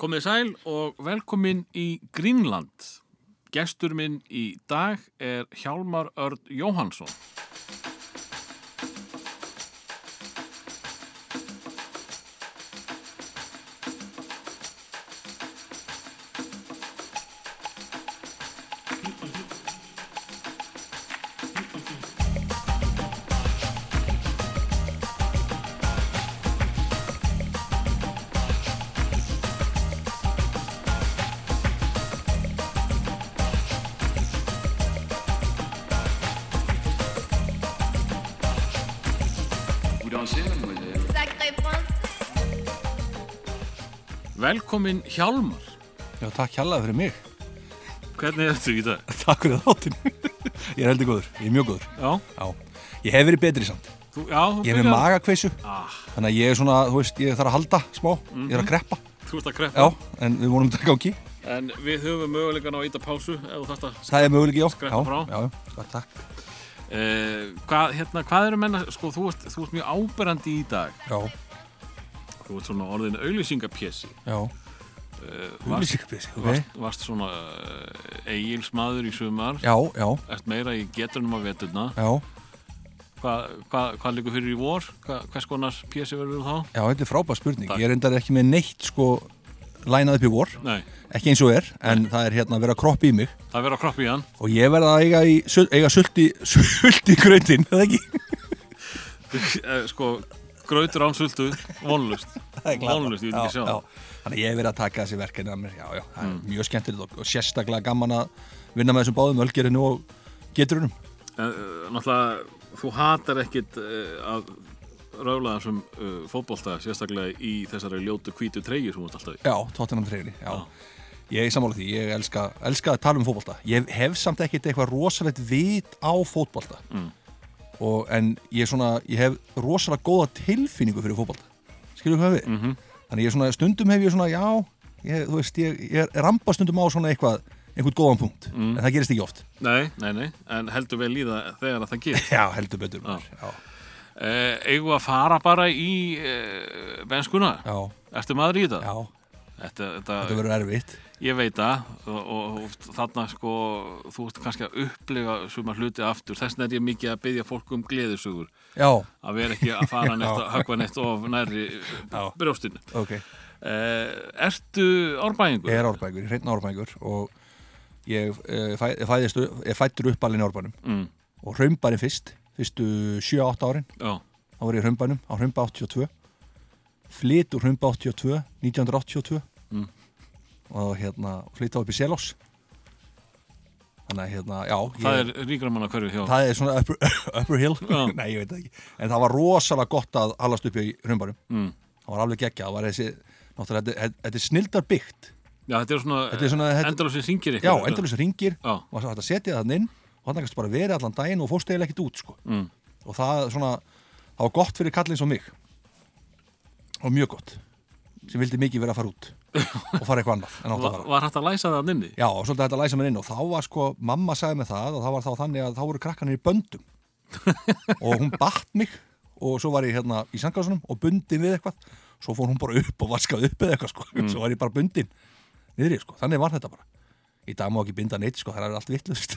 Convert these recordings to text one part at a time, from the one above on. Komið sæl og velkomin í Grínland. Gestur minn í dag er Hjálmar Örd Jóhansson. Vous dansez, mademoiselle Sacré prince, Velkomin Hjálmar. Já, takk hjallaði fyrir mig. Hvernig ertu í dag? Takk fyrir þáttinu. ég er heldur góður, ég er mjög góður. Já, Já, ég hef verið betri samt. þú, já, þú Ég er með byrjar- magakveisu, Ah, þannig að ég er svona, þú veist, ég þarf að halda smá, ég Mhm. er að kreppa. þú ert að kreppa. Já, en við vonum þetta gangi. En við höfum mögulegan á að íta pásu ef þú þetta. Það er möguleik, já. Skreppa frá. Já, já, já, takk. Eh, hvað, hérna, hvað eru menna, sko, þú ert, þú ert mjög áberandi í dag. Já, Þú ert svona orðin auðlýsingapjessi. já. Huglýsingabjösi, ok. Varst, varst svona uh, eigilsmaður í sumar. Já, já, Ert meira í getrunum á veturna. já, Hvað hva, hva liggur fyrir í vor? Hva, hvers konar pjessi verður þá? já, þetta er frábæð spurning. Takk. Ég er endar ekki með neitt, sko, lænað upp í vor, Nei, ekki eins og er, en það er hérna að vera að kroppa í mig það verður að kroppa í hann. og ég verða að eiga, í, sul- eiga sulti, sulti gröndin, eða ekki? Eh, sko, grautur án sultu, vonlust. Það er glatað. Vonlust, ég vil ekki Já, sjá. það. Mm. já. Þannig að ég hef verið að taka þessi verkefni að mér Já, já, það er mjög skemmtilegt og, og sérstaklega gaman að vinna með þessum báðum ölgerinu og geturunum En, eh, náttúrulega, þú hatar ekkit eh, að rála þessum uh, fótbolta, sérstaklega í þessari ljótu hvítu treyju sem hún er alltaf í. Já, Tottenham treyjunni, já. Ég er sammála því, ég elska, elska að tala um fótbolta Ég hef samt ekkit eitthvað rosalegt vit á fótbolta Mm. og, En ég, er svona, ég hef rosalega góða tilfinningu fyrir fótbolta Skilur hvað við? Mhm. Þannig ég er svona, stundum hef ég svona, já ég, Þú veist, ég, ég rampa stundum á svona eitthvað einhvern góðan punkt, Mm. en það gerist ekki oft Nei, nei, nei, en heldur vel í það þegar að það gerist. Já, heldur betur maður. Já. Uh, eigum við að fara bara í uh, benskuna? Já, Ertu maður í þetta? já, Þetta, þetta, þetta verður erfitt Ég veit það og, og, og þarna sko þú ert kannski að upplega suma hluti aftur þess vegna er ég mikið að byggja fólk um gleðisugur Já, að vera ekki að fara neitt að höggva neitt of nærri Já. brjóstinu ok eh, Ertu árbæðingur? Ég er árbækur, ég hreitna árbækur og ég, eh, fæ, ég, fæðist, ég fættur upp alveg í árbænum Mm, og hraumbarinn fyrst, fyrstu 7-8 árin já, þá var ég í hraumbarnum á hraumba 82 flyt úr hraumba 82 1982 Mm. og hérna flyt þá upp í Selós þannig að hérna, já ég, það er ríkra manna hverju hjá það er svona upper, upper hill Já. nei, ég veit það ekki, en það var rosalega gott að allast upp í hraumbarnum mm. það var alveg geggja, það var þessi náttúrulega, þetta- þetta- þetta er snildar byggt Já, þetta er svona, Þetta er svona- þetta- endalösi syngir já, endalins ringir Já, og það setja það inn og þannig kannski bara verið allan daginn og fórst eiginlega ekkert út sko. mm. og það svona, það var gott fyrir kallins og mig og mjög gott sem vildi mikið vera að fara út og fara eitthvað annað en átt að var, fara var hægt að læsa það nynni? já, og svolítið þetta læsa mér inn og þá var sko, mamma sagði mig það og það var þá þannig að þá voru krakkanir í böndum og hún batt mig og svo var ég hérna í sangásunum og bundin við eitthvað svo fór hún bara upp og vaskaði upp eða eitthvað sko. Mm. svo var ég bara bundin niðri, sko. þannig var þetta bara í dag má ekki binda neitt, sko, það er allt vittlust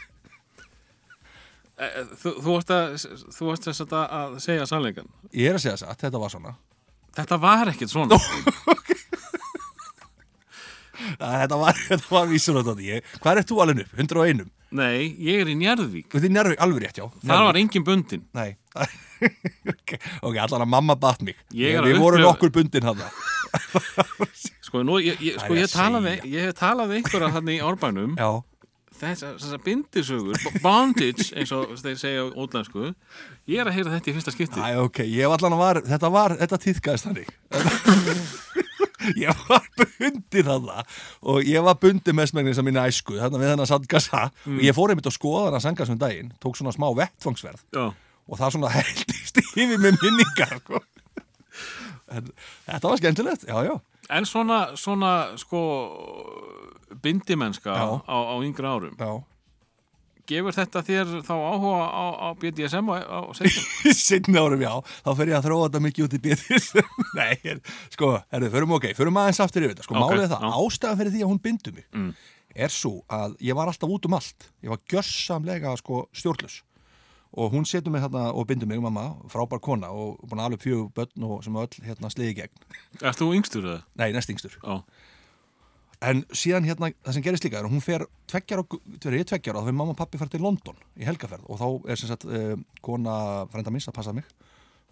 Eh, Þú, þú varst að, þú varst þess að, að segja sannleikan Ég er að segja satt, þetta var svona Þetta var ekkert svona Þetta var, þetta var vísur á þetta Hvað er þú alveg upp? 101? Nei, ég er í Njarðvík Þetta er njárvík, alveg rétt, já Það var engin bundin. Nei Ok, ok, allan að mamma bat mig Ég er að Við vorum upplifa- nokkur bundin hann Sko, nú, ég, ég, sko, Það er ég að talaði segja. ég hef talað við einhverja þannig í árbænum Já, þessar þessa bindisögur, b- bondage eins og þeir segja á útlensku ég er að heyra þetta í fyrsta skipti Æ, ok, ég var allan að var Þetta var, þetta týðkaðist þannig Ég var bundin hann Og ég var bundin mest megnis að minna æsku Þannig við hennar sandgassa Mm. Og ég fór einmitt að skoða hann að sandgassa um daginn Tók svona smá vettfangsverð Já. og það svona heldist yfir með minningar sko. en þetta var skemmtilegt já, já, En svona, svona sko bindimennska Já. á, á yngra árum já gefur þetta þér þá áhuga á, á BDSM á, á seinni? sinni árum, já, þá fer ég að þróa þetta mikið út í byrðis Nei, er, sko, herðu, förum ok, förum aðeins aftur yfir þetta Sko, Ok, málið er það, já. Mm. ástæðan fyrir því að hún bindu mig er svo að ég var alltaf út um allt Ég var gjössamlega, sko, stjórnlaus og hún setur mig þarna og bindur mig, mamma, frábær kona og búin að alveg fjögur börn og sem öll hérna sliði gegn Erst þú yngstur það? Nei, næstingstur Já, En síðan hérna, það sem gerist líka er að hún fer tveggjar og, tveir ég tveggjar og þá fyrir mamma og pappi fært til London í helgaferð og þá er sem sagt eh, kona frænda minns að passa mig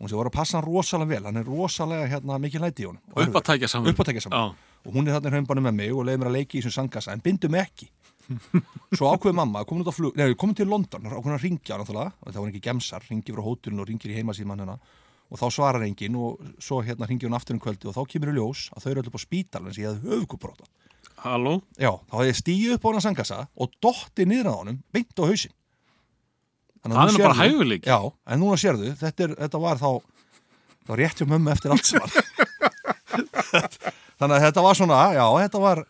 og hún sé voru að passa hann rosalega vel, hann er rosalega hérna mikið læti í honum. Og uppátækja saman. Uppatækja saman. Já. Og hún er þarna í hraunbanum með mig og leiði mér að leiki í þessum sangasa en bindum mig ekki. Svo ákveði mamma, komin út á flug, nei, komin til London, ákveði að ringja náttúrulega, og það var ekki gemsar, ringi frá hótelun og ringir í heimasíman hennar og þá svarar enginn og svo hérna ringir hún aftur um kvöldi og þá kemur í ljós að þau eru allir på spítalinn sem ég hefði höfukupróta. halló? Já, þá hefði ég stíð upp á hana sangasa og dotti niður á honum, beint á hausin. Þannig Það nú er nú bara sérðu- hæfileiki. Já, en núna sérðu, þetta, er, þetta var þá, þá rétt hjá mömmu eftir allt saman. Þannig að þetta var svona, já, þetta var,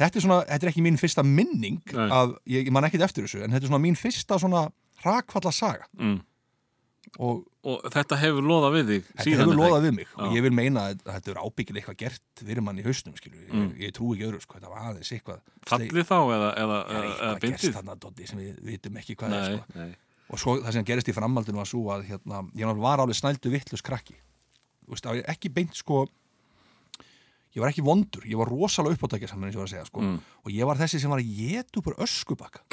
þetta er svona, þetta er ekki mín fyrsta minning Nei. af, ég, ég man ekkit eftir þessu, en þetta er svona mín fyrsta svona hrakfalla saga. Mm. Og Og þetta hefur loðað við þig þetta síðan. er hefur það loðað við mig og Já. ég vil meina að þetta er ábyggilega eitthvað gert fyrir mann í hausnum, skilju. Ég, Mm. ég trú ekki öðru, sko, þetta var aðeins eitthvað. ekki? Fallið þá eða, eða, eða, Það er eða eitthvað Eh, gerst bindið? þarna, Doddi, sem við vitum ekki hvað er, Nei, sko. nei. Og svo það sem gerist í framhaldinu var svo að, hérna, ég náttúrulega var alveg snældu vittlust krakki. Þú veist, það var ekki beint, sko, ég var ekki vondur, ég var rosalega uppátækja saman eins og ég var að segja, sko. Mm. Og ég var þessi sem var að geta upp úr öskubakka.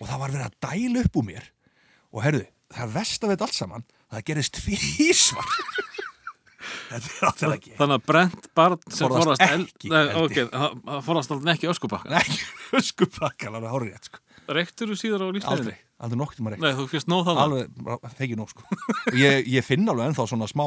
og það var verið að dæla upp úr mér. Og herðu, það er vest að við þetta allt saman, það gerist tvísvar. þetta er alltaf ekki. Þannig að brent barn sem Forðast forðast eld... ekki Nei, eldi. ok, það það forðast aldrei ekki öskubakka. Nei, ekki öskubakka, alveg hárið rétt, sko. Reyktur þú síðar á lífstæðinni? Aldrei, aldrei nokktum að reyna. Nei, þú fyrst nóð það. alveg, bara þegi nóg sko Og ég, ég finn alveg ennþá svona smá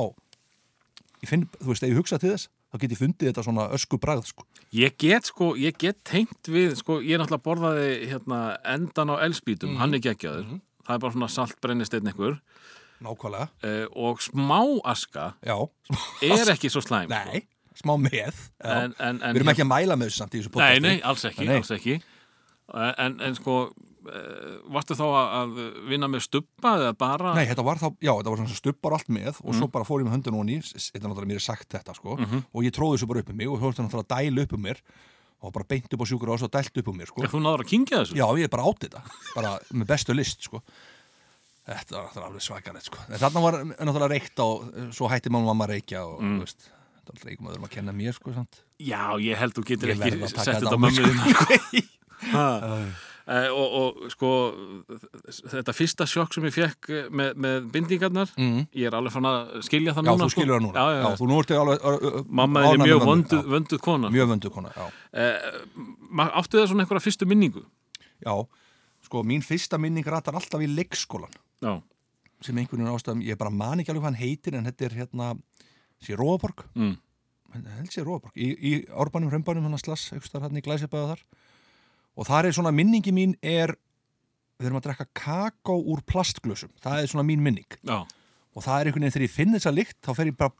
ég finn, þú veist, ef ég hugsa til þess þá get ég fundið þetta svona ösku bragð sko Ég get sko, ég get tengt við, sko, ég náttúrulega borðaði hérna endan á elspítum, hann er geggjaður. Það er bara svona salt brennisteinn einhver nákvæmlega, eh, og smá aska já, er ekki svo slæm. sko. nei, smá með já. En- en- en- við erum ekki að mæla með þessu samt í þessu Sko. Nei, podcasti nei, alls ekki, Nei. alls ekki. En, en sko, eh, varstu þá að- að vinna með stubba eða bara? Nei, þetta var þá, já, þetta var svona sem stubbar allt með og Mm. svo bara fór ég með höndun og ný, þetta er náttúrulega mér er sagt þetta sko, Mhm. og ég tróði þessu bara upp um mig og þú veist náttúrulega að dæla upp um mér og bara beint upp á sjúkur og svo dælt upp um mér sko. Þú náður að kingja þessu? Já, ég er bara átt þetta, bara með bestu list sko. Þetta var náttúrulega alveg svakarett sko. En þarna var náttúrulega reykt á svo hætti mann mamma að reykja og Mm. þú veist, þetta er alltaf reykum öðrum að kenna mér sko, sant? Já, ég held þú getur Ég verð ekki að taka sett þetta þetta á á mig, mömmuðina sko. Ha. Eh, og, og sko þetta fyrsta sjokk sem ég fekk eh, með, með bindingarnar Mm. ég er alveg fann að skilja það Já, núna þú sko. skilur það núna. já, já, já. þú nú ertu alveg ö- ö- ö- mamma er ánægð með mjög mömmu. vöndu, Já, vönduð kona Mjög vöndu kona, já. eh, ma- áttu það svona einhverja fyrstu minningu Já, sko, mín fyrsta minning ratar alltaf í leikskólan já, sem einhvern veginn ástæðum, ég bara man ekki alveg hvað hann heitir en þetta er hérna, sé Róaborg Mm. held sé Róaborg í, í árbænum, hrömbanum, hann að slass einhverstaðar hann í glæsibæða þar og þar er svona minningi mín er við erum að drekka kakó úr plastglösum það er svona mín minning já. og það er einhvern veginn þegar ég finn þessa lykt þá fer ég bara,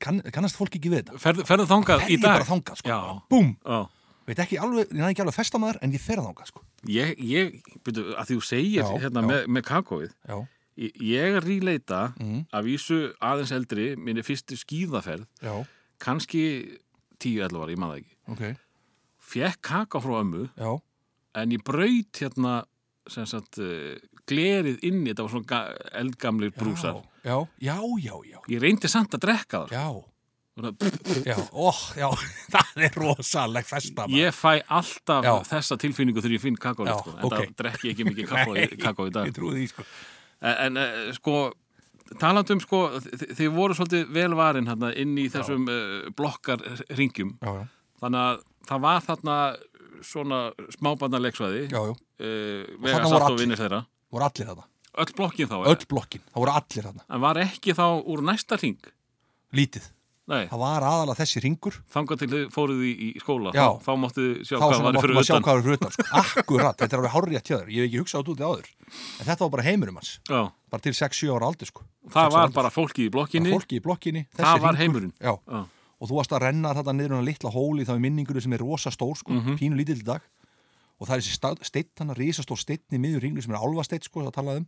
kann, kannast fólk ekki við þetta Ferð, ferðu þangað fer í ég dag bara þangað sko, Já. búm, já. veit ekki alveg, ég næði ekki alveg festa maður en ég fer þangað sko ég, ég byrju, að því þú segir Já, hérna já. með, með kakóið já, ég, ég ríleita Mm. að vísu aðeins eldri minni fyrstu skíðaferð já, kannski 10-11 ára, ég maður ekki ok, fekk kaka frá ömmu já en ég braut hérna sem sagt uh, glerið inn í þetta var svona ga- eldgamlir brúsar já, já, já, já, ég reyndi samt að drekka þar já. Svona, Já, óh, já, það er rosaleg festa maður. ég fæ alltaf Já. þessa tilfinningu þegar ég finn kakóið Já, sko. en ok. það drekki ég ekki mikið kakóið Nei, kakó í dag Ég trúi því, sko. en, en eh, sko talandum sko þi- þið voru svolítið velvarin hérna, inn í þessum uh, blokkar ringjum Já, já, þannig að það var þarna svona smábandarleiksvæði já, já, uh, þarna vega voru satt og allir. vinnir þeirra voru allir þarna. öll blokkin þá Öll blokkin, það voru allir þarna. En var ekki þá úr næsta ring? Lítið. Nei, Það var aðalega þessi ringur. þangað til þið fóruð í, í skóla Já. þá, þá máttu þið sjá Þá hvað sem var maður fyrir að sjá utan hvað var fyrir utan, sko. Akkurat, þetta er alveg hárrið að tjöður. Ég hef ekki hugsað út út í áður. En þetta var bara heimurum hans. Já, Bara til 6-7 ára aldur, sko. það 6 ára var aldur. bara fólki í blokkinni Bara Fólki í blokkinni. Það þessi var hringur. heimurinn. Já. Já. Mhm. Og þú varst að renna þarna niður um litla hóli þá í minningur sem er rosa stór, sko. Pínu lítill í dag. og það er þessi steitt hann að risastór steitt í miður ringlu sem er álfasteitt sko, það talaði um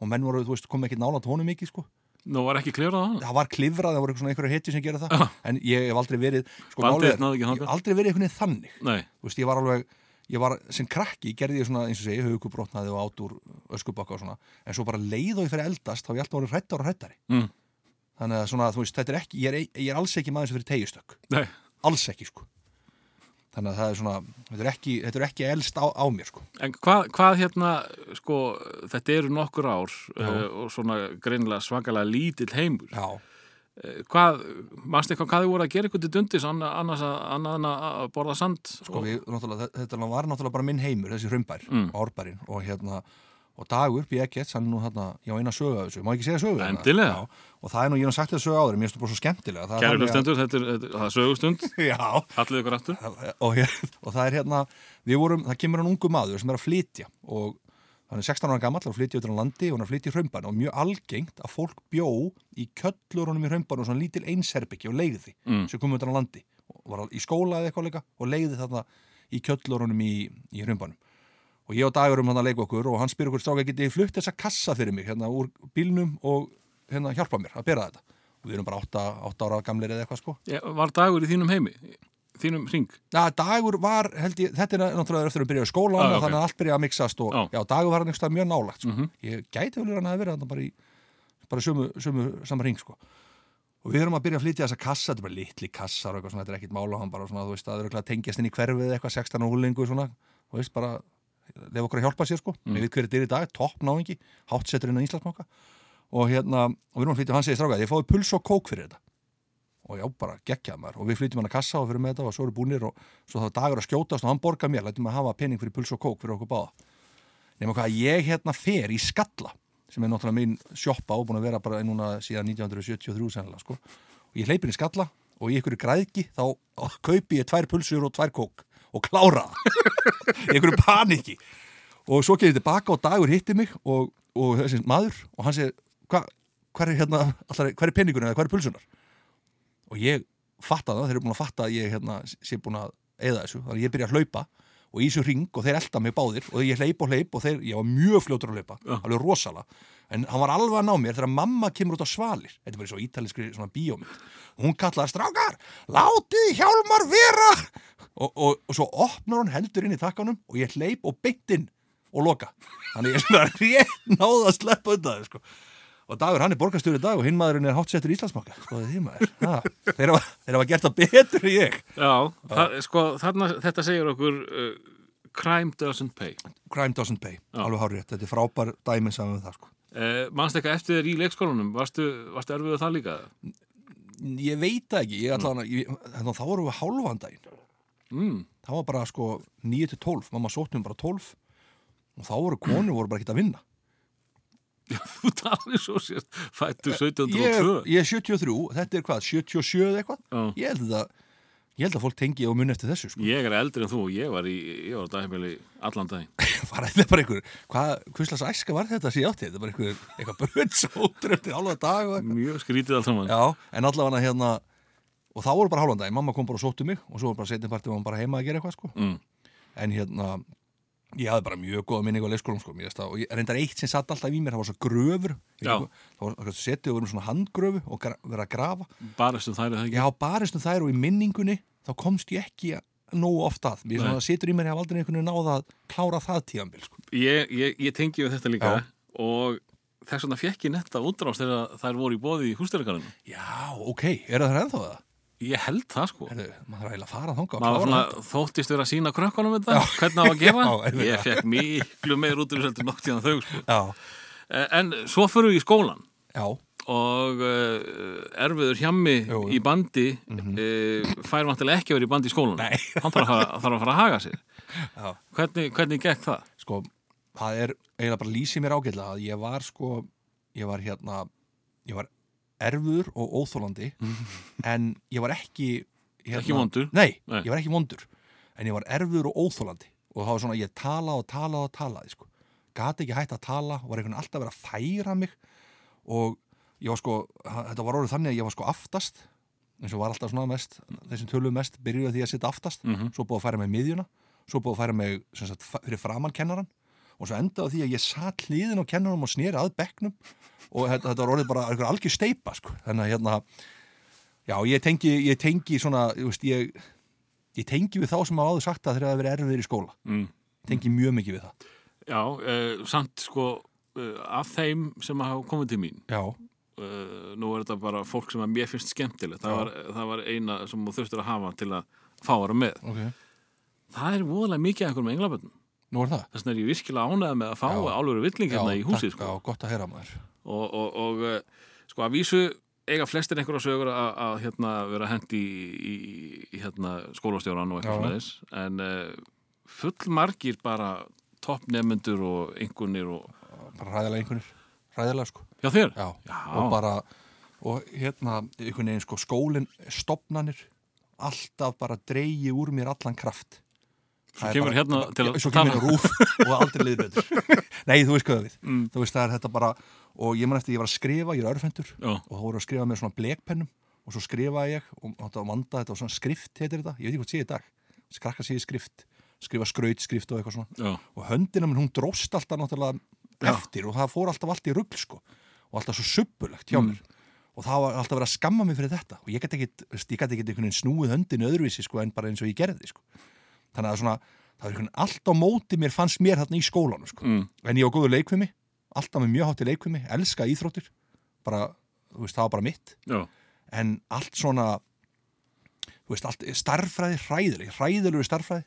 og menn voru, þú veist, komið ekki nála tónu mikið sko. Nú var ekki klifrað á hann? það var klifrað, það voru einhver- svona einhverju hetju sem gera það en ég hef aldrei verið sko, Bandið málið er- náði ekki ég þangað? hef aldrei verið einhvern veginn þannig Nei, þú veist, ég var alveg ég var, sem krakki gerði ég svona, eins og segi, haugubrotnaði og át úr öskubakka og svona, en svo bara leið og ég fyrir eldast, þá hef ég alltaf orðið hrættar og hrættari Mm. þannig að svona, þú veist, þetta er ekki ég er, ég er alls ekki maður sem fyrir tegjustök nei, alls ekki, sko þannig að það er svona, þetta er ekki, þetta er ekki elst á, á mér, sko en hvað, hvað hérna, sko, þetta eru nokkur ár uh, og svona greinlega svakalega lítill heimur. já, Uh, hvað, mannstu eitthvað hvað þið voru að gera ykkur til dundis anna- annars að, annað en að að borða sand? sko, við, náttúrulega, þe- þetta var náttúrulega bara minn heimur, þessi hrumbær, Mm. árbærin og hérna, og dagur, B. Eggets, hann er nú þarna, ég á eina sögu af þessu, má ekki segja sögu? hérna? Endilega. Já, Og það er nú, ég hef nú sagt þetta sögu áður, en mér finnst þú bara svo skemmtilega. Það er Kæri þannig að- hlustendur, þetta er, þetta er- það er sögustund, Já, hallið ykkur aftur. og, hér- og það er hérna við vorum, það kemur hann ungu maður sem er að flytja og hann er 16 ára gamall og flytja út á landi og hann er að flytja í hraumban og mjög algengt að fólk bjó í köllurunum í hraumban og svona lítil einsherbyggi og leiði Mm. sem komum út á landi og var í skóla eða eitthvað líka og leiði þarna í köllurunum í, í hraumbanum og ég og dagur um hann að leika okkur og hann spyr okkur stráka getið þið flutt þessa kassa fyrir mig hérna úr bílnum og hérna hjálpa mér að bera þetta og við erum bara 8, 8 ára gamlir eða eitthvað sko Já, Var dagur í þínum heimi? Þínum hring? Já, dagur var, held ég, þetta er náttúrulega eftir að byrja skólan Já, ah, ok. þannig að allt byrja að mixast og Já. já, dagur var hann einhverstað mjög nálægt sko. ég gæti vel verið að hann að vera bara í bara sömu, sömu saman ring sko. og við erum að byrja að flytja þessa kassa þetta er bara litli kassar og eitthvað svona, þetta er ekkit mála hann bara svona, þú veist, það er örugglega að tengjast inn í hverfið eitthvað 16 og húlingu svona, þú veist, bara lefa okkur að hjálpa sér sko, mm. við veit hver þetta er í dag topp náingi, háttseturinn á Íslandsmáka og hérna, og við erum að flytja og hann segir stráka, ég fáið puls og kók fyrir þetta og já, bara geggjað maður og við flytjum hann að kassa og fyrir með þetta og svo eru búnir og svo þá er dagur að skjótast og hann borgar mér, lætum að hafa pening fyrir puls og kók fyrir okkur báða nema hvað, ég hérna fer í skalla sem er náttúrulega mín sjoppa og búin að vera bara núna síðan 1973 sennilega sko. og ég hleypin í skalla og í ykkur græðki þá kaupi ég tvær pulsur og tvær kók og klára það í ykkur paniki og svo kemur ég tilbaka og dagur hitti mig og, og þessi maður og hann segir hva, hver, er hérna, allar, hver er peningurinn eða hver er pulsunar og ég fatta það, þeir eru búin að fatta að ég hérna, sé búin að eða þessu, þannig að ég byrja að hlaupa og í þessu ring og þeir elda mig báðir og ég hleyp og hleyp og þeir, ég var mjög fljótur að hlaupa alveg rosala, en hann var alveg að ná mér þegar mamma kemur út á svalir þetta er bara svo ítalinskri svona bíómynd og hún kallar strákar, látið hjálmar vera og, og, og svo opnar hún heldur inn í takkanum og ég hleyp og beint inn og loka þannig ég svona rétt náða að sleppa undan þessu, sko. Og Dagur, hann er borgarstjóri í dag og hinn maðurinn er háttsettur í Íslandsmaka. Skoðu því maður. Ha, þeir, hafa, þeir hafa gert það betur en ég. Já, það, sko, þarna, þetta segir okkur uh, crime doesn't pay. Crime doesn't pay. Alveg hárið. Þetta er frábær dæmi saman við það, sko. Uh, manst eitthvað eftir þér í leikskólanum, varstu, varstu erfið að það líka? Ég veit það ekki. Ég ætla mm. hana, þá vorum við hálfan daginn. Mm. Það var bara sko 9-12. Mamma sóttum bara 12. Og þá voru konur voru bara ekkert að vinna. Þú talir svo sér, fættur Ég, 1702. ég er 73. Þetta er hvað? 77 eða eitthvað? Já. Ég held að, ég held að fólk tengi og muni eftir þessu, sko. Ég er eldri en þú og ég var í, ég var á dagheimili allan daginn. var þetta bara einhver, hvað, hvurslags æska var þetta sem ég átti, þetta var einhver, eitthvað bröndsótur eftir hálfa dag og eitthvað. Mjög skrítið allt saman. Já, en allavega hérna, og þá voru bara hálfan dag, mamma kom bara og sótti mig og svo var bara setjumpartið og hann bara heima að gera eitthvað sko. Mm. En hérna, ég hafði bara mjög góða minningu á leikskólanum sko, mér finnst það, og ég reyndar eitt sem satt alltaf í mér, það var svo gröfur, Ég Já. veit ekki hvað- það var svo setið og verið með svona handgröfu og gra- verið að grafa. Barist um þær er það ekki. Já, barist um þær og í minningunni, þá komst ég ekki nógu oft að, mér Nei. svona situr í mér, ég haf aldrei einhvern veginn náða að klára það tíðanbíl sko. Ég, ég, ég tengi við þetta líka Já. og þess vegna fekk ég netta útrást þegar þær voru í bóði í hústyrkarinu. Já, ok, eru það ennþá það? Ég held það sko. Herðu, maður er eiginlega að fara þangað maður svona þóttist vera að sína krökkunum þetta, hvernig á að gera Já, einmiga. ég fekk miklu meir út úr þessu heldur nótt í þau sko. Já, Eh, en svo förum við í skólan já, og uh, erfiður hjammi Jú, jú. í bandi mm fær vantilega ekki að vera í bandi í skólan Nei. hann þarf að, fara- þarf að fara að haga sér já hvernig, hvernig gekk það? Sko, það er eiginlega bara lýsið mér ágætlega að ég var sko ég var hérna, ég var erfur og óþólandi en ég var ekki hérna, Mhm. Ekki vondur? Nei, Nei. ég var ekki vondur en ég var erfur og óþólandi og það var svona, ég talaði og talaði og talaði sko. gati ekki hægt að tala var einhvern veginn alltaf verið að færa mig og ég var sko, þetta var orðið þannig að ég var sko aftast eins og var alltaf svona mest, þeir sem töluðu mest byrjuðu á því að sitja aftast, Mhm. svo búið að færa mig í miðjuna, svo búið að færa mig sem sagt, fa- fyrir framann kennaran og svo endaði á því að ég satt hliðin á kennaranum og sneri að bekknum og þetta, þetta var orðið bara einhver algjör steipa sko. þannig að hérna já, ég tengi, ég tengi svona þú veist, ég, ég tengi við þá sem hafa áður sagt að þeir hafa verið erfiðir í skóla Mm. tengi mjög mikið við það Já, uh, samt sko uh, af þeim sem hafa komið til mín já, uh, nú er þetta bara fólk sem að mér finnst skemmtilegt það var, það var eina sem þú þurftir að hafa til að fá ára með ok, það er voðalega mikið af einhverjum englaböndum nú er það þess vegna er ég virkilega ánægð með að fá Já. álveru villing hérna í húsið takk, sko. já, gott að heyra maður og, og, og eh, sko að vísu eiga flestir einhverja sögur að, að hérna, vera hent í, í, í hérna, skólastjóran og eitthvað Já. svona þess en uh, fullmargir bara toppnefnendur og einhvernir og... bara ræðilega einhvernir, ræðilega sko Já þér? já, Já. og bara og hérna, einhvern veginn sko skólin stopnanir, alltaf bara dreigi úr mér allan kraft Svo Það er kemur hérna til að svo tala. kemur rúf og aldrei liður betur nei, þú veist hvað það við Mm. þú veist það er þetta bara, og ég man eftir ég var að skrifa ég er örfendur, Já. og þá voru að skrifa með svona blekpennum, og svo skrifaði ég og þetta vanda þetta og svona skrift heitir þetta ég veit ekki hvað sé í dag, skrakka sé í skrift skrifa skraut, skrift og eitthvað svona Já. og höndina minn hún dróst alltaf náttúrulega eftir og það fór alltaf allt í rugl sko og alltaf svo suppulegt hjá mér og það var alltaf verið að skamma mig fyrir þetta og ég gæti ekkit, veist, ég gæti ekkit einhvern veginn snúið höndin öðruvísi sko en bara eins og ég gerði sko þannig að svona, það var einhvern veginn allt á móti mér fannst mér þarna í skólanum sko Mm. en ég var góður leikvimi, alltaf með mjög hátti leikvimi elska íþróttir, bara þú veist, það var bara mitt, Já. en allt svona þú veist, allt starffræði hræðileg, hræðilegu starffræði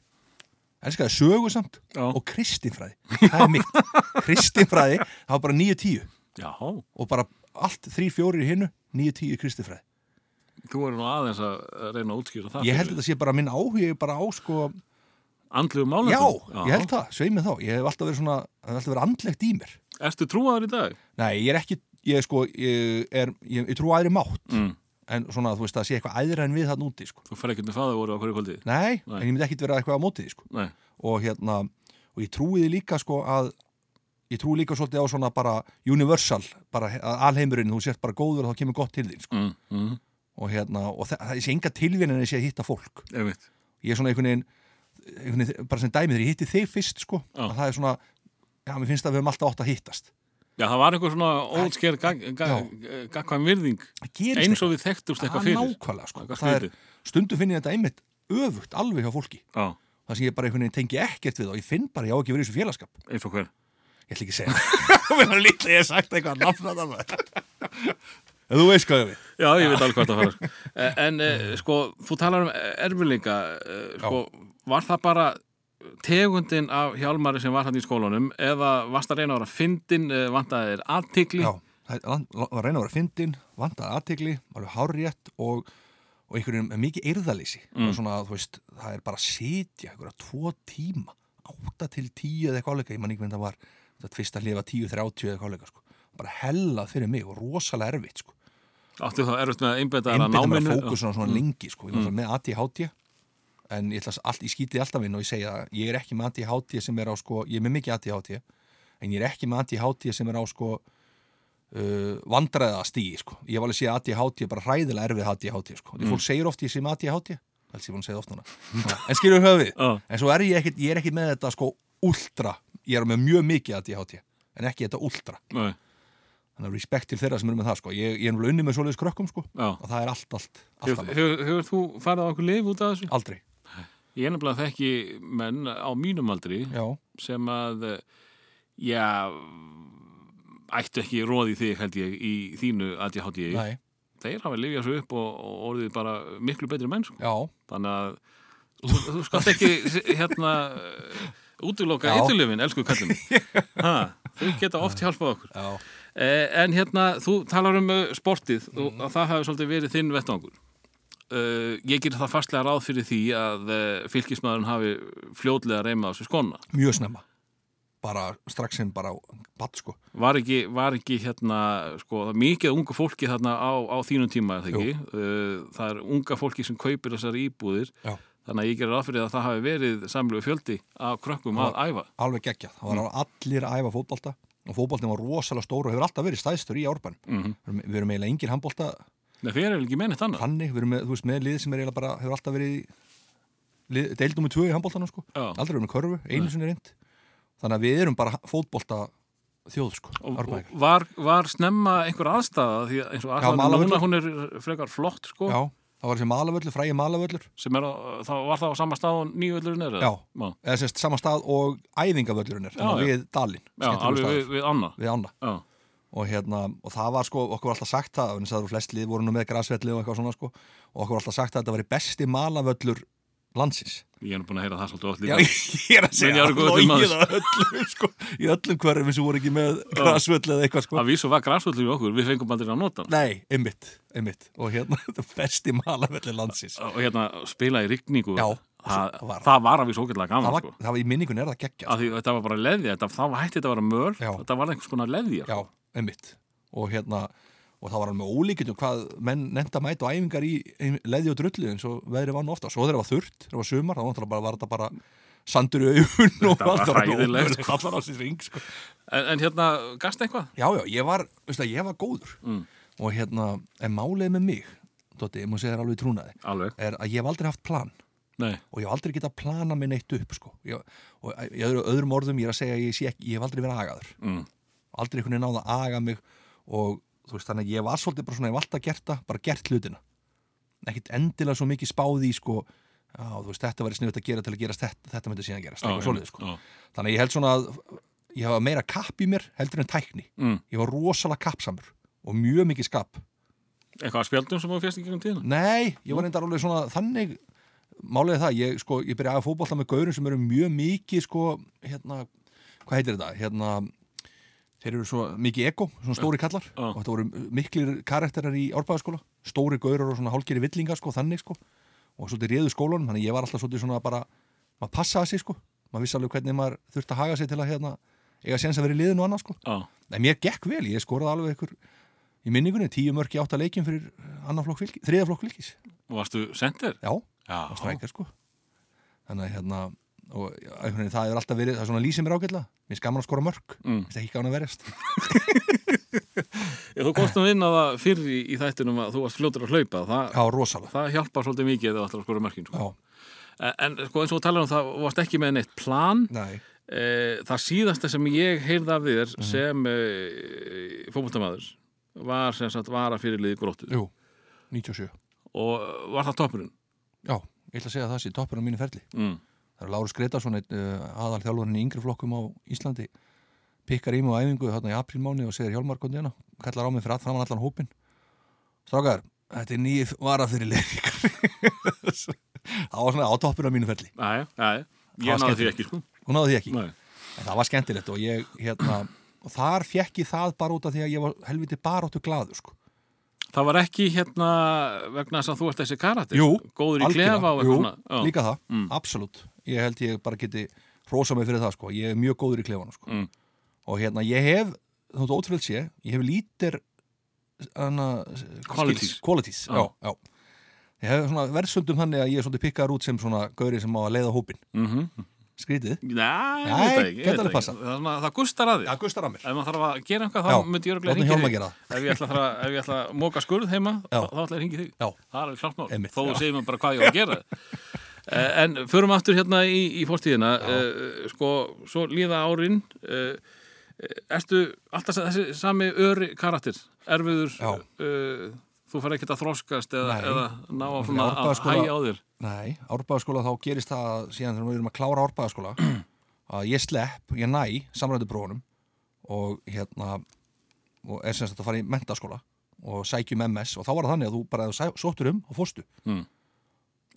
elskaði sögu samt Já. og kristinfræði, það er mitt kristinfræði, það var bara 9-10 Já. og bara allt 3-4 í hinnu, 9-10 kristinfræði Þú eru nú aðeins að að reyna að útskýra það ég held þetta sé bara minn áhugi bara á sko, Andlegu já, málendum ég held það, sveið mig þá ég hef alltaf verið svona, það hef alltaf verið andlegt í mér Ertu trúaður í dag? nei, ég er ekki, ég sko ég, er, ég, ég trú aðri mátt Mm. en svona, þú veist, það sé eitthvað æðra en við þarna úti sko. Þú fer ekki með faða voru á hverju kvöldi nei, Nei. en ég myndi ekkit vera eitthvað á mótið sko. Nei, og hérna, og ég trúiði líka sko að ég trúi líka svolítið á svona bara universal, bara he- að alheimurinn, þú sért bara góður og þá kemur gott til þín, sko. mm. Mm. Og hérna, og þa- það sé enga tilvinnin að ég sé að hitta fólk. einmitt Ég er svona einhvern veginn, einhvern veginn bara sem dæmið, ég hitti þig fyrst, sko, Já. að það er svona, já, mér finnst að við höfum alltaf átt að hittast. Já, það var einhver svona ótsker gagkvæm virðing Það gerist eins og við þekktumst eitthvað Það er fyrir nákvæmlega, sko. Það er eitthvað Það er, stundum finn ég þetta einmitt öfugt alveg hjá fólki. Já, Það sem ég bara einhvern veginn tengi ekkert við og ég finn bara, að ég á ekki verið í þessu félagskap. eins og hver Ég ætla ekki að segja það. Mér var lítið að ég hef sagt eitthvað að nafna það maður. En þú veist hvað ég við. Já, ég veit alveg hvað það fara sko. Eh, En eh, sko, þú talar um erfilinga sko, Var það bara tegundin af hjálmari sem var hann í skólanum eða varst að reyna að vera fyndin vantaði þér aðtikli Já, það er- lan- var að reyna að vera fyndin, vantaði aðtegli, alveg hárrétt og, og einhvern veginn með mikið eyrðalýsi. Mm. Svona, þú veist, það er bara að sitja einhverja tvo tíma, átta til tíu eða eitthvað áleika, ég man ekki hvernig það var, þetta fyrst að lifa tíu, þrjátíu eða eitthvað áleika, sko. Bara hellað fyrir mig og rosalega erfitt, sko. Áttu þá erfitt með að einbetta þér að einbyrðum að náminu fókusun á svona lengi sko. ég mm. með ADHD en ég, ætla, all, ég skýtli alltaf inn og ég segja að ég er ekki með ADHD sem er á sko, ég er með mikið ADHD en ég er ekki með ADHD sem er á sko uh, vandræða stíi sko. ég hef alveg séð ADHD bara hræðilega erfið ADHD sko. mm. fólk segir oft ég sé með ADHD helst ég búin að segja það oft núna en skilur höfið, Já. en svo er ég ekkit, ég er ekki með þetta sko ultra, ég er með mjög mikið ADHD en ekki þetta ultra Nei, þannig að respekt til þeirra sem eru með það sko. ég, ég er umlega unni með svoleiðis krökkum sko. Já. og það er allt, allt, allt Hefur, annað. hefur, hefur þú farið á okkur lif út af þessu? aldrei Ég er nefnilega þekki menn á mínum aldri já, sem að eh, já ættu ekki róði þig held ég í þínu ADHD nei, þeir hafa lifjað svo upp og, og orðið bara miklu betri menn sko. já þannig að þú, þú skalt ekki hérna útloka Já. ytturlöfin, elsku kallum þau geta oft hjálpað okkur já, Eh, En hérna, þú talar um eh, sportið Mhm. og að það hafi svolítið verið þinn vettangur. Uh, ég ger það fastlega ráð fyrir því að uh, fylgismæðurinn hafi fljótlega reyma á þessu skona. mjög snemma bara strax sem bara batt sko Var ekki, var ekki hérna, sko, það er mikið af ungu fólki þarna á, á þínum tíma, er það ekki? Uh, það er unga fólki sem kaupir þessar íbúðir, já. þannig að ég ger ráð fyrir að það hafi verið samlegu fjöldi af krökkum að æfa. alveg geggjað, það var Mm. allir að æfa fótbolta og fótboltin var rosalega stór og hefur alltaf verið stæðstur í árbann Mhm. við, erum- við erum eiginlega engir handbolta Nei, þeir eru ekki mennið þannig. þannig, við erum með, þú veist, með lið sem er eiginlega bara, hefur alltaf verið í- lið- deildum við tvö í handbóltanum sko Já. aldrei verið með körfu, einu sinni reynd þannig að við erum bara fótbolta þjóð sko, Og, og Árbæjar. var, var snemma einhver aðstæða því að eins og aðstæða Malavöllur. núna hún er frekar flott sko Já, það var þessi malavöllur, frægi malavöllur sem er á, þá var það á sama stað og nýjövöllurinn er eða? Já. eða semst sama stað og æfingavöllurinn er þannig Já, að já. við dalinn, Já, alveg við, við, við anna við ána Já, og, hérna, og það var sko, okkur var alltaf sagt það þannig að það eru flest lið voru nú með grasvelli og eitthvað svona sko og okkur var alltaf sagt að þetta var besti malavöllur landsins ég er nú búin að heyra það svolítið oft Já, líka ég er Menn, að ég segja er góður til maður. logið að öllum sko, í öllum hverfum sem voru ekki með grasvöll eða eitthvað sko Að vísu var græsvöllur í okkur, við fengum aldrei að nota hann. Nei, einmitt, einmitt og hérna, þetta er besti malavelli landsins og hérna spila í rigningu Já, það, svo var það. það var að vísu ógætlega það gaman var, sko. það var í minningunni er það geggja Af því þetta var bara leðja, þetta, þá hætti þetta að vera möl Já. þetta var einhvers konar leðja Já, einmitt og hérna, og það var alveg ólíkjöndum hvað menn nefnda mæta og æfingar í í leði og drullu eins og veðri vann ofta svo þegar það var þurrt, þegar það var sumar þá náttúrulega bara var þetta bara sandur í augun og Þetta var allt var alveg hræðilegt, ómögulegt, sko. allar á sér ring sko. en, en hérna, gasta eitthvað? Já, já, ég var, veistu að ég var góður Mm. og hérna, en málið með mig Dótti, ég múið segja þér alveg í trúnaði Alveg, er að ég hef aldrei haft plan nei, og ég hef aldrei getað planað mér neitt upp sko. ég, og í öðru, öðrum orðum ég er að segja að ég, sé ekki, ég hef aldrei verið agaður mm. aldrei einhvern veginn náða að aga mig og þú veist þannig að ég var svolítið bara svona ég hef alltaf gert það, bara gert hlutina ekkert endilega svo mikið spáði í sko já, þú veist, þetta væri sniðut að gera til að gerast þetta, þetta myndi síðan gerast, eitthvað svolítið sko já. þannig að ég held svona að ég hafa meira kapp í mér heldur en tækni Mm. ég var rosalega kappsamur og mjög mikið skap Eitthvað að spjaldum sem þú fyrst í gegnum tíðina? nei, ég var reyndar alveg svona þannig máliði það, ég sko, ég byrjaði að fótbolta með gaurum sem eru mjög mikið sko, hérna, hvað heitir þetta hérna, þeir eru svo mikið ego, svona stóri kallar Já. og þetta voru miklir karakterar í árbæðaskóla stóri gaurar og svona hálgeri villingar sko, þannig sko, og svolítið réðu skólanum þannig að ég var alltaf svolítið svona bara maður passaði sig sko, maður vissi alveg hvernig maður þurfti að haga sig til að hérna, eiga séns að vera í liðinu og annað sko, Já, en mér gekk vel ég skoraði alveg ykkur í minningunni tíu mörki átta leikjum fyrir annan flokk fylgis, þriða flokk fylgis, og varstu sendir? já Já, og strækja sko þannig að hérna og einhvern veginn það er alltaf verið, það er svona lýsið mér ágætla mér skaman að skora mörg, Mm. finnst ekki gána að verjast Ég, Þú komst nú inn á það fyrir í, í þættinum að þú varst fljótur að hlaupa það, já, rosalega það hjálpar svolítið mikið eða ætlar að skora mörkin sko. já, en, en sko, eins og þú talar um það þú varst ekki með neitt plan nei, e, Það síðasta sem ég heyrði af Mhm. þér sem e, fótboltamaður var sem sagt vara fyrirlið gróttu jú 97, og var það toppurinn já, ég ætla að segja að það sé toppurinn á mínu ferli mm. það er Lárus Gretarsson, einn uh, aðal þjálfurinn í yngri flokkum á Íslandi pikkar í mig á æfingu þarna í aprílmáni og segir Hjálmar kondi hérna, kallar á mig fyrir all, framan allan hópin strákar, þetta er nýið vara fyrir leikar það var svona á toppurinn á mínu ferli Æja, æja, ég Það var náði því skemmtilegt. ekki sko. hún náði því ekki Nei. En það var skemmtilegt og ég, hérna, og þar fekk ég það bara út af því að ég var helviti baróttu glaður, sko. Það var ekki hérna vegna þess að þú ert þessi karakter Jú, Góður í Algjörlega. klefa og Jú, eitthvað svona. Já. Mm. líka það, absolutt. Ég held ég bara geti hrósa mig fyrir það, sko. Ég er mjög góður í klefanum, sko. Mm. Og hérna, ég hef, þóttu ótrúlega sé, ég hef lítir, hana, Qualities. skills- Qualities, Já. já, já. Ég hef svona verðsöndum þannig að ég er svona pikkaður út sem svona gauri sem á að leiða hópin. Mhm. Skrítið. Nei, ég Nei, veit það ekki, ég gæti veit alveg það passað. ekki. Það, er svona- það gustar að því Já, Gustar Amir. Ef maður þarf að gera eitthvað, Já, þá myndi ég látum örgulega Hjálmar hringi gera það. Ef ég ætla að, fara- ef ég ætla að móka skurð heima Já. þá, þá ætla ég að ringi þig Já. Það er alveg klárt mál, Einmitt, þó já. segir maður bara hvað ég á að gera Eh, En förum aftur hérna í, í fórstíðina eh, Sko, svo líða árin eh, eh, Ertu alltaf sa- þessi sami öri karakter Erfiður Já. eh, Þú fær ekkert að þroskast eða, Nei. sko- eða ná að, svona, Í að Árbæjarskóla- hæja á þér Nei, árbæðaskóla þá gerist það að síðan þegar við erum að klára árbæðaskóla að ég slepp, ég næ samrænduprófunum og hérna og er sem sagt að fara í mentaskóla og sækjum MS og þá var það þannig að þú bara ef þú sæ- sóttur um og fórstu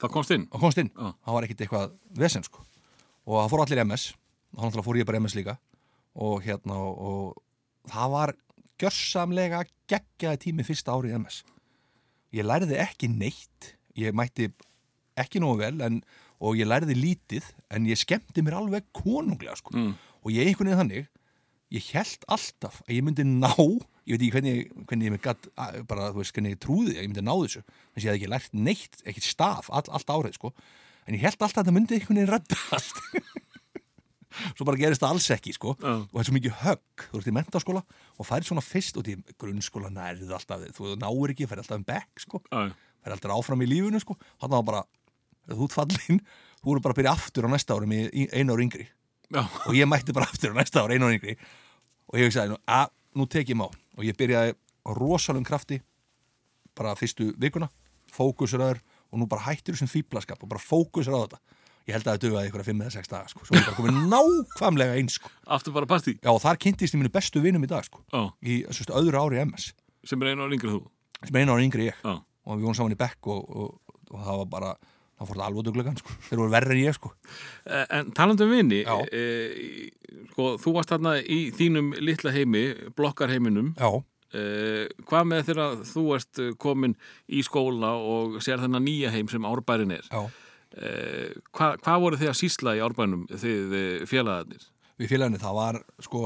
Það komst inn og komst inn, Já. það var ekkit eitthvað vesen sko og það fór allir í MS og þannig að fór ég bara í MS líka og hérna og, og það var gjörsamlega geggjaði tími fyrsta árið í MS ég lærði ekki neitt ég mætti ekki nógu vel en, og ég lærði lítið en ég skemmti mér alveg konunglega sko. Mm. og ég einhvern veginn þannig ég held alltaf að ég myndi ná ég veit ekki hvernig, hvernig ég mér gatt að- bara þú veist hvernig ég trúði að ég myndi ná þessu þess að ég hef ekki lært neitt, ekkert staf all, allt árið sko, en ég held alltaf að það myndi einhvern veginn reddast svo bara gerist það alls ekki sko Já. og það er svo mikið högg, þú ert í mentaskóla og færð svona fyrst út í grunnskóla nærið alltaf, þú náir ekki, færð alltaf um bekk sko Æ. færð alltaf áfram í lífinu sko, þannig að bara ef þú ert fallin, þú eru bara að byrja aftur á næsta árum í, í einu ári yngri Já, og ég mætti bara aftur á næsta ári einu ári yngri og ég hugsaði, nú, að, nú tek ég má og ég byrjaði á rosalum krafti bara fyrstu vikuna fókusraður og nú bara hættir þessum fýblaskap og bara fókusra á þetta ég held að það dugaði ykkur að fimm eða sex daga sko, svo ég bara komið nákvæmlega eins sko. aftur bara partí já og þar kynntist ég mínu bestu vinum í dag sko, Já, í sérst, öðru ári í MS sem er einu ára yngri en þú sem er einu ári yngri en ég Já, og við vonum saman í bekk og, og, og það var bara það fór það alveg duglegan sko. þeir voru verri en ég sko. Eh, En talandi um vini, Já. e, sko, þú varst þarna í þínum litla heimi, blokkarheiminum. já, E, hvað með þegar þú ert eh, komin í skóla og sér þennan nýja heim sem árbærin er? já. E, hva, hvað voru þið að sýsla í árbænum þið eh, félagarnir? við félaginni það var sko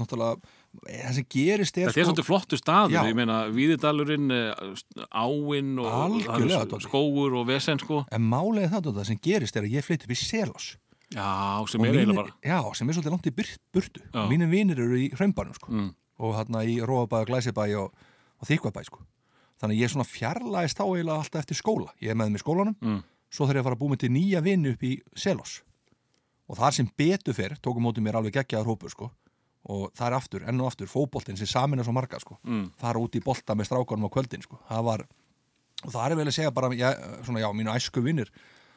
náttúrulega eh, það sem gerist er Þetta er sko, svolítið flottu staður, Já. ég meina Víðidalurinn, eh, áinn og það Algjörlega, eru Doddi. skógur og vesen sko. en málega það Dodda, það sem gerist er að ég flytt upp í Selós Já, Og sem er eiginlega bara. já, sem er svolítið langt í byr- burtu Já. Mm. og mínir vinir eru í hraunbænum sko. og þarna í Róabæ, Glæsibæ og, og Þykvabæ sko. þannig að ég svona fjarlæðist þá eiginlega alltaf eftir skóla ég er með þeim í skólanum Mm. svo þarf ég að fara að búið til nýja vini upp í Selos og þar sem betur fyrr tókum mótið mér alveg geggjaðar hópur sko. og það er aftur, enn og aftur, fótboltinn sem samina svo marga sko. Mm. fara út í bolta með strákanum á kvöldin sko. það var, og það er vel að segja bara já, svona, já, mínu æsku vinnir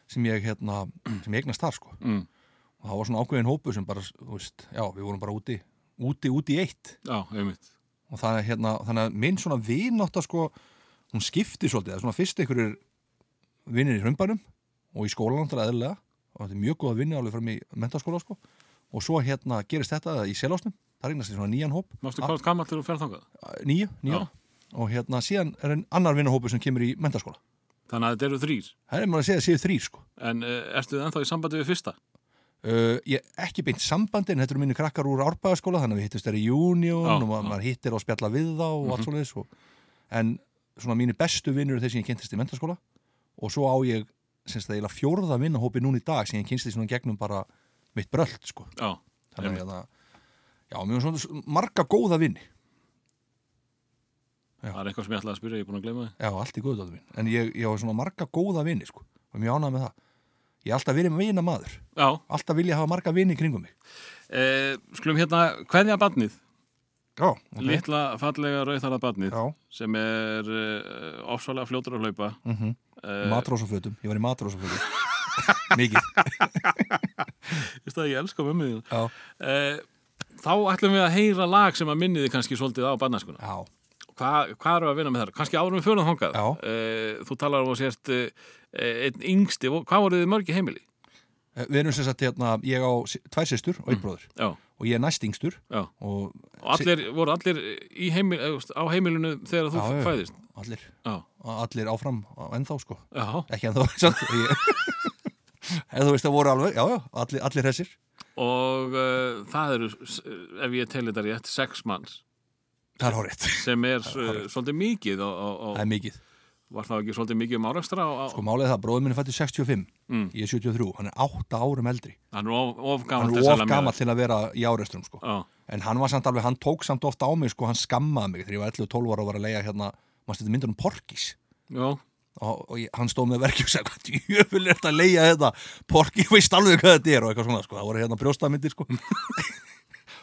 sem ég, hérna, sem ég eignast þar sko. Mm. og það var svona ákveðin hópur sem bara, þú veist, já, við vorum bara úti úti, úti í eitt Já, einmitt. og það er hérna, þannig að minn svona vinátta sko, hún skipti svolítið, það er svona fyrst einhverjir vinnir í hraumbænum og í skólanum til aðeinlega og þetta er mjög góð að vinna alveg fram í mentaskóla sko og svo hérna gerist þetta í selásnum, það regnast svona nýjan hóp Mástu hvað gammal til þú ferð þangað? að- nýju, nýja, og hérna síðan er einn annar vinnahópur sem kemur í mentaskóla Þannig að þetta eru þrýr. það er maður að segja að séu þrýr sko En uh, ertu þið ennþá í sambandi við fyrsta? Uh, ég ekki beint sambandi en þetta eru minni krakkar úr árbæðaskóla þannig að við hittumst þær í júnión Já, og maður, maður hittir og spjalla við þá og allt svoleiðis og, en svona mínu bestu vinnur er þeir sem ég kynntist í mentaskóla og svo á ég semst það eiginlega fjórða vinnahópi núna í dag sem ég kynntist í svona gegnum bara mitt brölt sko Já, þannig að það- já, mjög svona s- marga góða vinni Já. það er eitthvað sem ég ætlaði að spyrja, ég er búin að gleyma þið. já, allt í góðu dóttur mín en ég, ég á svona marga góða vinni sko og mjög ánægð með það ég er alltaf verið með vina maður Já, alltaf vilja hafa marga vini í kringum mig e, skulum hérna, hvernig að badnið? já, ok. Litla fallega rauðara badnið já sem er e, ofsalega fljótur að hlaupa. mm -hmm. E, Matrósafötum, ég var í matrósafötum Mikið veist það, ég elska mömmu þín. Já, E, þá ætlum við að heyra lag sem að minniði kannski svolítið á badnæskuna. já, Hvað hva eru að vinna með þar? Kannski árum við fölum þangað. Já. E, þú talar um að sért e, einn yngsti, hvað voruð þið mörgi heimili? Eh, Við erum sem sagt hérna, ég á si- tvær systur og einn bróður Já, og ég er næst yngstur já. og Og allir, voru allir í heimil, eh, þú veist, á heimilinu þegar þú Já, já. fæðist? allir, Já, allir áfram á- ennþá sko, já. ekki ennþá samt, ég, En þú veist það voru alveg, já, já, allir, allir þessir og uh, það eru, s- ef ég teli þetta rétt, sex manns Það er horrið, sem er uh, svolítið mikið og, og, það er mikið og var það ekki svolítið mikið um árekstra og, og Sko málið er það, bróður minn er fættur 65 Mm. Ég er 73, hann er 8 árum eldri hann er of, of Hann gammal er of gamall til að vera í árestrum sko Já, En hann var samt alveg, hann tók samt ofta á mig sko, hann skammaði mig þegar ég var 11 og 12 ára og var að leiða hérna, maður stætti myndur um porkis já, og, og ég, hann stóð með verki og sagði hvað djöful er þetta að leiða þetta porki veist alveg hvað þetta er og eitthvað svona sko. það voru hérna brjóstamindir sko.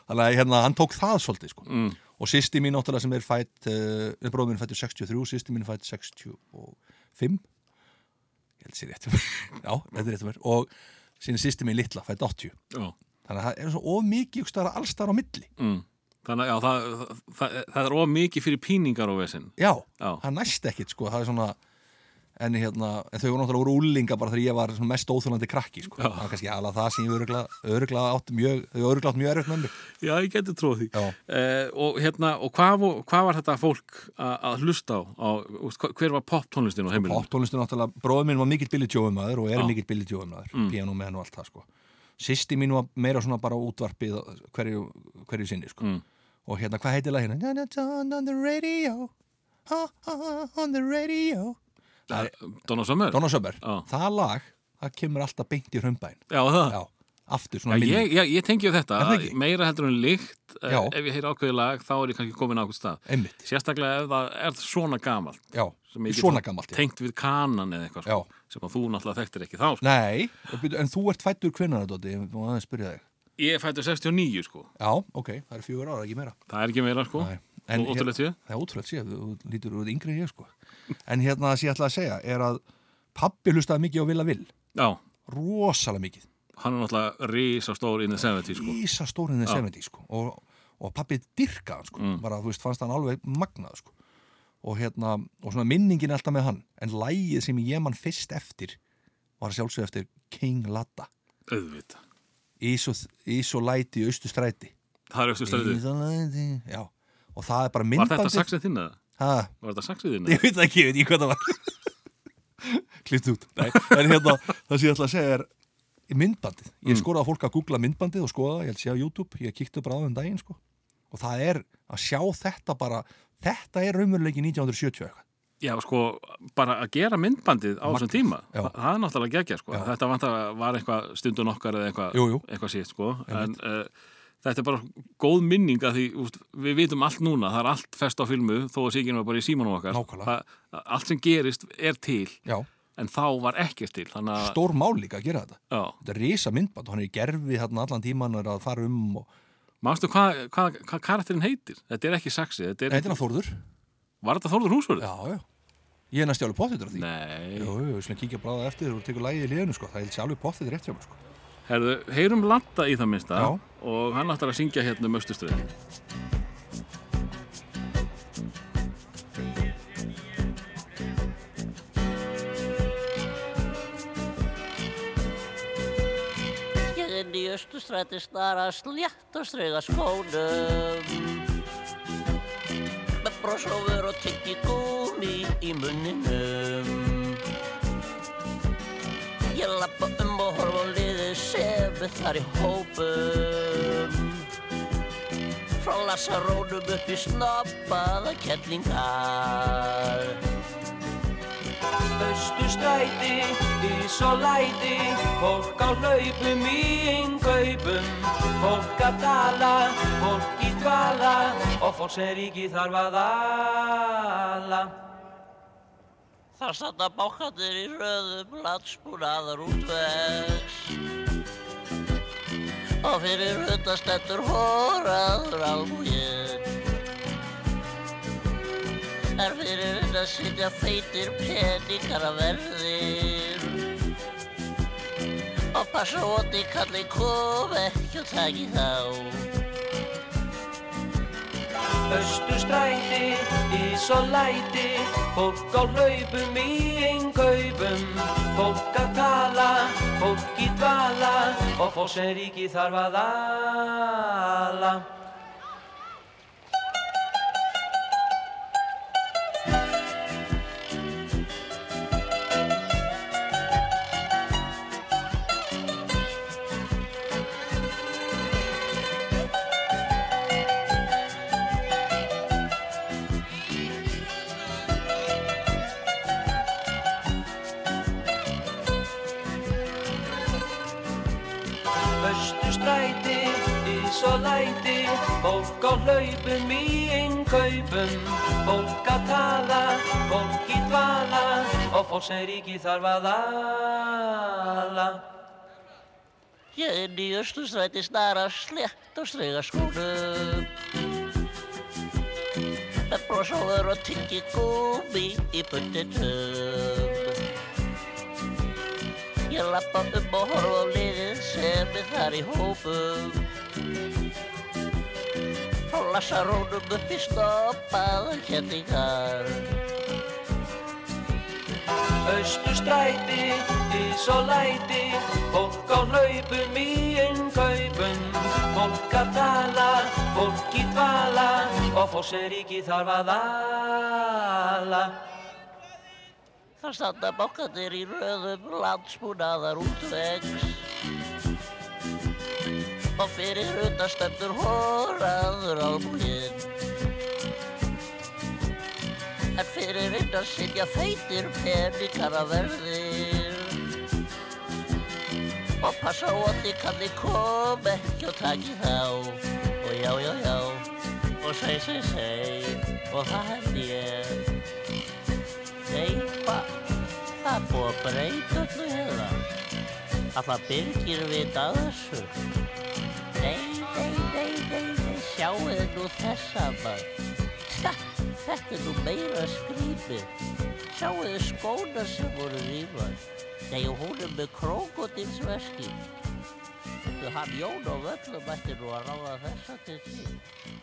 þannig að hérna, hann tók það svolítið sko. mm, og sýsti mín náttúrulega sem er fætt uh, bróðum minn er fættur 63, sýsti mín er fætt 65 ég held sér rétt hjá mér. já, þetta er rétt hjá mér. og síðan sýsti mín litla fætt 80 já þannig að það er svo of mikið stara allstar á milli mm. þannig að já, það, það, það er of mikið fyrir píningar og vesinn já, Já, það næst ekkit sko, það er svona en, hérna, en þau voru náttúrulega voru úlinga bara þegar ég var svona mest óþjólandi krakki sko. Já. það var kannski alveg það sem ég öruglega, öruglega átt mjög, þau öruglega átt mjög erfitt með mig já ég geti trúið því já. Uh, og hérna, og hvað, vo- hvað var þetta fólk a, að hlusta á, á úst, hva- hver var poptónlistin á heimilinu? poptónlistu náttúrulega, bróður minn var mikill Billy Joe maður og er Mm. Já. mikill Billy Joe maður, mm. piano með henn og allt það sko. sýsti mín var meira svona bara útvarpið hverju, hverju sinni sko. Mm. og hérna, hvað heitir lagina? Na, na, na, on the radio ha, ha, ha, on the radio það er Eh, Donna Summer? Donna Söber, Já. það lag það kemur alltaf beint í hrömbæn Já, það já, aftur Já, svona minni ég, ég, ég tengi á þetta Er það að ekki? meira heldur en líkt eh, Já. ef ég heyri ákveðið lag þá er ég kannski komin á ákveð stað einmitt, sérstaklega ef það er svona gamalt já, sem ég Svona gamalt, já. tengt við kanan eða eitthvað sko, sem að þú náttúrulega þekktir ekki þá sko. Nei, byrju, en þú ert fættur hvenær, Dóti, ég má aðeins spyrja þig. ég fættu 69 sko, Já, ok, það er fjögur ára, ekki meira. það er ekki meira sko Nei. og ótrúlega tíu Það er ótrúlega síðan, þú þú lítur úr yngri en ég sko. En hérna það sem ég ætla að segja er að pabbi hlustaði mikið á Villa Vill, já, rosalega mikið, hann er náttúrulega risastór inn í 70 sko ísa stórinn þegar 70 sko. Og, og pabbi dyrkaði hann sko, Mm. bara þú veist, fannst hann alveg magnað sko. Og hérna, og svona minningin alltaf með hann, en lægið sem ég man fyrst eftir var sjálfsög eftir King Latta, auðvita, Ís og, ís og læti í austu stræti. það er aukstu stöðið Ís og læti, já. Og það er bara var myndandi. þetta saxið þín eða? Ha, var þetta saxið þín eða? ég veit það ekki, ég veit ekki hvað það var klipt út Nei, en hérna, það sem ég ætla að segja er myndbandið, ég skoraði að fólk að googla myndbandið og skoða, það, ég held að sé á YouTube ég kíkti bara á þeim daginn sko og það er að sjá þetta bara þetta er raumurleiki 1970 og eitthvað já sko, bara að gera myndbandið á þessum tíma, já. það, það er náttúrulega geggja sko, Já. þetta vantar að var eitthvað stundun okkar eða eitthvað Jú, jú. eitthvað sítt sko, en uh, þetta er bara góð minning að því úst, við vitum allt núna, það er allt fest á filmu þó að síkinu var bara í símanum okkar Nákvæmlega. það, allt sem gerist er til Já, en þá var ekkert til þannig að stór mál líka að gera þetta já, þetta er risa myndband, og hann er í gerfi þarna allan tíman er að fara um og... manstu hvað hva, hva karakterin heitir þetta er ekki saxið, þetta er, Þetta er að Þórður var þetta Þórður Húsvörður? Já, já Ég er næst alveg pottitur af því Nei, Jú, jú, við slum kíkja bara á það eftir og tekur lægið í liðinu sko. það er alveg pottitur rétt hjá mér sko. herðu, heyrum Latta í það minnsta Já. og hann ætlar að syngja hérna um östuströðin Ég inn í austurstræti snara slétt og strega skónum með brosófur og tyggi gúmi í munninum Ég lappa um og horfa á liðið sefið þar í hópum frá lasarónum upp í snoppaða kettlingar Östustræti, ís og læti, fólk á hlaupum í yngaupum, fólk að dala, fólk í dvala og fólk sem ríki þarf að ala. Þar standa bákandir í röðum landsbúnaðar útvegs og fyrir hundastendur hóraður almúginn er fyrir hund að sitja feitir peningar að verðir og passa óti kalli kom ekki og taki þá Östustræti, ís og læti, fólk á hlaupum í yngaupum, fólk að dala, fólk í dvala og fólk sem ríki þarf að ala. Östustræti, ís og læti, fólk á hlaupum í innkaupum, fólk að tala, fólk í dvala og fólk sem ríki þarf að ala. Ég inn í östustræti snara slétt og strega skónum Með brosóður og tyggi gúmi í bundinum Ég lappa um og horfa á liðið sem er þar í hópum Frá lasarónum upp í hérna stoppaða kendingar Östustræti, ís og læti, fólk á hlaupum í innkaupum, fólk að tala, fólk í dvala og fólk sem ríki þarf að ala. Þar standa bókandir í röðum landsbúnaðar útvegs og fyrir hundar stendur hóraður álbúinn. En fyrir hundar sitja feitir peningar að verðir og passa á að þið kanni kom ekki og taki þá og já, já, já og seg, seg, seg og það held ég búið að breyta öllu hérna. Alla byrgir við daðsur. Nei, nei, nei, nei, nei, sjáuðu nú þessa maður. Ha, þetta er nú meira skrýpið. Sjáuðu skóna sem voru rýmar. Nei, og hún er með krókodinsveski. Þú, hann Jón á völlum ætti nú að ráða þessa til því.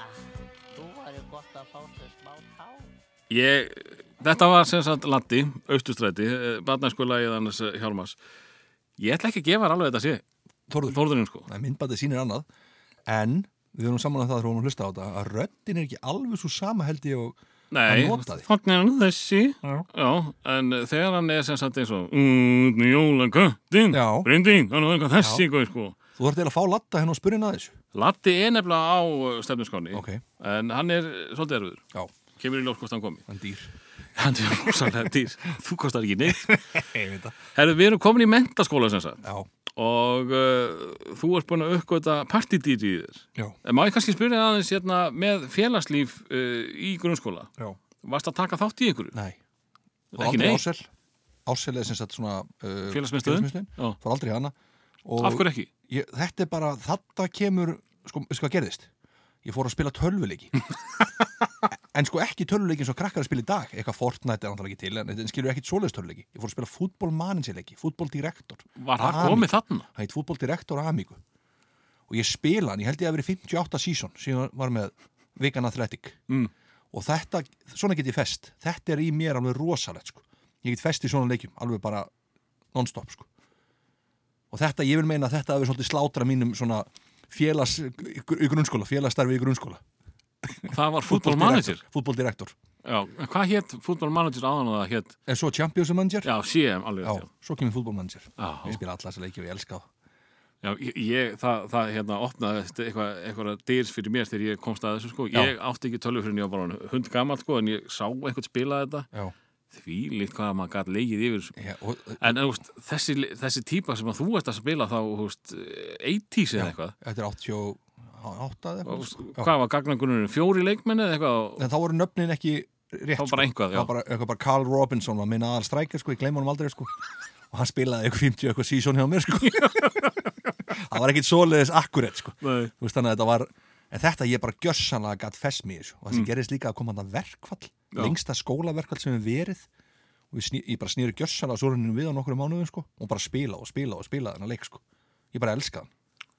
Ah, nú var ég gott að fá sér smá tár. Ég, þetta var sem sagt eh, Latti, austustræti, barnarskóla í þannig eh, Hjálmars. Ég ætla ekki að gefa þér alveg þetta sé, Þorður, Þórðurinn sko. Nei, myndbandið sýnir annað en við erum saman að það þegar hún hlusta á þetta að röddin er ekki alveg svo sama held ég og Nei, Hann notaði. þannig er hann þessi. Já. Já, en eh, þegar hann er sem sagt eins og Út með jólaköttin, Já. brindin, hann er eitthvað þessi góð sko. þú þarf til að fá latta henn og spurinn að þessu Latti er nefnilega á stefnuskáni, Ok. en hann er svolítið erfiður. Já, Kemur í ljós hvort hann komi. en dýr Hann er rosalega dýr. Þú kostar ekki neitt. Ég veit það Herðu, við erum komin í mentaskóla sem sagt. Já, og uh, þú ert búin að uppgöta partidýri í þér. já, En Má ég kannski spyrja aðeins hérna, með félagslíf uh, í grunnskóla? já Varst að taka þátt í ykkur? Nei, Nei, ekki fór aldrei nei. í Ársel Ársel er sem sagt svona uh, Félagsmiðstöðin? Já. Fór aldrei í hana og Af hverju ekki? Ég, þetta er bara, þetta kemur sko, veistu hvað gerðist? Ég fór að spila tölvuleiki en sko ekki tölvuleiki eins og krakkar að spila í dag eitthvað Fortnite er náttúrulega ekki til en, en skilur ekki svoleiðist tölvuleiki ég fór að spila fútbolmaninsileiki, fútboldirektor Var það Amigo. komið þarna? hann heit fútboldirektor Amigo og ég spila hann, ég held ég að verið 58 season síðan var með Vigan Athletic mm. og þetta, svona get ég fest þetta er í mér alveg rosalegt sko. ég get fest í svona leikjum, alveg bara non-stop sko. og þetta, ég vil meina að þetta hafi svolítið slátra mínum svona félags í grunnskóla, félagsstarfi í grunnskóla Það var fútbolmanager. fútboldirektor, Já, en hvað hétt fútbolmanager áðan og það hétt? en svo Champions Manager Já, CM alveg. já, Já, svo kemur fútbolmanager já. ég spila alla þessa leiki og ég elska það já ég- ég, það, það hérna opnaði þetta eitthvað, eitthvað dyrs fyrir mér þegar ég komst að þessu sko. Já. Ég átti ekki tölvu fyrir en ég var bara hund gammal sko, en ég sá eitthvað spila þetta. já, Því líkt hvað maður gæti leikið yfir þessu. ég, og, eh, En en, þú veist, þessi, þessi típa sem að þú ert að spila þá, þú veist, 80s eða eitthvað þetta er 88 eða Og eitthvað þú veist, sko. Já. Hvað var gagnangunum? Fjóri leikmenni eða eitthvað? og- en þá voru nöfnin ekki rétt Það var bara einhvað, það já. var bara, eitthvað bara Carl Robinson var minn aðal strækja sko, ég gleyma honum aldrei sko og hann spilaði eitthvað 50 eitthvað season hjá mér sko það var ekkit svoleiðis akkurat sko Nei. Þú veist, þannig að þetta var en þetta ég bara gjössanlega gatt fest mér þessu og það sem gerist líka að koma hann verkfall Mm. Já. lengsta skólaverkfall sem við verið og ég, sný, ég bara snýri gjössanlega svoluninu við á nokkru mánuðum sko og bara spila og spila og spila þennan leik sko ég bara elska hann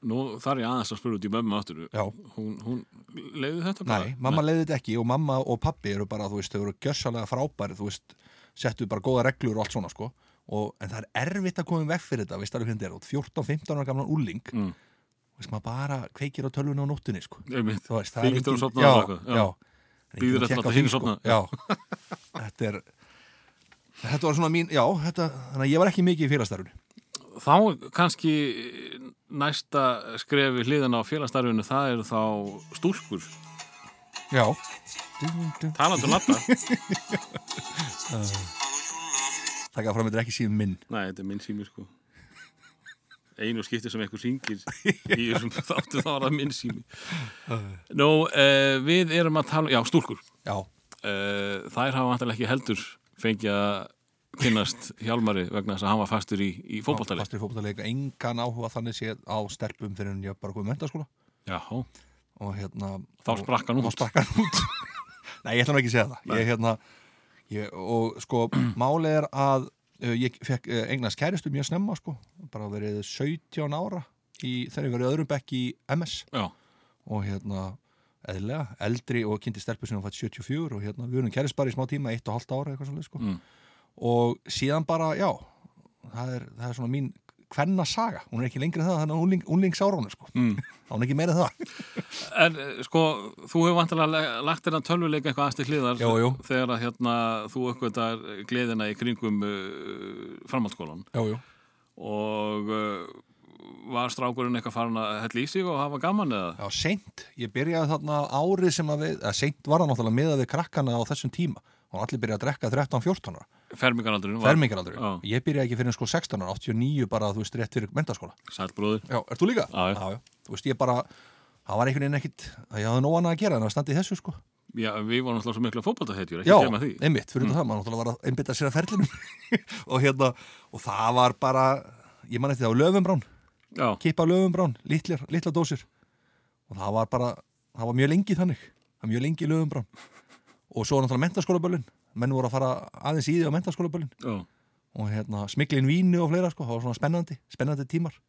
Nú þarf ég aðeins að spyrja út í mömmu áttur Já. Hún, hún leiði þetta bara? Nei, mamma leiði þetta ekki og mamma og pappi eru bara, þú veist, þau eru gjössalega frábæri, þú veist, settu bara góða reglur og allt svona, sko. Og, en það er erfitt að koma í veg fyrir þetta, veist alveg hvernig þetta er, út 14-15 ára gamlan úling, Mm. veist, maður bara kveikir á tölvunni á nóttunni, sko. Einmitt. Þú veist, Því getur hún sofnað já, eða eitthvað, já. já. Það er Bíður enginn að eftir að tékka á því, hinn sofni. Já, þetta er, þetta var svona mín, já, þetta, þannig að ég var ekki mikið í félagsstarfinu. Þá kannski næsta skrefi hliðan á félagsstarfinu það eru þá stúlkur Já. Talandi um latta Takk að fram, þetta er ekki síðan minn. Nei, þetta er minn sími sko Einu skipti sem einhver syngir í þessum þáttu þá var það minn sími Nú, uh, við erum að tala Já, stúlkur Já, uh, þær hafa vantilega ekki heldur fengið að kynnast Hjálmari vegna þess að hann var fastur í, í fótballtali. fastur í fótballtaleik, engan áhuga þannig séð á stelpum fyrir en ég bara komið sko. mentaskóla. Já, og hérna Þá sprakk hann út. og, og sprakk hann út Nei, ég ætla nú ekki að segja það ég, hérna, ég, og sko, málið er að uh, ég fekk uh, eignast kæristu mjög snemma sko, bara verið 17 ára í, þegar ég verið öðrum bekk í MS já, og hérna eðlilega, eldri og kynnti stelpu sem hún fætt 74 og hérna, við erum kærist bara í smá tíma 1,5 ára eitthvað svolítið sko Mm. og síðan bara, já það er, það er svona mín hvenna saga, hún er ekki lengri en það, þannig að unling, unlingsárunum sko, mm. þá er hún ekki meira en það en eh, sko, þú hefur vantilega lagt þér að tölvuleika eitthvað aðstil hliðar Jú, jú. þegar að hérna, þú aukveitar gleðina í kringum uh, framhaldsskólan Jú, jú og uh, var strákurinn eitthvað farin að hella í sig og hafa gaman eða? Já, seint. Ég byrjaði þarna árið sem að við, að seint var það náttúrulega miðað við krakkana á þessum tíma. Og allir byrjaði að drekka 13-14 ára. Fermingaraldurinn var Fermingaraldur. Já. Ég byrjaði ekki fyrir en sko 16 ára, 89 bara, þú veist, rétt fyrir mentaskóla. Sæll bróður. Já, ert þú líka? Já, já. já. Þú veist, ég bara, það var einhvern veginn ekkit, að ég hafði nóana að gera en að standa í þessu, sko. Já, við vorum alltaf svo mikla fótboltahetjur, ekki Já, glemma því. einmitt, fyrir mm. það, maður náttúrulega var að einbytta sér að ferlinum og hérna, og það var bara ég man eftir það á löfumbrán Já, kippa löfumbrán, litlar, litlar dósir og það var bara, það var mjög lengi þannig, það var mjög lengi löfumbrán og svo var náttúrulega mentaskólaböllin menn voru að fara aðeins í því á mentaskólaböllin já. og hérna, smiklin vínu og fleira sko, það var svona spennandi, spennandi tímar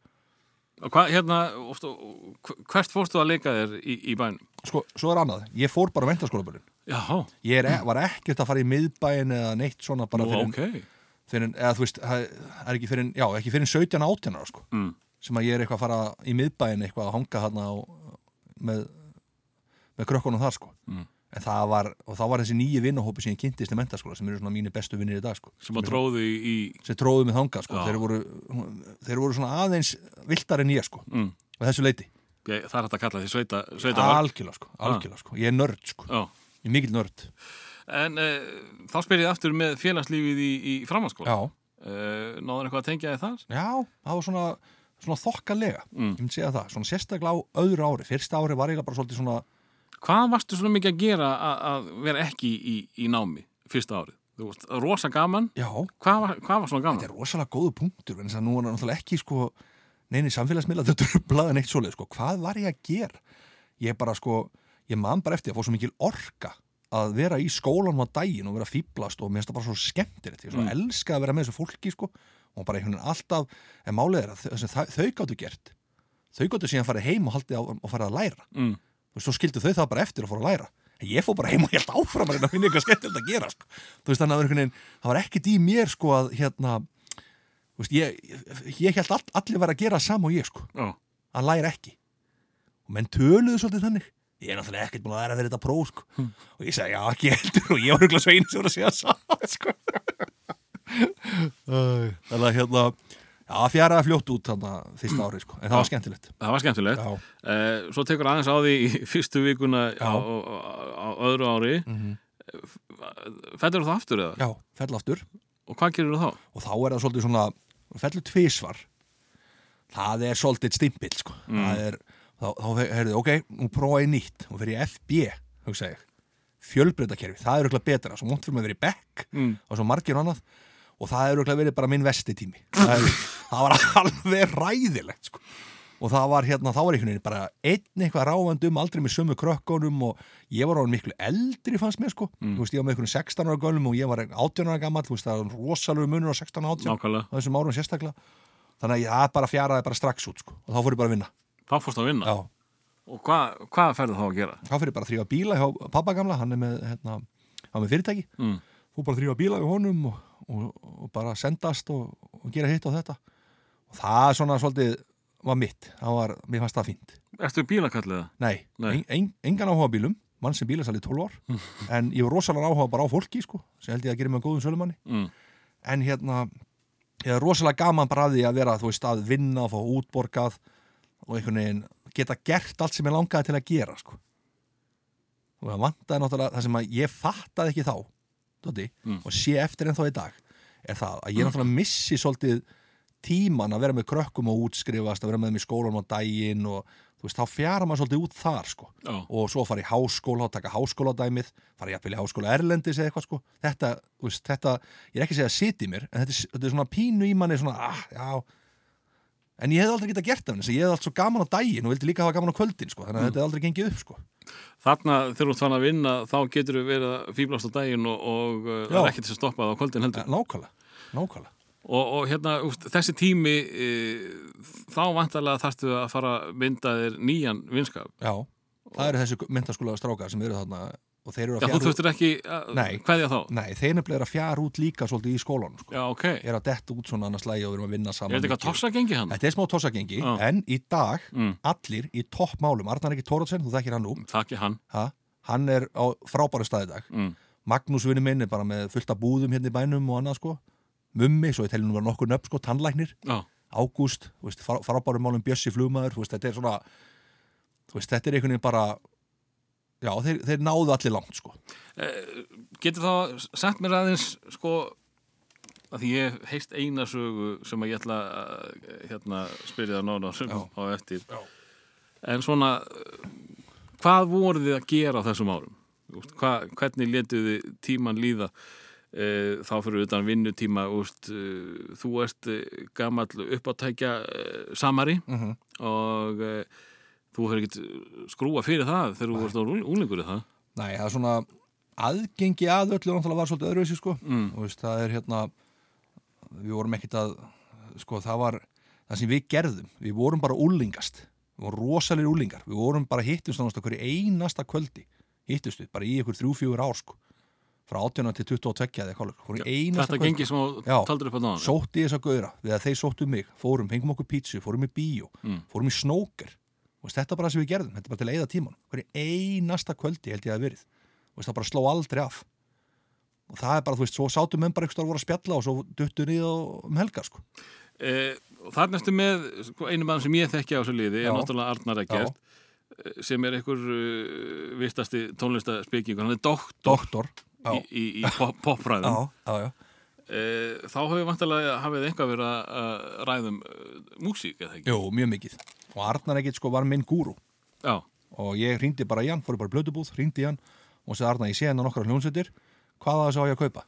Og hvað, hérna, oft, og hv- hvert fórstu að leika þér í, í bænum? sko, svo er annað, ég fór bara á mentaskólaböllin Já, ég er, e, var ekkert að fara í miðbæin eða neitt svona bara nú, fyrr en- ok. fyrir, eða þú veist, það er ekki fyrir, já, ekki fyrir 17 18 ára, sko, Mm. sem að ég er eitthvað að fara í miðbæin eitthvað að hanga þarna á, með, með krökkunum þar, sko. Mm. En það var, og það var þessi nýju vinnahópi sem ég kynntist í mentaskóla, sem eru svona mínir bestu vinnir í dag, sko. Sem að dróðu í, í Sem tróðu mig þangað, sko. Já. Þeir voru, þeir voru svona aðeins viltar en ég, sko. mm, Og þessu leiti. ég, það er hægt að kalla því sveita, sveita Algjörlega, sko. Ah. Algjörlega, sko. Ég er nörd, sko. Já, Ég er mikill nörd. en e, þá spyr ég aftur með félagslífið í, í framhanskóla. Já. náður eitthvað að tengja þið þar? Já, það var svona, svona þokkalega. Mm. Ég myndi segja það. Svona sérstaklega á öðru ári. Fyrsta ári var eiginlega bara svolítið svona Hvað varstu svona mikið að gera að, að vera ekki í, í námi fyrsta árið? Þú veist, rosa gaman. Já, Hvað var, hvað var svona gaman? þetta er rosalega góðu punktur en þess að nú er hann náttúrulega ekki sko neini samfélagsmiðla þau drublaði neitt svoleið sko. hvað var ég að gera? Ég bara sko, ég man bara eftir að fá svo mikil orka að vera í skólanum á daginn og vera fýblast og mér finnst það bara svo skemmtilegt ég svo Mm. elska að vera með þessu fólki sko og bara einhvern veginn alltaf, en málið er að þau, þau, þau gáttu gert þau gáttu síðan farið heim og haldið á og farið að læra Mm. Þú veist, svo skildu þau það bara eftir að fóra að læra En ég fór bara heim og held áfram að reyna að finna eitthvað skemmtilegt að gera sko. þú veist þannig að einhvern veginn það var ekkert í mér sko að hérna þú veist ég, ég held all, allir var að gera sam og ég sko Já, að læra ekki og menn töluðu svolítið þannig ég er náttúrulega ekkert búin að læra fyrir þetta próf sko. og ég sagði já ekki heldur og ég var eitthvað sveinu sem voru að segja saman sko. Æ, þannig að hérna já fjaraði fljótt út þannig að fyrsta ári sko. en það var skemmtilegt það var skemmtilegt. Já. Eh, svo tekur aðeins á því í fyrstu vikuna Já. Mhm. á, á, á öðru ári. Mm -hmm. Fættir þú það aftur eða? já, fell aftur Og hvað gerir þú þá? og þá er það svolítið svona fellur tvísvar það er svolítið stimpill sko. Mm. það er, þá, þá heyrðu, ok, nú prófa ég nýtt og fyrir ég FB, hugsa ég fjölbreytakerfi, það er auðvitað betra svo mónt fyrir mig að vera í bekk Mm. og svo margir og annað og það er auðvitað verið bara minn vesti tími það, er, það var alveg ræðilegt sko. og það var hérna, þá var einhvern veginn bara einn eitthvað ráfandi um aldrei með sömu krökkunum og ég var orðin miklu eldri fannst mér sko, Mm. þú veist, ég var með einhvern 16 ára gölum og ég var 18 ára gammal, þú veist, það var rosalegu munur á 16 og 18 Nákvæmlega. á þessum árum sérstaklega þannig að ég það bara fjaraði bara strax út sko. og þá fór ég bara að vinna Þá fórst að vinna. Já. Og hvað, hvað færðu þá að gera? þá fór ég bara að þrýfa bíla hjá pappa gamla hann er með, hérna, hann er með fyrirtæki Mm. fór bara að þrýfa bíla hjá honum og, og, og bara sendast og, og gera hitt og þetta og það svona svolítið var mitt það var, mér fannst það fínt Ertu bílakallið? nei, Nei. Mm. Ein, ein, engan áhuga á bílum mann sem bílasal í 12 ár en ég var rosalega áhuga bara á fólki sko, sem held ég að gera mig að góðum sölumanni Mm. en hérna ég er rosalega gaman bara að því að vera þú veist að vinna og fá útborgað og einhvern veginn geta gert allt sem ég langaði til að gera sko. og það vantaði náttúrulega það sem að ég fattaði ekki þá tóti, Mm. og sé eftir ennþá í dag er það að ég náttúrulega missi svolítið tíman að vera með krökkum og útskrifast að vera með þeim í skólanum á daginn og þú veist, þá fjara maður svolítið út þar sko. Já. og svo fara í háskóla og taka háskóladæmið fara jafnvel í háskóla erlendis eða eitthvað sko. þetta, þú veist, þetta, ég er ekki að segja að siti mér en þetta er, þetta er svona pínu í manni svona, ah, já en ég hef aldrei getað gert það vegna þess að ég hef allt svo gaman á daginn og vildi líka hafa gaman á kvöldin sko. Mm. þannig að þetta hef aldrei gengið upp sko. Þarna þegar þú ert fann að vinna þá getur þú verið að fýblast á daginn og, og uh, það Já. er ekkert sem stoppað á kvöldin heldur. nákvæmlega, nákvæmlega Og, og hérna, úst, þessi tími e, þá vantarlega þarftu að fara að mynda þér nýjan vinskap. já. það eru þessi myndaskóla strákar sem eru þarna og þeir Já, eru að þú fjara út þurftir ekki að Nei. hverja þá. nei, þeir nefnilega eru að fjara út líka svolítið í skólanum sko. Já, ok. Er er að detta út svona annars lægi og við erum að vinna saman þetta eitthvað mikið. tossa gengi hann? Þetta er smá tossagengi, Já. en í dag Mm. allir í toppmálum, Arnar Eki Tórótsen þú þekkir hann nú, Takk ég hann. ha? hann er á frábæru staði í dag Mm. Magnús vinnu minn er bara með fullta búðum hérna í bænum og annað sko Mummi, svo ég telja nú var nokkur nöfn sko, tannlæknir Já, Ágúst, þú veist, frá, frábæru málum Bjössi flugmaður, þú veist, þetta er svona þú veist, þetta er einhvern veginn bara já, þeir, þeir náðu allir langt sko getur þá sagt mér aðeins sko að því ég hef heist eina sögu sem að ég ætla að hérna spyrja það nána sem Já. á eftir Já. en svona eh, hvað voruð þið að gera á þessum árum? Úst, hva, hvernig letuð þið tíman líða e, þá fyrir utan vinnutíma úst, e, þú ert e, gamall uppáttækja e, samari Mhm. og e, þú hefur ekkert skrúa fyrir það þegar þú vorst á úlingur í það Nei, það er svona aðgengi að öllu náttúrulega var svolítið öðruvísi sko Mm. og veist, það er hérna við vorum ekkit að sko það var það sem við gerðum, við vorum bara úlingast við vorum rosalir úlingar, við vorum bara hittumst nánast okkur í einasta kvöldi hittumst við bara í ykkur þrjú, fjögur ár sko frá 18 til 22 eða eitthvað sko. vorum í einasta þetta gengi sem þú Já. taldir upp á náðan sótti þess að gauðra við að þeir sóttu mig, fórum, fengum okkur pítsu fórum í bíó, fórum í snóker Þú veist, þetta er bara það sem við gerðum, þetta er bara til að eyða tíman hverju einasta kvöldi held ég að verið Þú veist, það bara sló aldrei af og það er bara, þú veist, svo sátum menn bara einhvers þar voru að spjalla og svo duttu niður á- um helga, sko e, þarna ertu með sko, einu mann sem ég þekki á þessu liði er Já. náttúrulega Arnar Ekkert e, sem er einhver uh, vistasti tónlistaspekingur, hann er doktor doktor, í, já, í, í pop, já, popræðum já, já Eh, þá hefur vantilega hafið einhvað verið að- að ræðum uh, músík eða ekki? Jú, mjög mikið og Arnar ekkert, sko, var minn gúru Já, og ég hringdi bara í hann, fór bara í blödubúð, hringdi í hann og sagði Arna, ég sé hennar nokkra hljónsettir hvað það sá ég að kaupa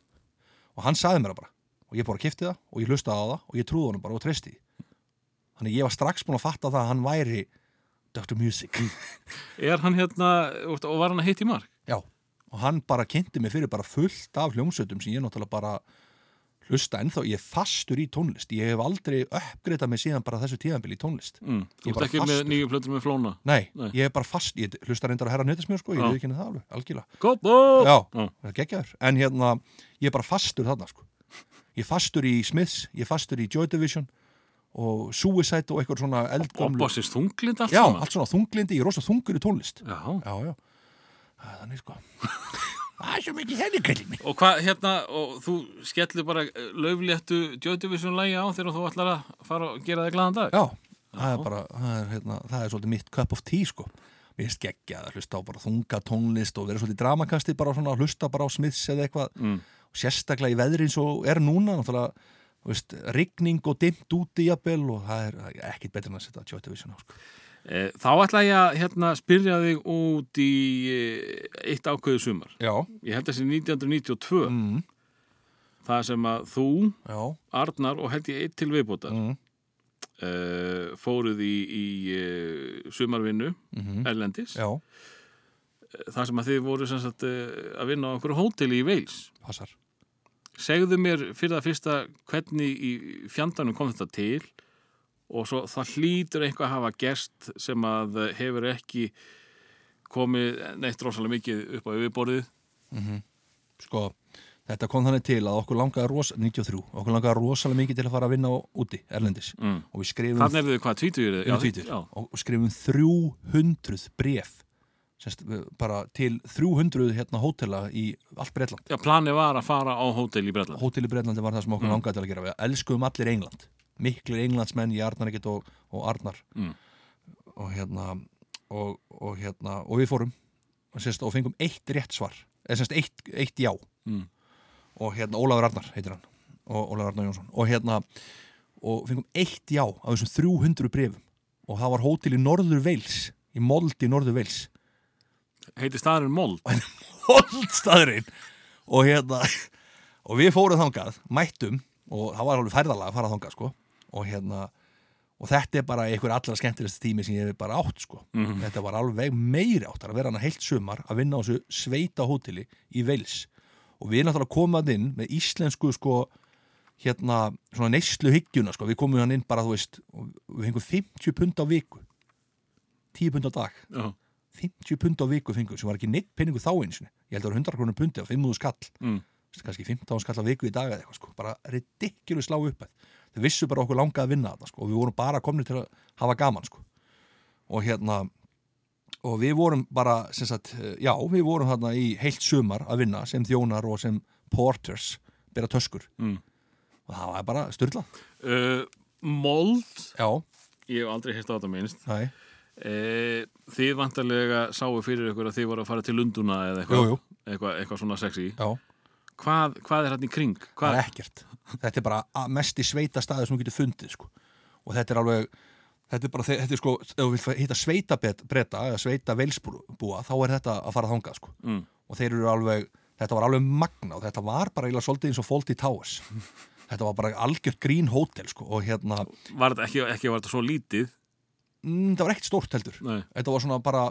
og hann sagði mér það bara, og ég bara kifti það og ég hlustaði á það og ég trúði honum bara og treysti því. þannig ég var strax búin að fatta það að hann væri Dr. Music er hann hérna úst, og var hann að hitt í mark? Já. og hann bara kynnti mig fyrir bara fullt af hljómsveitum sem ég náttúrulega bara hlusta ennþá, ég er fastur í tónlist ég hef aldrei uppgreitað mig síðan bara þessu tíðanbili í tónlist Mm. Þú Ég ert bara ekki fastur. með nýju plötur með flóna? Nei, Nei. ég er bara fast, ég hlusta reyndar að herra nötismjör sko, ég Já. veit ekki henni það alveg, algjörlega Góbo! Já, það er geggjaður En hérna, ég er bara fastur þarna sko. Ég er fastur í Smiths, ég er fastur í Joy Division og Suicide og eitthvað svona Og eldgömlu bossist þunglind allt Já, saman? allt svona þunglindi, ég er rosa þungur í tónlist Já. Já, já, Það er þannig sko Það er svo mikið henni kallið mig Og hvað hérna, og þú skellir bara eh, laufléttu Jötuvísum lægi á þegar þú ætlar að fara og gera þig glaðan dag? Já, það er bara, það er, hérna, það er svolítið mitt cup of tea sko Mér finnst geggjað að hlusta á bara þunga tónlist og vera svolítið í dramakasti bara svona að hlusta bara á Smiths eða eitthvað Mm. og sérstaklega í veðri eins og er núna náttúrulega, þú veist, rigning og dimmt úti jafnvel og það er það er ekkit betur en að setja Joy Division á sko. Eh, Þá ætla ég að hérna, spyrja þig út í eh, eitt ákveðu sumar. Já, Ég held þessi 1992, mm, það sem að þú já, Arnar og held ég eitt til viðbótar mm, uh, fóruð í, í uh, sumarvinnu Mm. mhm, erlendis eh, já, þar sem að þið voru sem sagt, uh, að vinna á einhverju hóteli í Veils passar segðu mér fyrir það fyrsta hvernig í fjandanum kom þetta til og svo það hlýtur eitthvað að hafa gerst sem að hefur ekki komið neitt rosalega mikið upp á yfirborðið Sko, þetta kom þannig til að okkur langaði rosa, 93, okkur langaði rosalega mikið til að fara að vinna á- úti, erlendis Mm. og við skrifum Þannig er þið hvað, tvítugir? Já, Twitter, og, og skrifum 300 bref Sest, bara til 300 hérna hótela í allt Breitland Já, planið var að fara á hótel í Bretland hótel í Breitlandi var það sem okkur Mm. langaði til að gera við elskuðum allir England, miklir Englandsmenn ég Arnar ekkert og, og Arnar Mm. og hérna og, og hérna, og við fórum og, sérst, og fengum eitt rétt svar eða sérst eitt, eitt já Mm. og hérna Ólafur Arnar heitir hann og Ólafur Arnar Jónsson og hérna, og fengum eitt já af þessum 300 brefum og það var hótel í Norður Veils í Moldi Norður Veils Heiti staðurinn Mold holdstaðurinn og hérna og við fórum þangað, mættum og það var alveg færðalega að fara þangað sko og hérna og þetta er bara einhver allra skemmtilegst tími sem ég hef bara átt sko þetta var alveg meiri áttar að vera hann heilt sumar að vinna á þessu sveita hóteli í Vels og við náttúrulega komað inn með íslensku sko hérna svona neyslu hyggjuna sko við komum hann inn bara þú veist og við fengum 50 pund á viku 10 pund á dag Já. 50 pund á viku fengur sem var ekki neitt penningu þá einsinni ég held að það var 100 krónur pundi á 500 skall Mm. Þú veist, kannski 15 skall á viku í dag eða eitthvað sko bara ridiculous slá upp þau vissu bara okkur langaði að vinna þetta sko og við vorum bara komnir til að hafa gaman sko og hérna og við vorum bara sem sagt eh, já við vorum hérna í heilt sumar að vinna sem þjónar og sem porters bera töskur Mm. og það var bara styrla uh, Mold já Ég hef aldrei hérst á þetta minnst. nei E, þið vantarlega sáu fyrir ykkur að þið voru að fara til Lunduna eða eitthvað, jú jú eitthvað, eitthvað svona sexy. já Hvað, hvað er hann í kring? það Hvað, er ekkert þetta er bara að- mest í sveita staður sem þú getur fundið sko. og þetta er alveg þetta er bara, þe- þetta er sko, ef þú vilt hitta sveita breyta eða sveita velsbúa, þá er þetta að fara þangað sko. Mm. og þeir eru alveg, þetta var alveg magna og þetta var bara eiginlega svolítið eins og Fawlty Towers þetta var bara algjört grín hótel sko, og hérna, Var þetta ekki, ekki var þetta svo lítið? mm, það var ekkert stórt heldur Nei. þetta var svona bara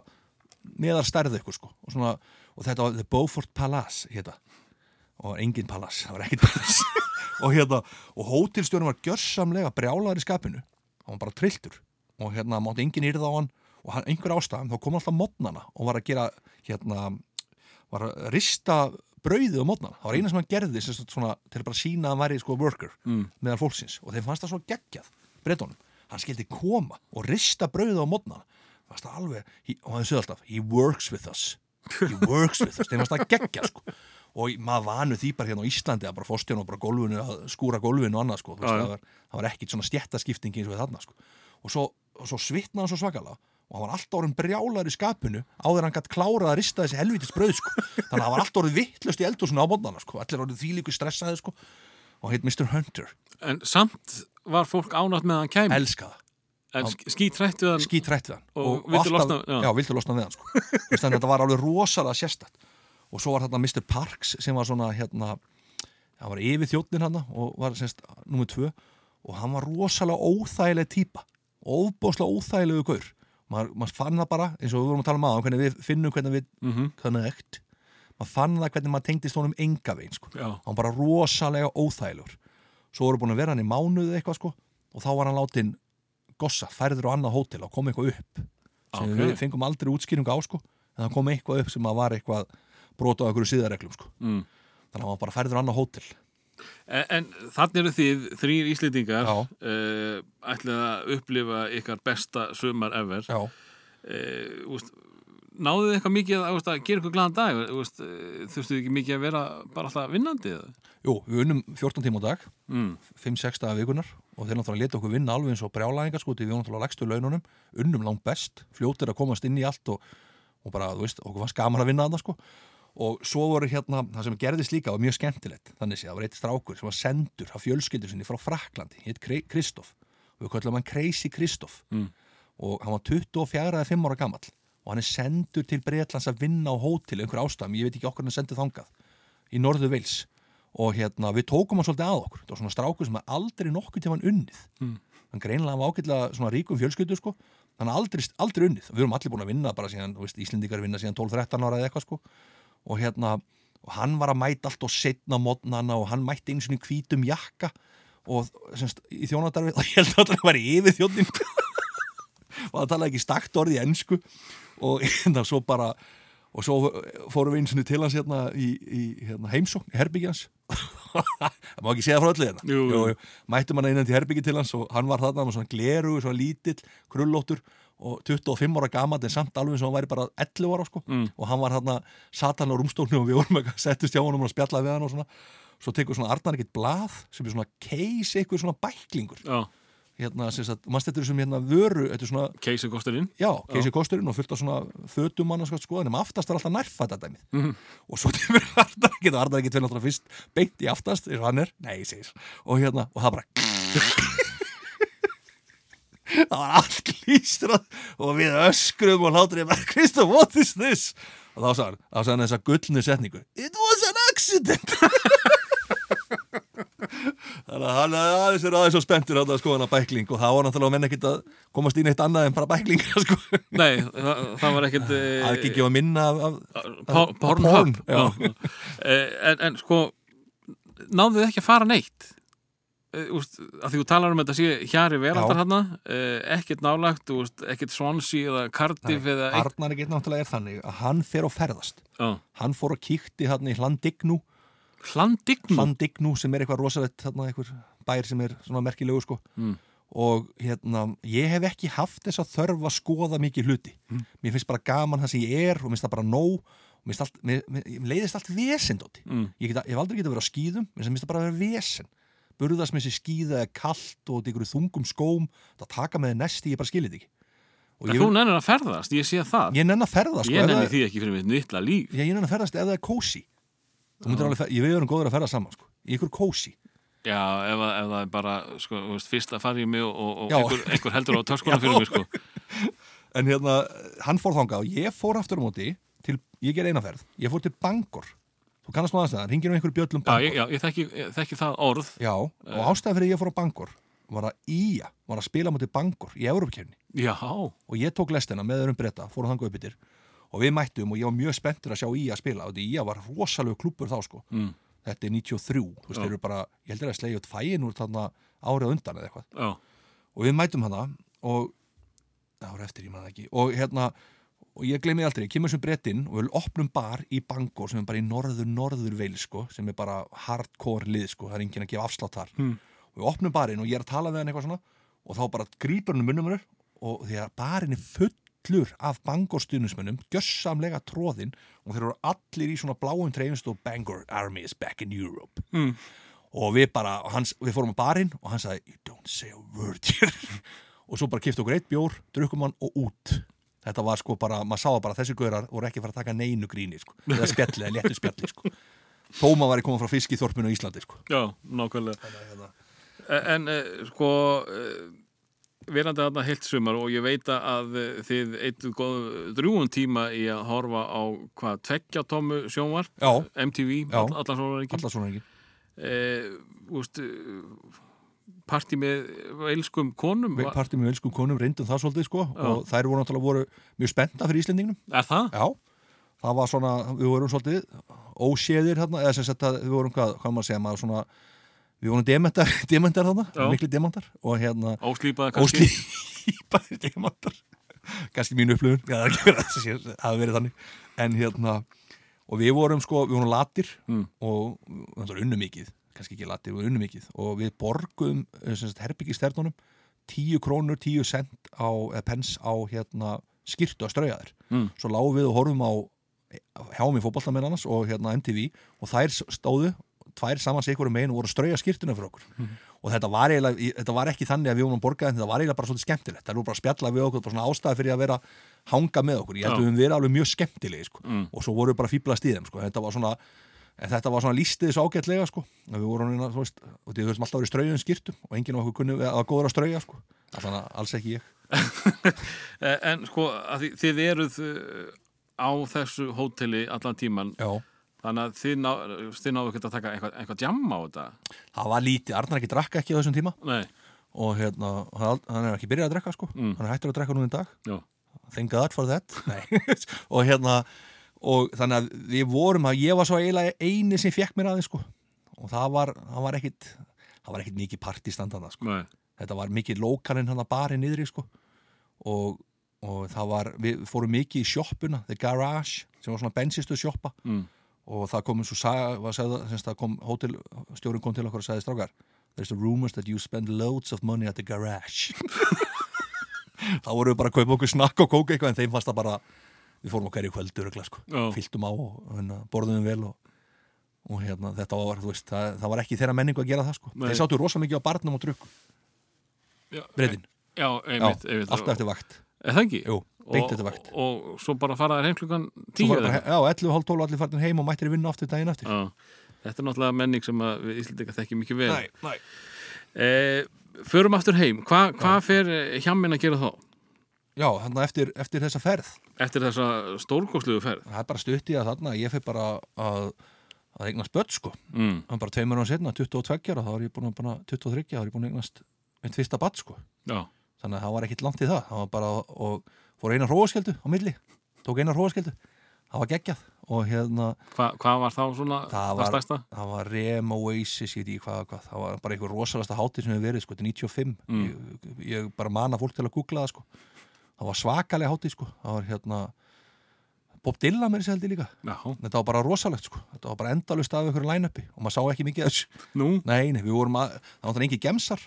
meðar stærðu ykkur sko og, svona, og þetta var The Beaufort Palace hérna. og engin palace, það var ekkert palace og hérna, og hótelstjórnum var gjörsamlega brjálaður í skapinu hann var bara trilltur og hérna mátti engin yrða á hann og hann, einhver ástæðan, þá kom alltaf mótnana og var að gera hérna, var að rista brauðið á mótnana, það var eina sem hann gerði sem sagt, svona, til að bara sína að hann væri sko worker mm. meðal fólksins og þeim fannst það svo geggjað breytunum, hann skildi koma og rista brauðið á mótnana fannst það alveg, he, og hann sögði alltaf he works with us, he works with us þeim fannst það geggjað sko og maður vanu því bara hérna á Íslandi að bara fórstjón og bara gólfinu, að skúra gólfinu og annað sko, þú veist, Já, já. það, var, það var ekkit svona stjættaskipting eins og þarna sko og svo, og svo svitna hann svo svakalega og hann var alltaf orðin brjálar í skapinu áður en hann gætt klárað að rista þessi helvitis bröð sko. þannig að hann var alltaf orðin vittlust í eldhúsinu á mótnana sko. allir orðin þvílíku stressaði sko. og heit Mr. Hunter, En samt var fólk ánátt með að hann kæmi elskaða en skítrættu hann skítrætt við hann Og vildu losna- já. já. vildu losna við hann sko. Þú veist, þannig að þetta var alveg rosalega sérstætt og svo var þarna Mr. Parks sem var svona hérna, hann var yfir þjóttin hann og var semst nummer tvö og hann var rosalega óþægileg típa ofbóðslega óþægilegu gaur maður, maður fann það bara, eins og við vorum að tala um aðan hvernig við finnum hvernig við Mhm. mm -hmm. connect maður fann það hvernig maður tengdist honum enga veginn sko. Já. hann var bara rosalega óþægilegur svo voru búin að vera hann í mánuði eitthvað sko, og þá var hann látin gossa, færður á annað hótel og kom eitthvað upp sem Ok. við fengum aldrei útskýringa á sko en það kom eitthvað upp sem að var eitthvað brota á einhverju síðareglum sko Mm. þannig að hann var bara færður á annað hótel En, en þannig eru þið, þrýr íslendingar Já. uh, ætlið að upplifa ykkar besta sumar ever Já. uh, úst, Náðuð þið eitthvað mikið að, úst, að gera ykkur glæðan dag úst, uh, Þurftuð þið ekki mikið að vera bara alltaf vinnandi eða? Jú, við unnum 14 tíma á dag Mm. 5-6 dagar vikunar og þeir náttúrulega leta okkur vinna alveg eins og brjálæðingar sko því við vorum náttúrulega á lægstu laununum unnum langt best, fljótir að komast inn í allt og, og bara, þú veist, okkur fannst gaman að vinna þarna sko og svo voru hérna, það sem gerðist líka var mjög skemmtilegt þannig sé, það var eitt strákur sem var sendur af fjölskyldur sinni frá Fraklandi, hétt Kristoff og við köllum hann Crazy Kristoff mm. og hann var 24 eða 5 ára gamall og hann er sendur til Breitlands að vinna á hótel einhver ástæðum, ég veit ekki okkur hann er sendur þangað í norðu veils og hérna við tókum hann svolítið að okkur það var svona strákur sem að aldrei nokkuð til hann unnið mm. hann greinlega var ágætlega svona ríkum fjölskyldu sko, þannig aldrei, aldrei unnið við erum allir búin að vinna bara síðan, þú veist, Íslendingar vinna síðan 12-13 ára eða eitthvað sko og hérna, og hann var að mæta allt og setna mótnana og hann mætti einu svona hvítum jakka og semst í þjónadarfið, og ég held að það var yfir þjónin sko. og það talaði ekki stakt orði í ennsku og hérna svo bara og svo fórum við eins og til hans hérna í, í hérna, heimsókn, herbyggjans það má ekki segja frá öllu hérna Jú, jú. mættum hann innan til herbyggji til hans og hann var þarna með svona gleru, svona lítill krullóttur og 25 ára gamall en samt alveg eins og hann væri bara 11 ára sko. mm. og hann var þarna, sat hann á rúmstólni og við vorum eitthvað, settist hjá hann og spjallaði við hann og svona, svo tekur svona Arnar ekkert blað sem er svona keis eitthvað svona bæklingur Já, hérna, sem sagt, mannst þetta er sem hérna vöru, þetta er svona, keisir kosturinn já, keisi kosturinn og fullt af svona fötum mann, sko, sko, en aftast er alltaf nærfætt að dæmið, og svo tefur Arnar ekkert, og Arnar ekkert fyrir náttúrulega fyrst beint í aftast, eins og hann er, nei, ég segis og hérna, og það bara það var allt klístrað og við öskrum og hlátur ég bara, Kristof, what is this? og þá sagði hann, þá sagði hann þessa gullnu setningu it was an accident Þannig að hann hafði aðeins verið aðeins og spenntur að sko hann að bækling og það var náttúrulega menn ekkert að komast í neitt annað en bara bækling sko. Nei, það, það var ekkert eh, aðgengi var minna af, af, Por- Porn, Pornhub já. Já. Eh, en, en sko náðu þið ekki að fara neitt Eh, úst, að því þú talar um þetta sé hjari veraldar Já. hana ekkert nálagt, úst, ekkert Swansea eða Cardiff eða eitt Arnar ekkert náttúrulega er þannig að hann fer og ferðast Já. hann fór og kíkti þarna í Hlandignú Hlandignu Hlandignú sem er eitthvað rosalegt þarna eitthvað bær sem er svona merkilegu sko Hmm. mm. og hérna, ég hef ekki haft þess að þörf að skoða mikið hluti Hmm. mér finnst bara gaman það sem ég er og mér finnst það bara nóg og mér, finnst allt, mér, mér, mér leiðist allt vesen Doddi. Hmm. ég, geta, ég hef aldrei getið að vera á skýðum mér finnst það bara að vera vesen burðast með þessi skýða er kalt og þetta ykkur þungum skóm það taka með þér næsti, ég bara skilir þetta ekki Og Þú nennir að ferðast, ég sé það ég nenn að ferðast Ég ef nenni það- því ekki fyrir mitt nýtla líf sko, Já, ég nenn að ferðast ef það er kósi Þú myndir alveg, fer- ég við erum góður að ferðast saman sko. í ykkur kósi Já, ef, að- ef það er bara sko, þú veist, fyrst að fara í mig og, og- og Já. einhver, einhver heldur á töskona fyrir mig sko. En hérna, hann fór þangað og ég fór aftur á móti til ég ger eina ferð, ég fór til Bangor þú kannast nú aðeins það, ringir um einhverju bjöllum Já, Bangor ég, Eh. já, ég þekki, ég þekki það orð Já, og ástæðan fyrir ég fór á Bangor var að Ía var að spila mútið Bangor í Európkjörni Já, og ég tók lestina með þeirrum breyta, fór þangað upp yttir og við mættum og ég var mjög spenntur að sjá Ía spila og Ía var rosalegu klúppur þá sko mm. þetta er 93, þú veist, Já. þeir eru bara ég heldur að slegja út fæin úr þarna árið á undan eða eitthvað já, og við mætum hana og það voru eftir, ég maður ekki og hérna, og ég gleymi því aldrei, ég kemur sem brettinn og við opnum bar í Bangor sem er bara í norður, norður veil sko, sem er bara hardcore lið sko, það er enginn að gefa afslátt þar hmm. og við opnum barinn og ég er að tala við hann eitthvað svona og þá bara grýpur hann um munnum hennar og því að barinn er fullur af Bangor stuðnismönnum, gjössamlega tróðinn og þeir eru allir í svona bláum treyfist og Bangor Army is back in Europe og við bara, hans, við fórum á barinn og hann sagði, you don't say a word here og svo bara kipta okkur eitt bjór drukkum hann og út þetta var sko bara, maður sá það bara að þessir gaurar voru ekki að fara að taka neinu gríni sko, eða spjalli, eða léttu spjalli sko Tóma var að koma frá fiskiþorpinu á Íslandi sko já, nákvæmlega hérna- En, en eh, sko eh, verandi þarna heilt sumar og ég veit að eh, þið eittu drúum tíma í að horfa á hvað tveggja tómu sjónvarp Já, MTV, Já. all, allan sólarengin allar svona ekki eh, úst, eh, partí með elskum konum Við var, partið með elskum konum reyndum það svolítið sko og þær voru náttúrulega voru mjög spennta fyrir Íslendingnum er það? Já, það var svona, við vorum svolítið óséðir hérna, eða sem sagt að við vorum hvað, hvað maður segja, maður svona við vorum dementar, dementar þarna, Já. miklu dementar og hérna, Óslýpaða kannski? óslýpaðir dementar kannski mínu upplifun, já það er ekki verið að sé- það hafi verið þannig, en hérna og við vorum sko, við vorum latir mm. og þetta var unnum mikið kannski ekki latir, við vorum unnum mikið og við borgum eh, sem sagt herbyggjisternunum tíu krónur, tíu cent á, eða pens á hérna skýrtu að strauja þér Mm. svo lágum við og horfum á hjáum í fótballtamenn annars og hérna MTV og þær stóðu, tvær samans ykkur megin og voru að strauja skýrtuna fyrir okkur og þetta var, eiginlega, í- þetta var ekki þannig að við vorum að borga en þetta var eiginlega bara svolítið skemmtilegt það voru bara að spjalla við okkur, bara svona ástæði fyrir að vera hanga með okkur, ég Já. held við höfum verið alveg mjög skemmtilegi sko. og svo voru við bara fýblast í þeim sko. þetta var svona En þetta var svona lístið þessu ágætlega sko. Að Við vorum hérna, þú veist, og því við höfum alltaf verið strauðum skýrtum og enginn af okkur kunni að var góður að strauja sko. Þannig að alls ekki ég. Eh, En sko, að þið, þið eruð eh, á þessu hóteli allan tíman Já. þannig að þið, ná, þið náðu ekkert að taka eitthvað, eitthvað jamma á þetta Það var lítið, Arnar ekki drakk ekki á þessum tíma Nei, og hérna, hann hann er ekki byrjað að drekka sko. Hann er hættur að drekka nú í dag. já, Thank God for that. og hérna, og þannig að við vorum að ég var svo eiginlega eini sem fekk mér aðeins sko. Og það var, það var ekkit, það var ekkit mikið partistandana sko. nei, þetta var mikið lókalinn hann að bari niðri sko. og, og það var við fórum mikið í sjoppuna, The Garage sem var svona bensistu sjoppa Mm. og það kom eins og saga, var sagði, semst, það kom hótel, stjórinn kom til okkur og sagði strákar there's the rumors that you spend loads of money at the garage þá vorum við bara að kaupa okkur snakk og kóka eitthvað en þeim fannst það bara við fórum okkar í kvöldur og sko. Já. fylltum á og, og borðum vel og, og hérna, þetta var, þú veist, það, það var ekki þeirra menningu að gera það sko. Nei. þeir sátu rosa mikið á barnum og drukku Já. breytin, já, einmitt, einmitt alltaf eftir vakt Er það ekki? Jú, beint eftir vakt. Og, og, svo bara fara þær heim klukkan Svo tíu var bara, já, 11, hálf 12 allir farin heim og mættir í vinnu aftur daginn aftur Já, þetta er náttúrulega menning sem að við Íslendinga þekkjum mikið vel nei. Eh, Förum aftur heim, Hva, hvað fer eh, hjamminn að gera þá? já, þannig eftir, eftir þessa ferð Eftir þessa stórkosluðu ferð það er bara stutt í að þarna, ég fyrir bara að að eignast börn sko mm. hann bara tveimur án setna, 22 ára þá er ég búin að bara 23 ára, þá er ég búin að eignast mitt fyrsta bad sko, Já, þannig að það var ekkit langt í það það var bara, og fór eina hróaskeldu á milli, tók eina hróaskeldu það var geggjað og hérna Hva, hvað var þá svona það var, stærsta? það var Rem Oasis, ég veit ekki hvað, og hvað það var bara einhver rosalasta hátíð sem hefur verið sko, þetta er 95, ég, ég bara mana fólk til að googla það sko, það var svakalega hátíð sko, það var hérna Bob Dylan með þessi heldur líka Já, þetta var bara rosalegt sko, þetta var bara endalust af einhverju line-upi og maður sá ekki mikið af þessu nú, nei, nei, við vorum að, það var þannig engin gemsar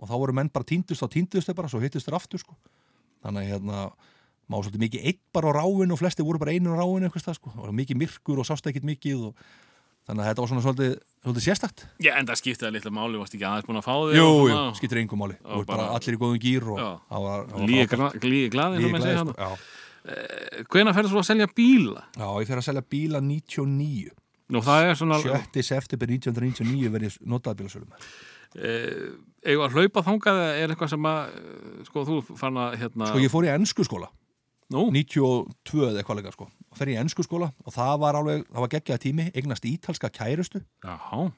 og þá voru menn bara týndust og týndust þeir bara, svo hittust þeir aftur sko þannig að hérna, maður var svolítið mikið eitt bara á ráin og flesti voru bara einu á ráin einhvers það sko, og mikið myrkur og sást ekkit mikið og þannig að þetta var svona svolítið, svolítið sérstakt Já, en það skiptið að litla máli, varst ekki aðeins búin að fá þig skiptir engum máli, hérna. Já, þú ert bara bara- allir í góðum gýr og Já. það var, það var frábært. skiptir Líði glaði, Líka sem ég segja hérna. glaðir, hann sko, já. Hvenær ferðu svo að selja bíla? já, ég fer að selja bíla 99 Nú, það er svona 7. september 1999 verið notaðbílasölum Eða Eh, að hlaupa þangað eða er eitthvað sem að eh, sko, þú fann að hérna sko ég fór í ennsku skóla Nú, 92 eða eitthvað leika sko fer í ennsku skóla og það var alveg, það var geggjað tími, eignast ítalska kærustu Jáhá,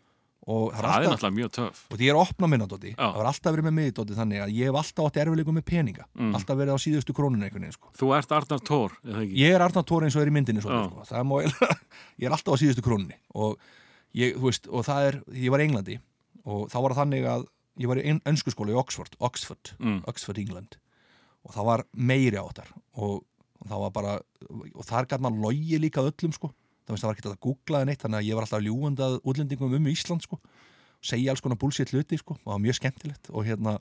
og það er náttúrulega mjög töf og því ég er að opna minna, Dóti, Já. það var alltaf verið með mig, Dóti, þannig að ég hef alltaf átt erfileikum með peninga, Mm. alltaf verið á síðustu krónun einhvern veginn, sko. Þú ert Arnar Tór, eða ekki? Ég er Arnar Tóri eins og er í myndinni, svo, Já. sko. það má, ég er alltaf á síðustu krónunni og ég, þú veist, og það er, ég var í Englandi og þá var það þannig að ég var í ennsku skóla í Oxford, Oxford, Oxford, England og það var meiri áttar og, og það var bara, og þar gæt maður logi líka að öllum, sko, það veist, það var ekki hægt að googlaði neitt, þannig að ég var alltaf ljúandað útlendingum um Ísland, sko segja alls konar bullshit hluti sko, og það var mjög skemmtilegt og hérna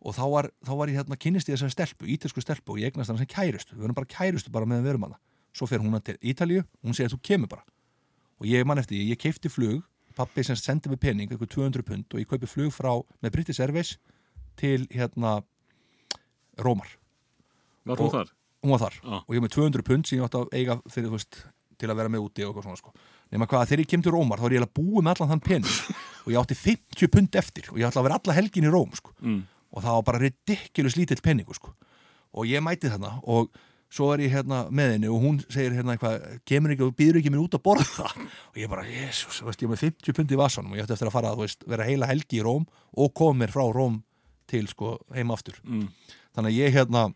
og þá var, þá var ég hérna kynnist ég þessari stelpu ítalsku stelpu og ég eignast hann sem kærustu við erum bara kærustu bara meðan við erum hana svo fer hún að til Ítalíu og hún segir þú kemur bara og ég man eftir, því, ég keipti flug pappi sem sendi mig pening, eitthvað 200 pund og ég kaupi flug frá, með British Airways til hérna Rómar, Var þú og- þar? hún var þar Ah. Já. og ég var með 200 pund sem ég átti að eiga fyrir, þú veist, til að vera með úti og eitthvað svona sko. nema hvað, þegar ég kem til Rómar þá er ég eiginlega búið með allan þann pening og ég átti 50 pund eftir og ég ætla að vera alla helgin í Róm sko. mm. og það var bara ridiculous lítill peningu sko. og ég mæti þarna og svo er ég hérna með henni og hún segir hérna eitthvað, kemur ekki og býður ekki mér út að borða og ég bara, jesús, þú veist, ég er með 50 pund í vasanum og ég ætti eftir að fara þú veist, vera heila helgi í Róm og koma mér frá Róm til sko, heim aftur mm. þannig að ég hérna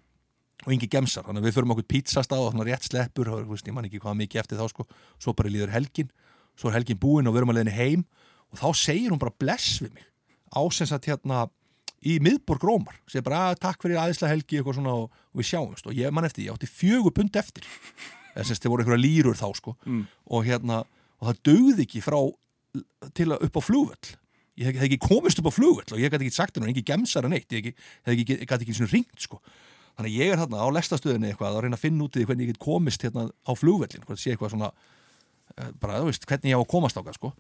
og engi gemsar, þannig að við förum okkur pizzastað og þannig rétt sleppur, og, þú veist, ég man ekki hvað mikið eftir þá sko, svo bara líður helgin svo er helgin búin og við erum að leiðinni heim og þá segir hún bara bless við mig ásens að hérna í miðborg Rómar, segir bara "Ah, takk fyrir aðeinslega helgi eitthvað svona og, og við sjáumst og ég man eftir, ég átti fjögur pund eftir eða semst þið voru einhverja lýrur þá sko og hérna, og það dögði ekki frá til að upp á flugvöll ég hef hef ekki komist upp á flugvöll og ég gæti ekki sagt hennar, engin gemsara neitt ég hef ekki, hef ekki, gæti ekki einu sinni ringt sko þannig að ég er þarna á lestastöðinni eitthvað að reyna að finna út í því hvernig ég get komist hérna á flugvöllin hvernig sé eitthvað svona eh, bara, þú veist, hvernig ég á að komast ákað sko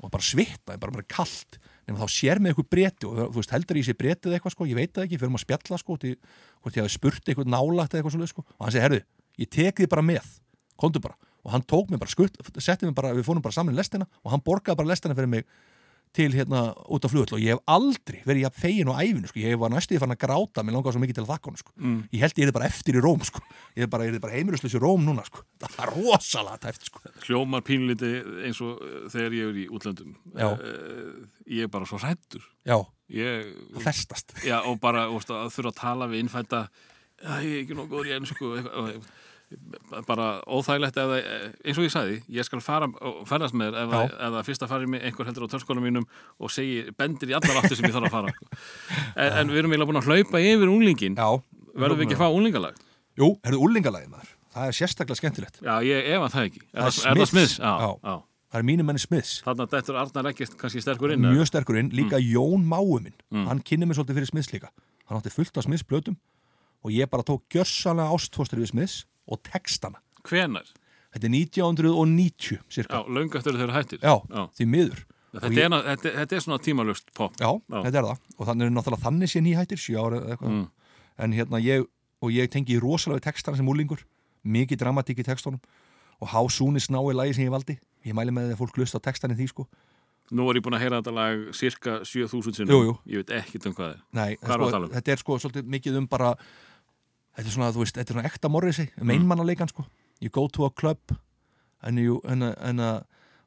og bara svitna, ég bara bara kalt nema þá sér með eitthvað breti og þú veist, heldur ég sé bretið eitthvað sko, ég veit það ekki, fyrir maður að spjalla sko, til, hvort ég hafi spurt eitthvað nálagt eða eitthvað svolítið sko, og hann segi, herðu, ég tek þið bara með komdu bara, og hann tók mig bara skutt, setti mig bara, við fórum bara saman í lestina og hann borgaði bara lestina fyrir mig til hérna út á flugvöll og ég hef aldrei verið jafn fegin á æfinu sko, ég var næstuði farin að gráta, mér langaði svo mikið til að þakka hann sko, ég held ég er bara eftir í Róm sko, ég er bara, ég er bara heimilisleis í Róm núna sko, það var rosalega tæft sko, Hljómar pínliti eins og eh, þegar ég er í útlöndum. Já. Eh, Ég er bara svo hrættur. já, Ég, það festast já, og bara þú veist, að þurfa að tala við innfænda, "Æ, ég er ekki nóg góður í ennsku. og eitthvað, og- Bara óþægilegt ef það, eh, eins og ég sagði, ég skal fara og ferðast með þér ef, Já. það- ef það fyrsta farið mig einhver heldur á törskóla mínum og segir, bendir í allar áttir sem ég þarf að fara. sko. En, en við erum eiginlega búin að hlaupa yfir unglingin. já, Verðum við ekki að fá unglingalag? jú, herðu úlingalagið maður það er sérstaklega skemmtilegt, Já, ég efa það ekki. Er Það er það, er það Smiths? smiðs? Já, Já. já. það er mínum menni Smiths Þannig að þetta er Mm. Arnar ekkert kannski sterkur inn. eða? mjög sterkur inn, líka Jón Máu minn Mm. hann kynni mig svolítið fyrir Smiths líka hann átti fullt af Smiths blötum og ég bara tók gjörsanlega ástfóstur við Smiths og textana, Hvenær? þetta er 1990 cirka, Já, löngu eftir að þau eru hættir. Já, því miður Þetta, Og er, na- þetta, þetta er svona tímalust pop. Já, Já. þetta er það og þannig er náttúrulega þannig sé nýhættir sjö ára eða eitthvað Mm. en hérna ég og ég tengi í rosalega við textana sem úlingur mikið dramatík í textunum og How Soon is Now er lagi sem ég valdi ég mæli með því að fólk lusta á textan í því sko Nú er ég búin að heyra þetta lag cirka 7000 sinnum. Jú, jú. Ég veit ekkert um hvað það er. Nei, Hvað erum við að sko, tala um? þetta er sko svolítið mikið um bara þetta er svona, þú veist, þetta er svona ekta morrisi Mm. um einmannaleikan sko you go to a club and you and, uh, and, uh,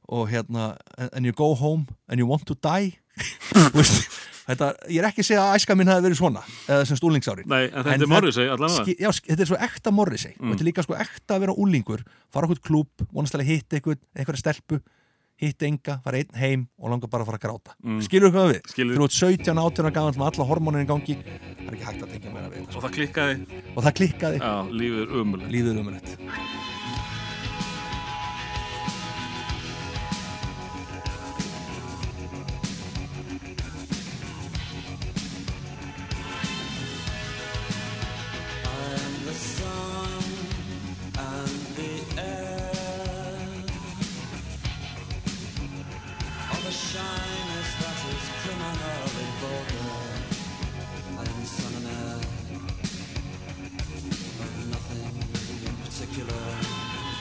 og hérna and you go home and you want to die Þú veist, þetta, ég er ekki að segja að æska mín hafi verið svona eða sem stúlingsárin Nei, en þetta En er Morrissey allavega. Mm. Ski- já, sk- þetta er svo ekta Morrissey og þetta er líka sko ekta að vera úlingur fara okkur klúb, vonastlega hitta einhver, einhverja stelpu hitta enga, fara einn heim og langa bara að fara að gráta mm. skilur hvað við, Skilur. þú ert 17 18 ára gaman með alla hormónin í gangi það er ekki hægt að tengja meira við þetta sko. Og það klikkaði, og það klikkaði, já, lífið er umulegt. líður um þetta I'm the sun and the air. All the shyness that is criminal and vulgar. I am the sun and air of nothing in particular.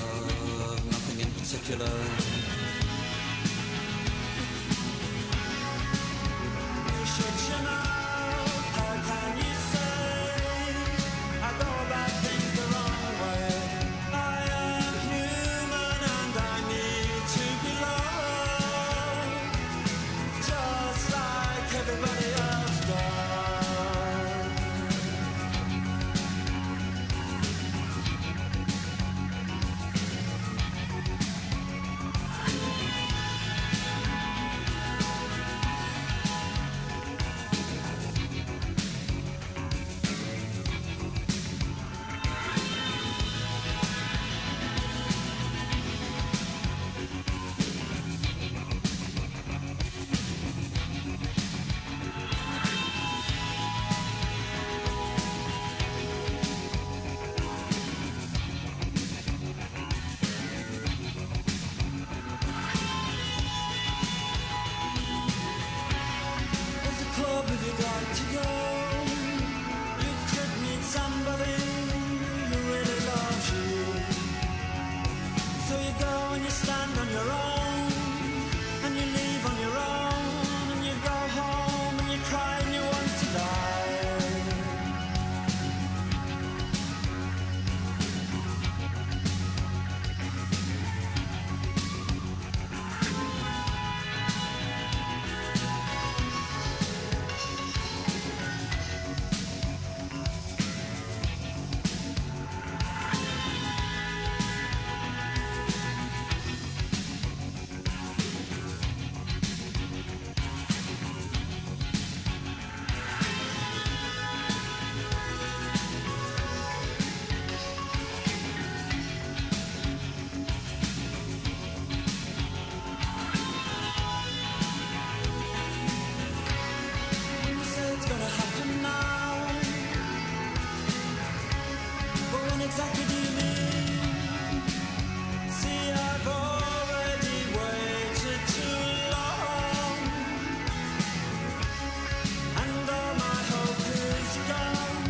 Oh, particular. You shut your mouth, how can you say I go about things the wrong way? I am human and I need to be loved, just like everybody else does. There's a club if you'd like to go. You could meet somebody who really loves you. So you go and you stand on your own, and you leave on your own, and you go home and you cry and you want to die. You say it's gonna happen now, but when exactly do you mean? See, I've already waited too long, and all my hope is gone.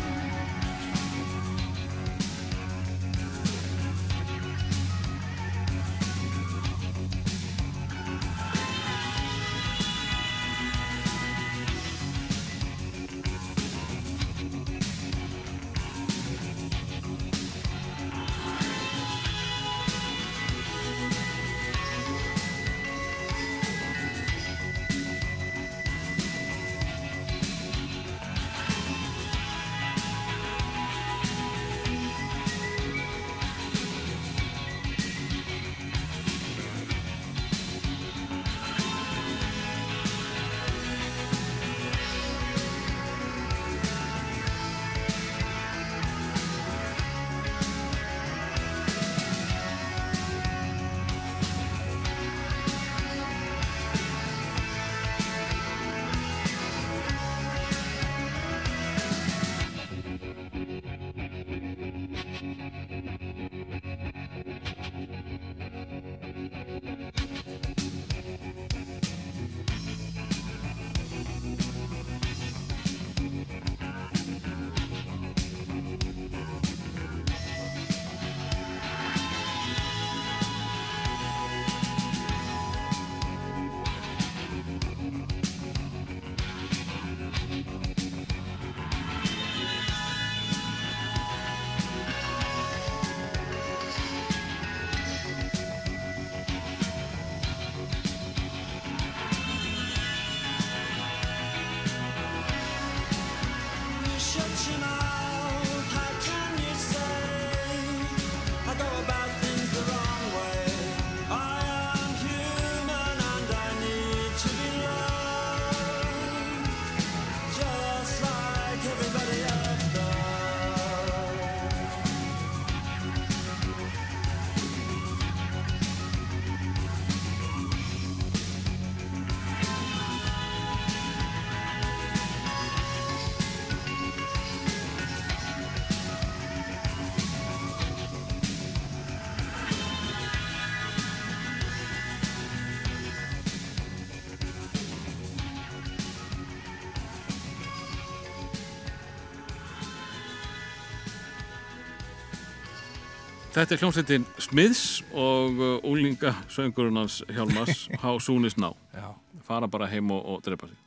Þetta er hljómsveitin Smiths og uh, úlinga söngurinn hans Hjálmars Há Súnis Ná Já, fara bara heim og, og drepa sig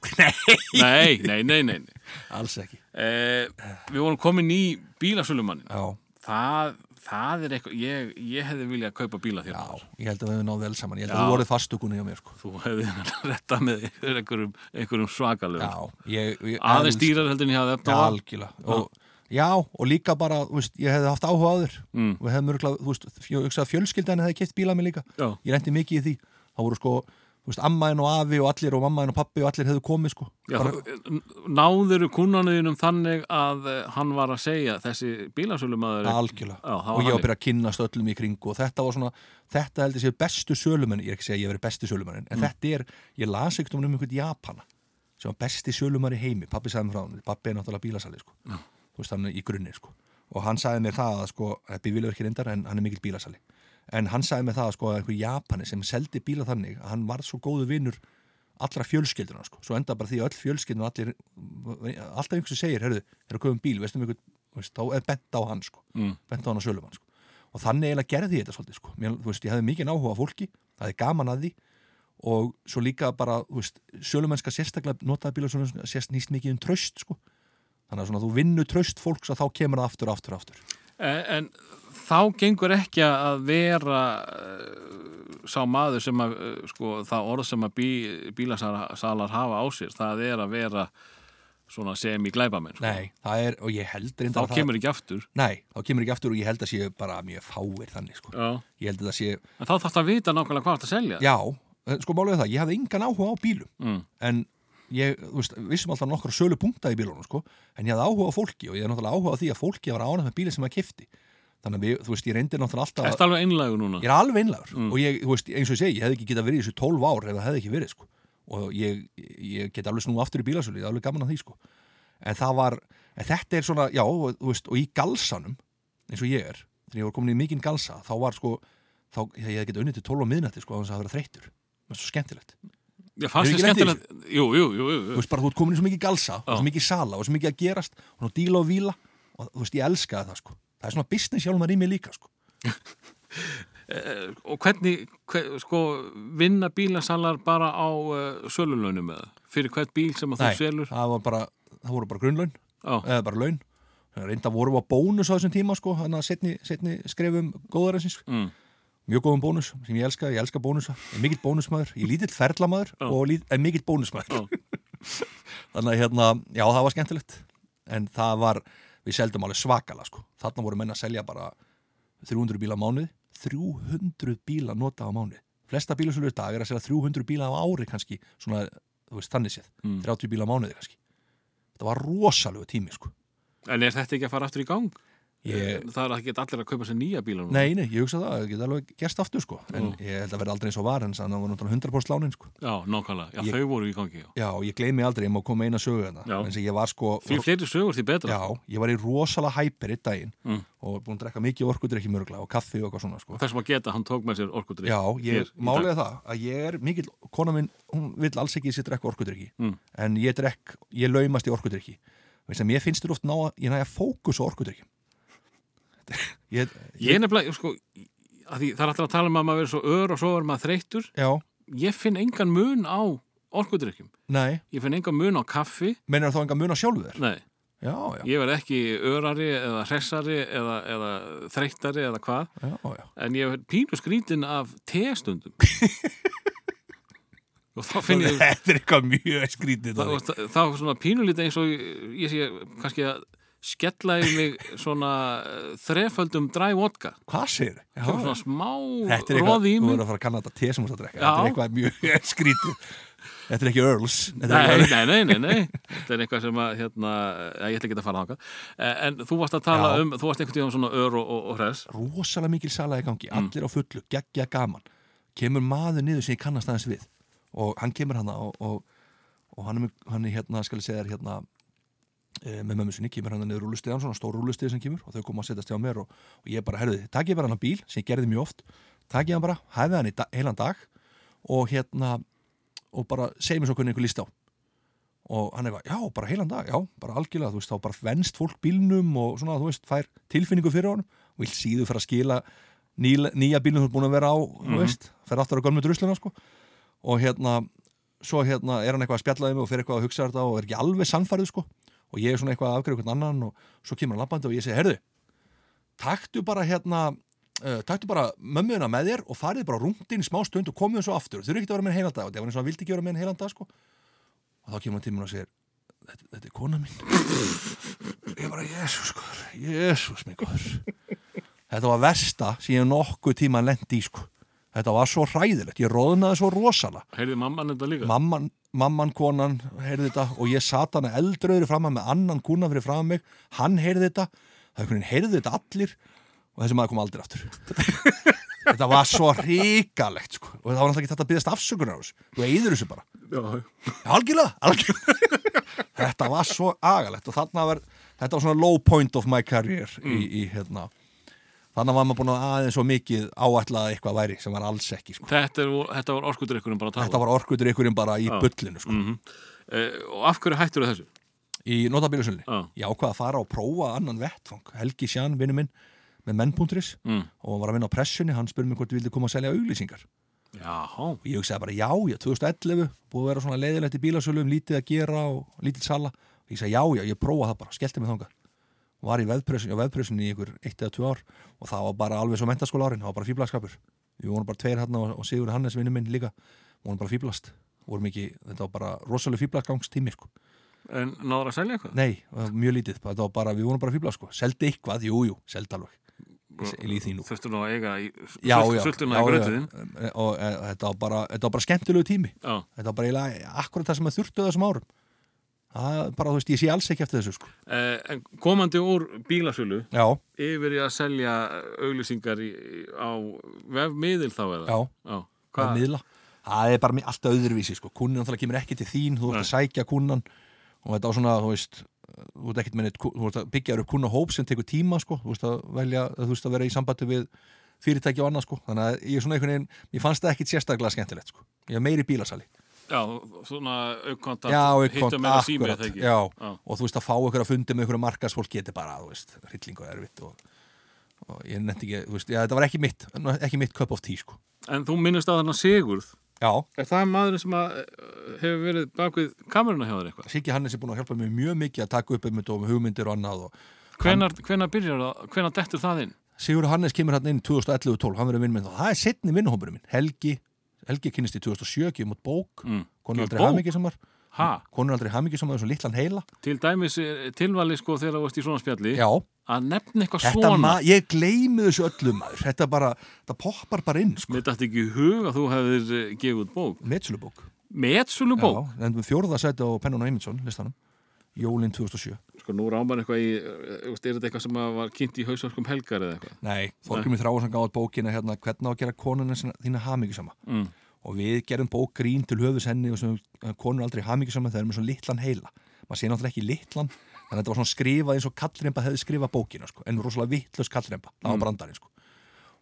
Nei, nei, nei, nei, nei. alls ekki Eh, Við vorum komin í bílasölumannin Já, það, það er eitthvað ég, ég hefði viljað kaupa bíla þér já, Már. ég held að við höfum náð vel saman Ég held Já. að þú voruð fastugunni hjá mér sko. Þú hefði retta með einhverjum, einhverjum svakalöfum Já, ég, ég Aðeins elst- dýrar heldur en ég hafði efna Algjörlega og, Já, og líka bara, þú veist, ég hefði haft áhuga á þér Mm. og hefði mörgla, þú veist, ég hugsa að fjölskyldan hefði keitt bíla mig líka Já. Ég reyndi mikið í því, þá voru sko þú veist, ammaðin og afi og allir og mammaðin og pappi og allir hefðu komið sko Já, bara, þú- náðirðu kúnanuðinum þannig að eh, hann var að segja þessi bílasölumæður Algjörlega, Já, það var og ég var hann. að byrja að kynnast öllum í kringu og þetta var svona, þetta heldur sér bestu sölumenn, ég er ekki að segja að ég hef verið besti sölumenn Mm. en þetta er, ég las ekkert um einhvern Japana sem var besti sölumenn í heimi pappi sagði mér frá hann, pappi er náttúrulega bílasali sko. þú veist, hann er í grunni sko. og hann sagði mér það að, sko, bílur ekki reyndar en hann er mikil bílasali en hann sagði mér það að, sko, að einhver Japani sem seldi bíla þannig að hann varð svo góðu vinnur allra fjölskylduna, sko. svo enda bara því að öll fjölskylduna allir, alltaf einhversu segir herru, er að köfum bíl, veistum einhvern veist, þá er bent á hann, sko. mm. bent á hann að sölum hann, sko. og þannig eiginlega gerði ég þetta svolítið, sko. Mér, þú veist, ég hefði mikið áhuga á fólki það er gaman að því og svo líka bara, þú veist, sölumennska sérstaklega notaði bíla svona, sérst nýst mikið um tröst, sko. þannig að svona, þú vinnur tröst fólks að þá kemur það aftur, aftur, aftur En, en þá gengur ekki að vera uh, sá maður sem að, uh, sko, það orð sem að bí, bílasalar hafa á sér, það er að vera svona sem í glæbamenn. Sko. Nei, það er, og ég held Þá reyndar að kemur ekki aftur. það, Nei, þá kemur ekki aftur og ég held að séu bara mjög fáir þannig, sko. Já. ég held að það séu En þá þarf það að vita nákvæmlega hvað það selja. Já, eh, sko málið er það, ég hafði engan áhuga á bílum Mm. en ég, þú veist, vissum alltaf nokkra sölu punkta í bílunum, sko en ég hafði áhuga á fólki og ég hafði náttúrulega áhuga á því að fólki var ánægt með bílinn sem það kifti þannig að við, þú veist, ég reyndi náttúrulega alltaf Ertu alveg einlægur núna? ég er alveg einlagur Mm. og ég, þú veist, eins og ég segi, ég hefði ekki getað verið í þessu 12 ár ef það hefði ekki verið, sko og ég, ég get alveg snú aftur í bílasölu, ég er alveg gaman að því, sko en það var, en þetta er svona, já, og, þú veist, og í galsanum eins og ég er, þegar ég var komin í mikinn galsa þá var, sko, þá, ég hefði getað unnið til 12 á miðnætti, sko, á þess að vera þreyttur það er svo skemmtilegt, Ég fannst Hefur þið ekki lent í skemmtilegt. Jú, jú, jú, jú, þú jú. veist, bara þú ert komin í svo mikið galsa og Já. svo mikið sala og svo mikið að gerast og nú díla og víla og þú veist, ég elskaði það, sko það er svona business sjálfum að rými líka, sko Eh, Og hvernig, hver, sko, vinna bílasalar bara á uh, sölulaunum eða? Fyrir hvert bíl sem að þú selur? það, var bara, það voru bara grunnlaun Já, eða bara laun reynda vorum við á bónus á þessum tíma sko, þannig að setni, setni skrefum góðarinsins Mm. mjög góðum bónus sem ég elska, ég elska bónusa ég er mikill bónusmaður, ég er lítill ferlamaður Já. og lít, er mikill bónusmaður þannig að hérna, já það var skemmtilegt en það var, við seldum alveg svakala sko, þarna voru menn að selja bara 300 bíla á mánuði 300 bíla nota á mánuði flesta bílasölu í dag er að selja 300 bíla á ári kannski, svona, þú veist, þannig séð Mm. 30 bíla á mánuði kannski þetta var rosalegu tími sko en er þetta ekki að fara aftur í gang? Ég, Það er ekki allir að kaupa sér nýja bíla núna. Eh. nei, nei, ég hugsa það, það geta alveg gerst aftur sko en ég held að verða aldrei eins og var en þannig að það var náttúrulega 100% lánin sko Já, nákvæmlega. Já, Ég- þau voru í gangi. Já. Já, og ég gleymi aldrei, ég má koma með eina sögu þarna Já. en sem ég var sko Því fleiri sögur því betra. Já, ég var í rosalega hæpir í daginn Mm. og búin að drekka mikið orkudrykki mörgla og kaffi og eitthvað svona sko Þess að geta, hann tók með sér orkudrykk. Já, hér ég í dag. málega það að ég er mikill, kona minn, hún vill alls ekki sér drekka orkudrykki, Mm. en ég drekk ég laumast í orkudrykki veist að mér finnst þér oft ná að, ég næja fókus á orkudrykki ég, Ég er nefnilega, sko, að því, það er alltaf að tala um að maður verið svo ör og svo er maður þreyttur. Já, Ég finn engan mun á orkudrykkjum. nei, Ég finn engan mun á kaffi. meinar þá enga mun á sjálfu þér? Nei, Já, já, ég verð ekki örari eða hressari eða, eða þreyttari eða hvað. já, já En ég verð pínu skrítin af testundum. og þá finn ég... Þetta er eitthvað mjög skrítið þá, Dóri. þá, þá svona pínulítið eins og ég- ég sé kannski að skella í mig svona eh, þreföldum dry vodka Hvað segir Kemur svona smá Þetta er eitthvað, roði í þú mig verður að fara að kanna þetta te sem þú ert að drekka Já. Þetta er eitthvað mjög skrítið Þetta er ekki Earls Þetta er Nei, eitthvað- nei, nei, nei, nei Þetta er eitthvað sem að, hérna, eh, ég ætla ekki að fara þangað Eh, En þú varst að tala Já. um, þú varst einhvern tíðan svona ör og, og, og hress rosalega mikil sala í gangi, allir á fullu geggja gaman, kemur maður niður sem ég kannast aðeins við og hann kemur hana og, og, og hann, er, með- hann er hérna, skal ég segja þér hérna eh, með mömmu sinni, kemur hana niður rúlustiðan svona stór rúlustið sem kemur og þau koma að setjast hjá mér og, og ég bara, herðu, takk ég bara hann bíl sem ég gerði mjög oft, takk ég hann bara hæfið hann í da, heilan dag og hérna og bara segjum svo hvernig einhver líst á og hann eitthvað, já, bara heilan dag, já, bara algjörlega, þú veist, þá bara venst fólk bílnum og svona, þú veist, fær tilfinningu fyrir honum og vil síðu fyrir að skila nýla, nýja bílnum þú er búin að vera á, þú veist, fer aftur að gömlu drusluna, sko og hérna, svo hérna er hann eitthvað að spjallaði mig og fer eitthvað að hugsa um þetta og er ekki alveg sannfærið, sko og ég er svona eitthvað að afgriða eitthvað annan og svo kemur hann labbandi og ég segi, herðu, taktu bara hérna Uh, taktu bara mömmuðina með þér og farið bara rúndin smá stund og komið svo aftur þau eru ekki að vera með en heilan dag og það var eins og hann vildi ekki vera með en heilan dag sko og þá kemur hann til mér og segir þetta, þetta er kona mín ég bara, jésús góður jésús minn góður þetta var versta sem ég hef nokkuð tíma lendi í sko þetta var svo hræðilegt, ég roðnaði svo rosala Heyrði mamman þetta líka? mamman, mamman konan heyrði þetta og ég sat hana eldraugri framar með annan kuna fyrir framar mig hann heyrði þetta, það einhvern veginn heyrði þetta allir og þessi maður kom aldrei aftur þetta var svo ríkalegt sko. og það var náttúrulega ekki þetta að byggðast afsökunar á þessu þú eyður þessu bara Já, Algjörlega, algjörlega. þetta var svo agalegt og þarna var, þetta var svona low point of my career Mm. í, í hérna þannig var maður búin að aðeins svo mikið áætlað að eitthvað væri sem var alls ekki sko. þetta, er, þetta var orkudrykkunum bara að tala þetta var orkutur ykkurinn bara í Sko. Já. bullinu sko. Eh, Og af hverju hættur þessu? í notabílusunni Já. ég ákvað að fara og prófa annan vettfang Helgi Sján, vinnu minn, með menn.ris Mm. og var að vinna á pressunni, hann spurði mig hvort ég vildi koma að selja auglýsingar Já, og ég hugsaði bara já, já, 2011 búið að vera svona leiðilegt í bílasölu um lítið að gera og lítið sala og ég sagði já, já, ég prófa það bara, skellti mig þangað var í veðpressunni og veðpressunni í ykkur eitt eða tvö ár og það var bara alveg svo mentaskóla árin, það var bara fýblaskapur við vorum bara tveir hérna og, og Sigur Hannes vinnu minn líka, vorum bara fýblast vorum ekki, þetta var bara rosalega fýblaskangstími sko. en náður að selja eitthvað? nei, það var mjög lítið, þetta var bara, við vorum bara fýblast sko. seldi eitthvað, jú, jú, seldi alveg Ég lýð því nú Þurftu nú að eiga í já, já, sultuna já, í já, grötiðin og e, þetta var bara, þetta var bara skemmtilegu tími Já, þetta var bara eiginlega akkurat það sem að þurftu á þessum árum það er bara, þú veist, ég sé alls ekki eftir þessu sko. Eh, en komandi úr bílasölu já, yfir í að selja auglýsingar í, í- á vefmiðil þá eða? já, Já. að Hvað? miðla það er bara mi- allt öðruvísi, sko, kunnin náttúrulega kemur ekki til þín, þú ert að sækja kunnan og þetta á svona, þú veist þú ert ekkert með neitt, ku- þú ert að byggja upp kunnahóp sem tekur tíma, sko, þú veist að velja þú veist að vera í sambandi við fyrirtæki og annað, sko, þannig að ég er svona einhvern veginn ég fannst það ekkit sérstaklega skemmtilegt, sko ég er meiri í bílasali Já, svona aukkontakt, já, og hittum eitthvað, meira sími eða akkurat ekki? já, Já. og þú veist að fá ykkur að fundi með ykkur markaðsfólk geti bara, þú veist, hrylling og erfitt og, og ég nefndi ekki, þú veist, já, þetta var ekki mitt ekki mitt cup of tea, sko En þú minnist á þarna Sigurð. já, Er það maðurinn sem að, eh, hefur verið bakvið kameruna hjá þér eitthvað? Siggi Hannes er búin að hjálpa mér mjög mikið að taka upp um þetta og með hugmyndir og annað og Hvenar, hvenar byrjar það, hvenar dettur það inn? Sigur Hannes kemur hann inn 2011-12, hann verður vinn minn þá, það er setni vinnhómurinn minn, Helgi Helgi kynnist í 2007, gefum út bók Mm. Gefur konur aldrei bók? hamingisamar Ha, konur aldrei hamingisamar, þessu litlan heila til dæmis er tilvali sko þegar þú veist í svona spjalli já, að nefna eitthvað þetta svona maður, ég gleymi þessu öllum maður, þetta bara, þetta poppar bara inn, sko, Mér dætti ekki í hug að þú hefðir eh, gefið út bók. metsölubók Metsölu bók? Já, nefndum fjórðasæti á Pennon og Eymundsson listanum, jólin 2007 Sko nú rámar eitthvað í, eh, þú veist, er þetta eitthvað sem að var kynnt í hausverkum helgar eða eitthvað? Nei, Þorgjumir Þráðarsson gáði bókina hérna, hvernig á að gera konuna sinna- þína hamingjusama Mm. og við gerum bók grín til höfus henni og sem konur aldrei hamingjusama þegar með svo litlan heila maður sé náttúrulega ekki litlan þannig að þetta var svona skrifað eins og kallremba hefði skrifað bókina sko, en rosalega vittlust kallremba, það var brandarinn sko.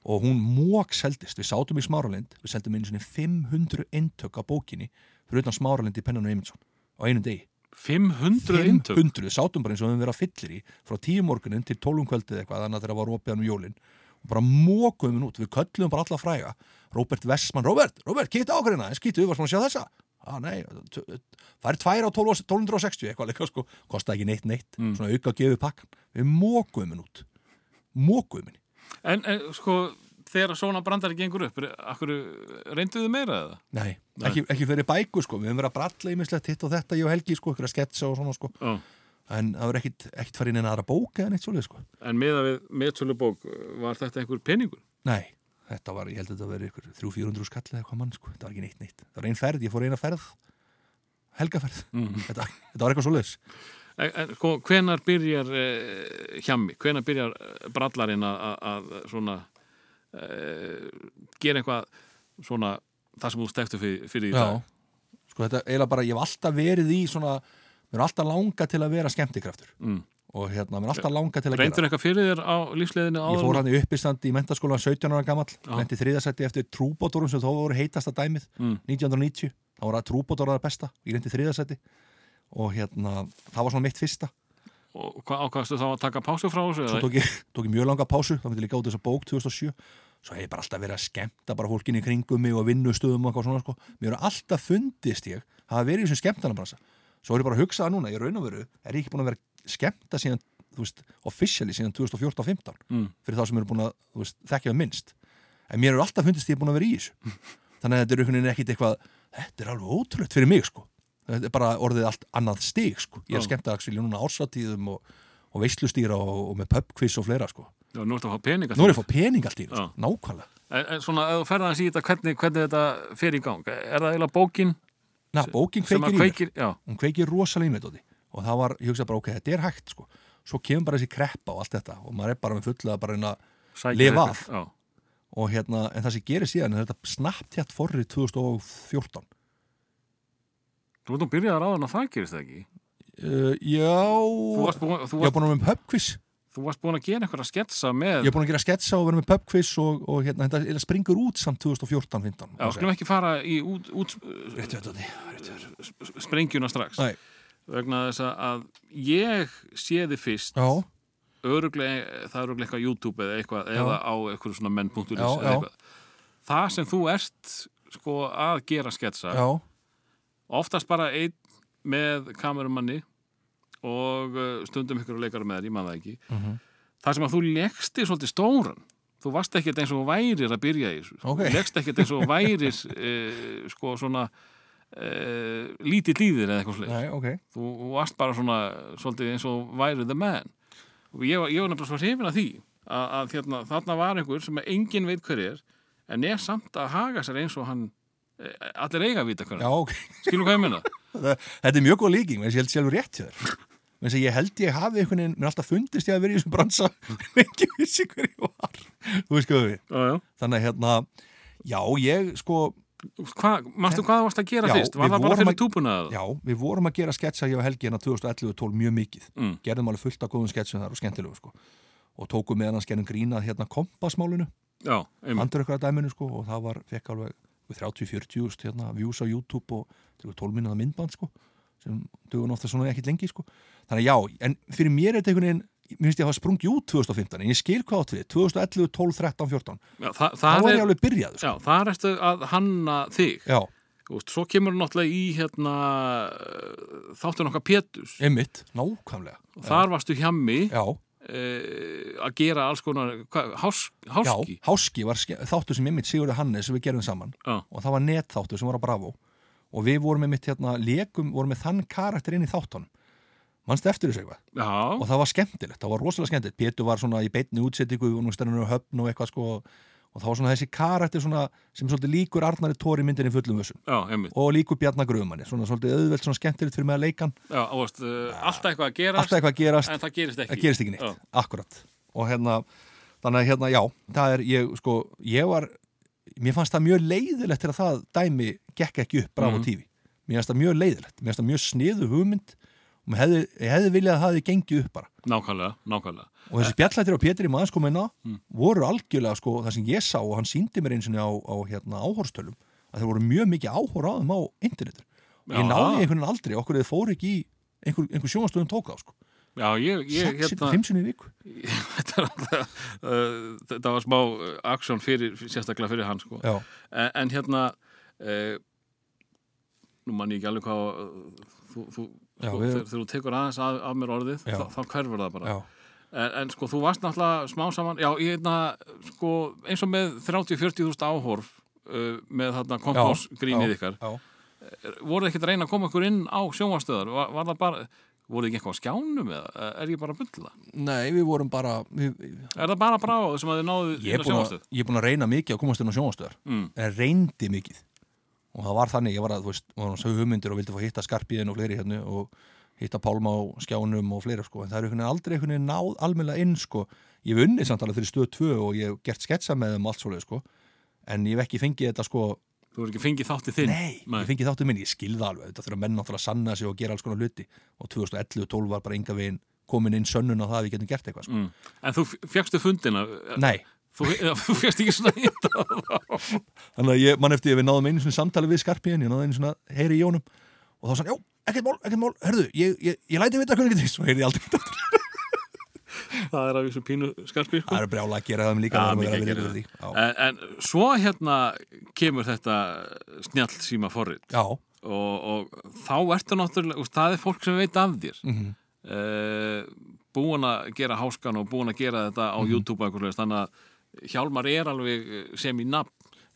og hún mók seldist, við sátum í Smáralind við seldum einu svona 500 eintök af bókinni fyrir utan Smáralind í Pennan og Eymundsson á einum degi 500 eintök? 500, við sátum bara eins og við höfum verið að fyllir í frá tíu morgunin til tólum kvöldið eitthvað þannig að þeirra var opið hann um jólin og bara mókuðum við út, við köllum bara alla fræga Róbert Vessmann, Róbert, Róbert, kýta á hverjina en skýtu, við varum að sjá þessa ah, nei, t- t- það er tvær á 12 1260 eitthvað líka sko, kostaði ekki neitt neitt svona auka að gefa pakkan, við mókuðum við út mókuðum við, En, en sko, þegar svona brandari gengur upp, er- akkur reynduðu meira eða? nei, ekki, ekki fyrir bæku sko, við höfum verið að bralla ímislegt hitt og þetta ég og Helgi sko, ykkur að sketsa og svona sko Já. en það var ekkit, ekkit farið inn en aðra bók eða neitt svolítið sko En meða við metsölu bók, var þetta einhver peningur? Nei, þetta var, ég held að þetta verið ykkur 300-400 skall eða hvað mann, sko, þetta var ekki neitt neitt Það var einn ferð, ég fór eina ferð helgaferð, Mhm. þetta, þetta var eitthvað svo leis En, en sko, hvenar byrjar eh, hjami, hvenar byrjar eh, brallarinn að- að að svona eh, gera eitthvað svona það sem þú stektu fyrir, fyrir í dag? Sko, þetta eiginlega bara, ég hef alltaf verið í svona mér er alltaf langa til að vera skemmtikraftur Mm. og hérna, mér er alltaf langa til að Reyndur gera eitthvað fyrir þér á lífsleiðinu áður? Ég fór hann í uppistandi í mentaskóla 17 ára gamall, Já. lendi þriðasætti eftir trúbótorum sem þó voru heitasta dæmið Mm. 1990, þá voru að trúbótorar besta, ég lendi þriðasætti og hérna, það var svona mitt fyrsta Og hvað ákvæmstu þá að taka pásu frá þessu? svo tók ég, tók ég mjög langa pásu þá myndi ég líka út þessa bók 2007 svo hef ég bara alltaf verið að skemmta bara fólkinni í kringum mig og vinnustöðum og eitthvað svona sko. mér hefur alltaf fundist ég hafa verið í þessum skemmtanabransa svo er ég bara að hugsa það núna, ég raun og veru er ég ekki búin að vera að skemmta síðan þú veist, officially síðan 2014-15 mm. fyrir þá sem eru búin að þú veist, þekkja það minnst en mér hefur alltaf fundist ég búin að vera í þessu þannig að þetta er einhvern veginn ekkit eitthvað þetta er alveg ótrúlegt fyrir mig sko þetta er bara orðið allt annað stig sko ég er Já. skemmt að núna á ársatíðum og, og veislustýra og, og með pubquiz og fleira sko Já, nú ertu að fá peninga. nú er ég að fá pening allt í þessu, Já. sko. nákvæmlega En, en svona, ef þú ferða aðeins í þetta, hvernig, hvernig þetta fer í gang? Er það eiginlega bókin Na, bókin sem kveikir að í mér kveikir... Já, hún kveikir rosalega í mér Doddi. og það var, ég hugsa bara, ok, þetta er hægt sko svo kemur bara þessi kreppa og allt þetta og maður er bara með fulla að bara reyna sækir Lifa þetta. af. Já, og hérna, en það sem gerir síðan er þetta snabbtjætt forrið 2014 þú veitum byrjaðar á þannig að það gerist það ekki. uh, já Þú varst búin, þú ég er varst, búin að vera með pubquiz þú varst búin að gera einhverja sketsa með... Ég hef búin að gera sketsa og vera með pubquiz og, og hérna, þetta eiginlega springur út samt 2014-15. Já, skulum ekki fara í út, út Réttu þetta, Doddi. sprengjuna strax Nei. vegna þess að ég sé þið fyrst Já, öruglega, það er öruglega eitthvað á YouTube eða eitthvað, eða á eitthvað svona menn.is Já, eða já. eitthvað það sem þú ert sko að gera sketsa já, oftast bara einn með kamerumanni og uh, stundum ykkur leikar með þér, ég man það ekki Mhm. það sem að þú leggsti svolítið stóran þú varst ekkert eins og þú værir að byrja í þessu sko. Ok. þú leggst ekkert eins og þú værir uh, sko svona uh, lítið líðir eða eitthvað slik nei, ok. þú þú varst bara svona svolítið eins og þú værið the man og ég, var- ég var nefnilega svo hrifin að því að, að þarna, þarna var einhver sem engin veit hver er en er samt að haga sér eins og hann eh, allir eiga að vita hver hann er. Já, ok. Skilur hvað ég minna? Þetta þetta er mjög góð líking, menn ég held sjálfur rétt hjá þér. Menn ég held ég hafi einhvern veginn, mér alltaf fundist ég að vera í þessum bransa, en ekki vissi hver ég var. Þú veist hvað við. Já, já. Þannig að hérna, já, ég sko, Hva, Mastu hvað þú varst að gera Já, fyrst? Var við það bara vorum fyrir að- túbuna eða? já, við vorum að gera sketsa hjá Helgi hérna 2011-12 mjög mikið. Mm. Gerðum alveg fullt af góðum sketsum þar og skemmtilegu sko. Og tókum meðan að skennum grínað hérna kompasmálinu. Já, einmitt. andur ykkur að dæminu sko og það var, fekk alveg 30-40 úst, hérna, views á YouTube og þetta var 12 minnaða myndband sko sem dugun ofta svona ekkit lengi sko þannig að já, en fyrir mér er þetta einhvern veginn mér finnst ég að hafa sprungið út 2015 en ég skil hvað átt við, 2011, 12, 13, 14 Já, það, þá það var ég er, alveg byrjaður sko. já, það erstu að hanna þig. já, Þú veist, svo kemur náttúrulega í hérna, eh, þáttun okkar Péturs. einmitt, nákvæmlega Og Þar varstu hjemmi já, eh, að gera alls konar, hvað, hás, já, háski? Háski var ske- þáttur sem einmitt Sigurði Hannes sem við gerðum saman Já. og það var netþáttur sem var á Bravo og við vorum einmitt hérna, lekum, vorum með þann karakter inn í þáttunum mannstu eftir þessu eitthvað? Já, og það var skemmtilegt, það var rosalega skemmtilegt Pétur var svona í beinni útsettingu og nú stærnir á höfn og eitthvað sko og það var svona þessi karakter svona, sem svolítið líkur Arnari Tóri myndinni fullum vössum já, einmitt. og líkur Bjarnar Grumanni, svona svolítið auðvelt svona skemmtilegt fyrir mig að leikan, Já, þú veist, eh, alltaf eitthvað að gerast, alltaf eitthvað að gerast en það gerist ekki. það gerist ekki neitt, akkurat og hérna, þannig að hérna, já það er, ég sko, ég var mér fannst það mjög leiðilegt til að það dæmi gekk ekki upp braf á Mhm. tífi mér fannst það mjög leiðilegt, mér fannst það mjög sniðu hugmynd og mér hefði, ég hefði viljað að það hefði gengið upp bara Nákvæmlega, nákvæmlega. og þessi spjallættir á Pétri maður sko minna Mm. voru algjörlega sko það sem ég sá og hann síndi mér eins og á, á hérna, áhorstölum að þeir voru mjög mikið áhor á þeim á internetur og ég Já. náði einhvern veginn aldrei okkur þeir fóru ekki í einhver, einhver sjónastöðum tók á sko Já, ég, hérna- ég, Sex- fimm sinni í viku þetta er alltaf, uh, þetta var smá aksjón fyrir, sérstaklega fyrir hann, sko. já, en, en hérna uh, nú man ég ekki alveg hvað eh, þú, þú, Já, sko, við- þegar, þegar þú tekur aðeins af, af mér orðið Já. þá, þá hverfur það bara já, en, en sko þú varst náttúrulega smá saman já, ég hefna, sko, eins og með 30-40 þúst áhorf uh, með þarna kompásgrínið ykkar já. voruð þið ekki að reyna að koma ykkur inn á sjónvastöðar var, var það bara, voruð þið ekki eitthvað á skjánum eða er ég bara að bulla nei við vorum bara við, er það bara bráð sem að þið náðu ég inn á er búin að- sjónvastöð ég er búin að reyna mikið að komast inn á sjónastöðar mm. en reyndi mikið og það var þannig, ég var að, þú veist, var að sögu hugmyndir og vildi fá hitta skarpiðin og fleiri hérna og hitta pálma á skjánum og fleira sko, en það er einhvern veginn aldrei einhvern veginn náð almennilega inn sko, ég hef unnið samt alveg fyrir stöð 2 og ég hef gert sketsa með þeim og allt svoleið sko, en ég hef ekki fengið þetta sko, þú voru ekki fengið þátti þinn nei, Nei. ég fengið þáttu minn, ég skilða alveg, þetta þurfa menn náttúrulega að sanna sig og gera alls konar hluti og 2011-12 var bara enga veginn komin inn sönnun á það að við getum gert eitthvað sko. mm. en þú fjöxtu fundina nei, Þú, eða, þú fyrst ekki svona hitt á þá. Þannig að ég, mann eftir ég við náðum einu svona samtali við skarpiðin, ég náðum einu svona heyri í honum og þá sann, já, ekkert mál, ekkert mál, herðu ég, ég, ég læti vita hvernig þetta er, svo heyrði ég aldrei vita aftur. það er af þessu pínu skarpi sko. það eru brjála að gera það um líka Já, þegar maður mikið að er að vera gera yfir því. en, en svo hérna kemur þetta snjall síma forrið já, já, og, og þá ertu náttúrulega, og það er fólk sem veit af þér mm Mhm. -hmm. búin að gera háskan og búin að gera þetta á Mhm. YouTube og eitthvað, þannig að Hjálmar er alveg sem í nafn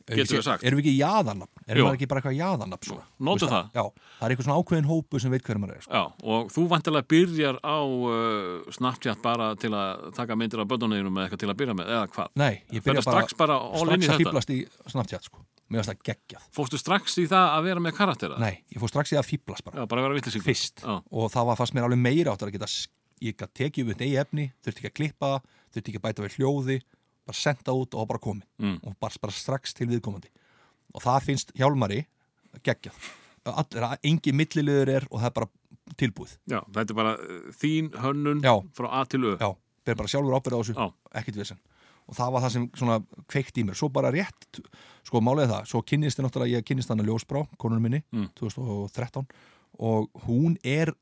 Erum getur ekki- við sagt, Erum við ekki jaðanafn? Erum Jú. við ekki bara eitthvað jaðanafn svona? Nótum Þú veist það. Já, það er eitthvað svona ákveðin hópu sem veit hver maður er sko. Já, og þú vantilega byrjar á uh, Snapchat bara til að taka myndir af bönnunniðinum eða eitthvað til að byrja með, eða hvað Nei, Þetta ég byrja er strax bara all in í strax að þetta. fýblast í Snapchat sko. Mér varst það geggjað Fórstu strax í það að vera með karaktera? Nei, ég fór strax í að fýblast bara Já, bara vera vitlisíkur Fyrst Já, Og það var fast mér alveg meira áttur að geta s- Ég gæti tekið upp þetta í efni Þurfti ekki að klippa það, Þurfti ekki að bæta við hljóði Bara senda út og bara komi Mm. Og bara, bara strax til viðkomandi Og það finnst Hjálmari geggjað Allra, engin milliliður er og það er bara tilbúið já þetta er bara uh, þín hönnun Já. frá A til Ö Já, ber bara sjálfur ábyrða á þessu, Já. ekkert vesen og það var það sem svona kveikt í mér svo bara rétt, sko málið er það svo kynnist ég náttúrulega, ég kynnist hann að ljósbrá konunum minni, Mm. 2013 og hún er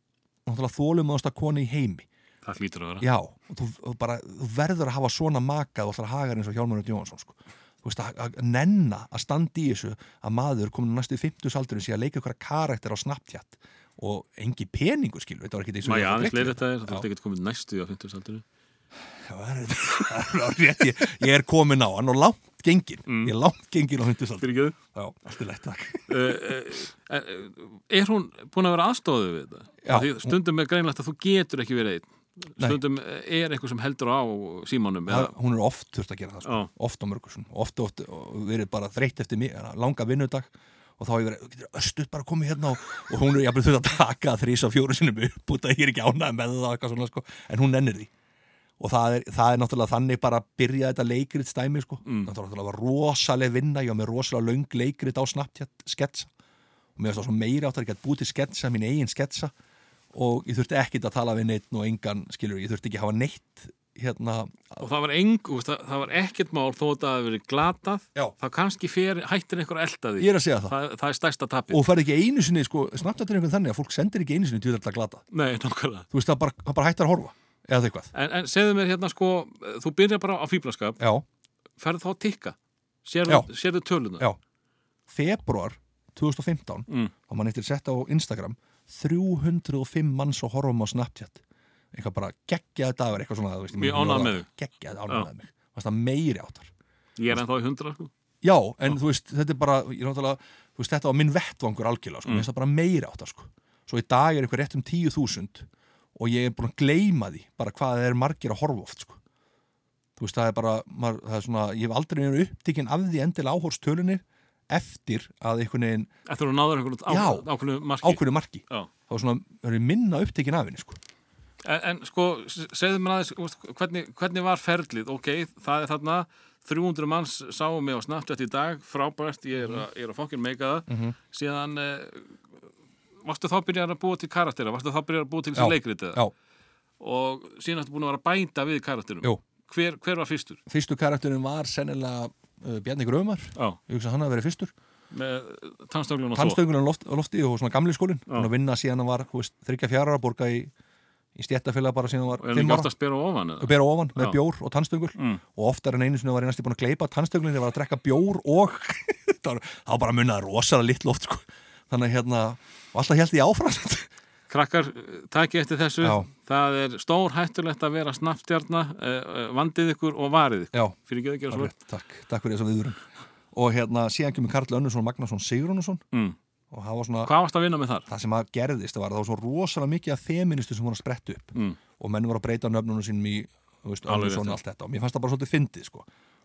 náttúrulega þólumáðasta koni í heimi Það hlýtur að vera já, og þú, og bara, þú verður að hafa svona makað og ætlar að haga þér eins og Hjálmar Örn Jóhansson sko. þú veist að, að nenna að standa í þessu að maður komin á næstu 50 saldurinn sé að leika ykkur karakter á Snapchat og engi peningur skilur, þetta var um. ekki Má ég aðeins leiðir þetta þér, Já. þú ert ekkert komið næstu á 50 saldinu Já, það er- það er alveg rétt, ég, ég er komin á hann og langt gengin, ég er langt gengin á hundusaldur Mm. Fyrir ekki Já, allt er lætt takk Er hún búin að vera aðstóðu við þetta? Já. Af Því stundum er greinlegt að þú getur ekki verið einn Nei. Stundum er eitthvað sem heldur á símanum það, eða, Hún er oft þurft að gera það sko. Já. oft á mörgur, svona. oft, oft og verið bara þreytt eftir mig, langa vinnudag og þá hef ég verið, getur östuð bara komið hérna og, og hún er jafnvel þurft að taka þrís og fjóru sinni upp út að ég er ekki ánað með það og eitthvað svona, sko. en hún nennir því og það er, það er náttúrulega þannig bara að byrja þetta leikrit stæmi sko. mm. náttúrulega var rosaleg vinna ég var með rosalega löng leikrit á Snapchat sketsa og mér varst það svo meira átt að ég gæti búið til sketsa, mín eigin sketsa og ég þurfti ekkit að tala við neitt og engan, skilur, ég þurfti ekki að hafa neitt hérna, Og það var eng, þú veist, það, það var ekkert mál þó að það hafi verið glatað Já. þá kannski fer, hættir einhver að elda því ég er að segja það það, það er stærsta tapir og ferð ekki einu sinni, sko, Snapchat er einhvern þannig að fólk sendir ekki einu sinni til þetta glata Nei, nákvæmlega þú veist, það bara, það bara hættar að horfa eða eitthvað, En, en segðu mér hérna sko, þú byrjar bara á fýblaskap, já, ferð þá að tikka, sérðu, sérðu töluna. já februar 2015 Mm. og mann eftir að setja á Instagram 305 manns og horfum á Snapchat eitthvað bara geggjaði dagur eitthvað svona, þú veist, ég Mjög mun ánægð ekki orða með það. geggjaði ánægð Já. með mig, Fannst það meiri áttar Ég er ennþá í hundra, sko. Já, en þú veist, þetta er bara, ég er náttúrulega, þú veist, þetta var minn vettvangur algjörlega, sko, mér finnst það bara meira átt sko. Svo í dag er eitthvað rétt um 10.000 og ég er búin að gleyma því bara hvað það er margir að horfa oft, sko. Þú veist, það er bara, maður, það er svona, ég hef aldrei verið upptíkin af því endilega áhorstölunni eftir að einhvern veginn Eftir að náður einhvern á- Já. ákveðnu marki. ákveðinu marki. Já. Þá er svona, það er minna upptíkin af henni, sko. En, en sko, s- segðu mér aðeins, þú veist, hvernig, hvernig var ferlið? Ok, það er þarna, 300 manns sáu mig á Snapchat í dag, frábært, ég Mhm. er, að, ég er að fokkin meika það. Síðan, eh, varstu þá byrjar að búa til karaktera, varstu þá byrjar að búa til þessi leikritið? Já, Og síðan ertu búin að vera að bæta við karakterum. jú. Hver, hver var fyrstur? Fyrstu karakterin var sennilega uh, Bjarni Gröfumar, Já, ég hugsa að hann að vera fyrstur. með tannstönglunar tannstöngurinn á loft, á lofti og svona gamli skólinn hann að vinna síðan hann var þú veist, þryggja fjárara borga í, í stjættafélag bara síðan hann Og er var hann fimm ekki ára oft að spera ofan eða? og bera ofan með Já. Mm. bjór og tannstöngul og oftar en einu sinni var ég næstu búin að gleypa tannstöngulinn þegar var að drekka bjór og það var það var bara munnaði rosalega litlu oft sko. þannig að hérna og alltaf held ég áfram Krakkar, eh, takið eftir þessu. Já. Það er stór hættulegt að vera snappstjarna, eh, eh, vandið ykkur og varið ykkur. já, Fyrir ekki að gera það er svo. rétt, takk, takk fyrir þess að viðurum og hérna síðan kemur Karl Önnursson Magnarsson Sigrunusson Mm. og það var svona Hvað varst að vinna með þar? það sem að gerðist var að það var svo rosalega mikið af feministu sem voru að spretta upp Mm. og menn voru að breyta nöfnunum sínum í þú veist, Alveg Andersson rétt, og allt þetta og mér fannst það bara svolítið fyndið sko.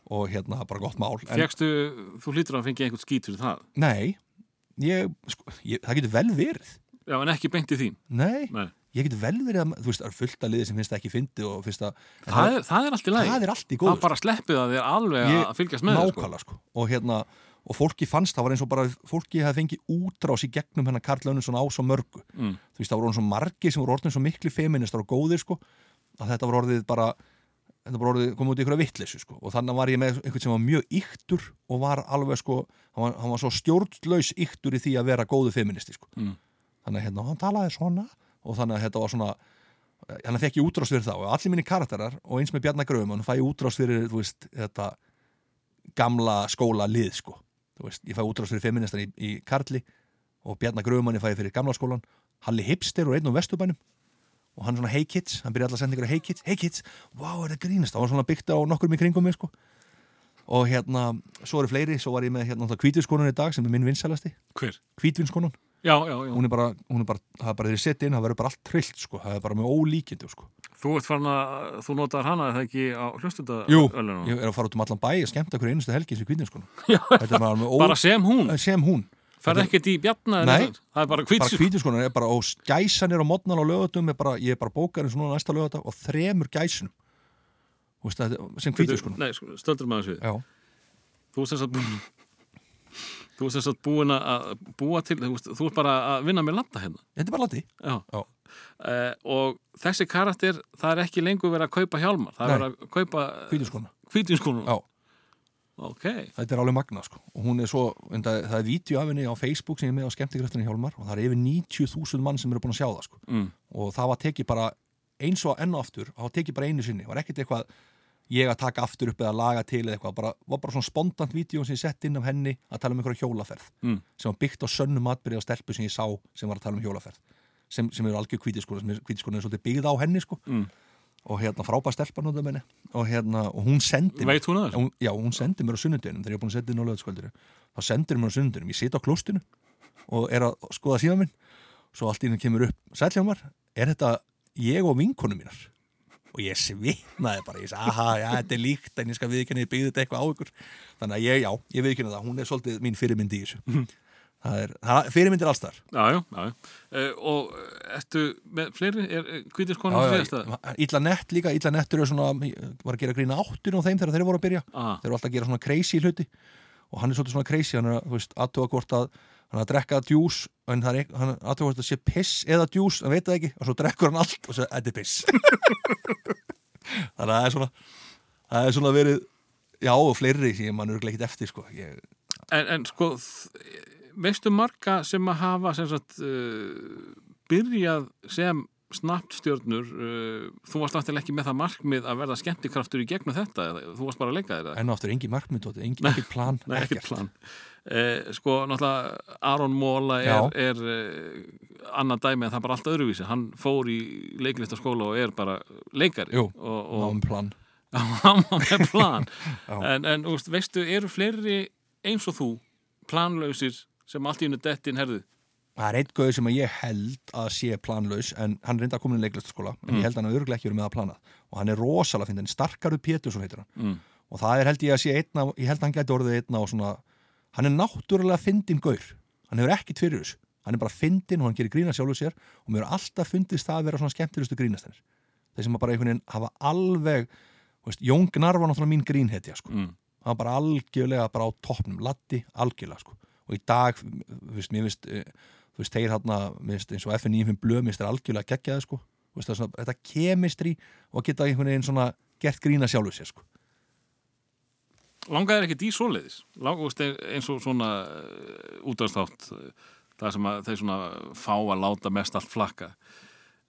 og hérna bara gott mál en, Fjekkstu, þú hlýtur að fengja einhvern skít fyrir það. nei, ég, sko, ég, það getur vel verið Já, en ekki beint í þín. nei, Nei. ég getur vel verið að, þú veist, það er fullt að liði sem finnst það ekki fyndið og finnst það en Það er, það er allt í lagi. það er allt í Það góðu bara sleppið að þér alveg Ég- að fylgjast með þér, sko. nákvæmlega sko. og hérna og fólki fannst, það var eins og bara fólki hefði fengið útrás í gegnum hennar Karl Önnunsson á svo mörgu Mm. þú veist, það voru orðin svo margir sem voru orðin svo miklu feministar og góðir sko, að þetta voru orðið bara þetta voru orðið komið út í ykkur vittleysu sko. og þannig var ég með einhvern sem var mjög yktur og var alveg sko, hann var, hann var svo stjórnlaus yktur í því að vera góðu feministi sko. Mm. þannig að hérna hann talaði svona og þannig að þetta var svona eh, hann fekk ég útrás fyrir þá og allir mínir karakterar og eins með Bjarnar Gröfum hann fæ ég útrás fyrir þú veist þetta gamla skóla lið sko þú veist ég fæ útrás fyrir feministan í, í Karli og Bjarnar Gröfum hann ég fæ fyrir gamla skólan Halli Hipster og einn og Vesturbænum og hann svona hey kids, hann byrja alltaf að senda ykkur hey kids, hey kids, wow er það grínast og hann svona byggt á nokkur í kringum mig sko og hérna, svo eru fleiri, svo var ég með hérna kvítvinskonun í dag sem er minn vinsælasti Hver? kvítvinskonun, Já, já, já. hún er bara, hún er bara það er bara þeirri sett inn, það verður bara allt trillt sko það er bara með ólíkindu sko Þú ert farin að, þú notar hana eða ekki á hlustunda ég er að fara út um allan bæ, ég skemmta hverju einustu helgi sem kvítvinskonun, þetta er bara með ó... Bara sem hún, sem hún ferð ekkert í bjarna eða Nei. neitt. það er bara bara kvítsu kvítvinskonun er bara, og gæsanir á modnal á lögatum, er bara, ég er bara bókarinn svona næsta lögata og þremur gæsunum Þú veist, þetta er- sem kvítvinskonun Nei, sko, stöldur maður svið já, Þú ert sem sagt búin Þú ert sem sagt búin að búa til Þú veist, þú ert bara að vinna með landa hérna þetta er bara lati Já, Já. Eh, og þessi karakter það er ekki lengur verið að kaupa hjálmar það er Nei. verið að kaupa kvítvinskonun, kvítinskónum sko. já ok, Þetta er alveg magna sko og hún er svo, en það, það er vídeo af henni á Facebook sem ég er með á skemmtikraftinni Hjálmar og það er yfir 90.000 mann sem eru búin að sjá það sko Mm. og það var tekið bara eins og enn og aftur, það var tekið bara einu sinni var ekkert eitthvað ég að taka aftur upp eða laga til eða eitthvað, bara, var bara svona spontant vídeo sem ég sett inn af henni að tala um einhverja hjólaferð Mm. sem var byggt á sönnum atbyrði á stelpu sem ég sá sem var að tala um hjólaferð sem, sem eru algjör kvítiskona, sem er, kvítiskona er svolítið byggð á henni sko Mm. og hérna frábæð stelpa nota bene. og hérna, og hún sendi mér- veit hún að En hún, já, hún sendir mér á sunnundinum þegar ég er búin að senda inn á löðskvöldinu þá sendir hún mér á sunnundinum, ég sit á klóstinu og er að skoða síðan minn svo allt í henni kemur upp, sæljómar er þetta ég og vinkonum mínar og ég svitnaði bara ég sagði, aha, já, þetta er líkt en ég skal viðkynna ég byggði þetta eitthvað á ykkur þannig að ég, já, ég viðkynna það, hún er svolítið mín fyrirmynd í þessu Mhm. það er, það, fyrirmynd er alls þar Já, já, já. Uh, og ertu með fleiri, er kvítiskona Já, já, síðasta? illa nett líka, illa nettur er svona, var að gera grína áttur á þeim þegar þeir voru að byrja Aha. þeir eru alltaf að gera svona crazy hluti og hann er svolítið svona crazy, hann er að, þú veist, aðtöga hvort að hann er að drekka djús en það er ekki, hann er aðtöga hvort að sé piss eða djús, hann veit það ekki, og svo drekkur hann allt og svo þetta er piss þannig að það er svona það er svona verið, já og fleiri sem mann er ekki eftir sko ég, En, en sko, þ- veistu marga sem að hafa sem sagt uh, byrjað sem snappstjörnur uh, þú varst náttúrulega ekki með það markmið að verða skemmtikraftur í gegnum þetta eða þú varst bara að leika þér eða? enn og aftur, engin markmynd engin, engin plan, Nei, ekkert plan. Eh, sko, náttúrulega Aron Móla Já. er, er eh, annað dæmi en það er bara allt öðruvísi hann fór í leiklistaskóla og er bara leikari Jú, og, og, náum plan hann var með plan Já. en, en þú veist, veistu, eru fleiri eins og þú planlausir sem allt í hennu dettin herðu Það er einn gauð sem að ég held að sé planlaus en hann er reynda að koma inn í leiklistaskóla en ég held að hann að örglega ekki verið með að planað og hann er rosalega fyndin, starkaru Pétursson heitir hann Mm. og það er held ég að sé einna ég held að hann gæti orðið einna og svona hann er náttúrulega fyndin gaur hann hefur ekki fyrir þessu, hann er bara fyndin og hann gerir grína sjálfur sér og mér er alltaf fundist það að vera svona skemmtilegustu grínastennir þeir sem að bara einhvern veginn hafa alveg þú veist, Jón Gnar var náttúrulega mín grínhetja sko. Mm. hann var bara algjörlega bara á toppnum Latti algjörlega sko. og í dag, þú veist, mér veist þú veist, þeir hérna, mér veist, eins og FN95 blöð, mér veist, er algjörlega geggjaði sko. Þú veist, það er svona, þetta kemistri og að geta einhvern veginn svona gert grína sjálfur sér sko. langaðir ekki í svoleiðis Lang, þú veist, eins og svona eh, útvarstátt það sem að þeir svona fá að láta mest allt flakka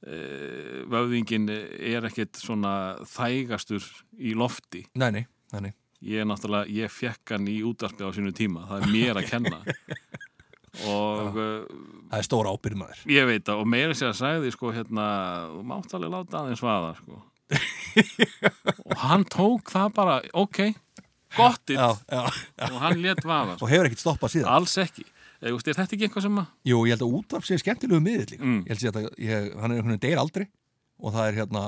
Eh, vöfðingin er ekkit svona þægastur í lofti nei, nei, nei, nei. ég er náttúrulega, ég fekk hann í útvarpið á sínu tíma, það er mér að kenna og eh, það er stóra ábyrð maður Ég veit það og meira sér að sagði sko hérna, þú mátt alveg láta aðeins vaða sko. og hann tók það bara, ok, gott it já, já. og hann let vaða, sko. og hefur ekkert stoppað síðan alls ekki. Eða, þú veist, er þetta ekki eitthvað sem að, Jú, ég held að útvarp sé skemmtilegu miðill líka. Mm. Ég held sé að þetta- ég, hann er einhvern veginn deyr aldrei og það er hérna,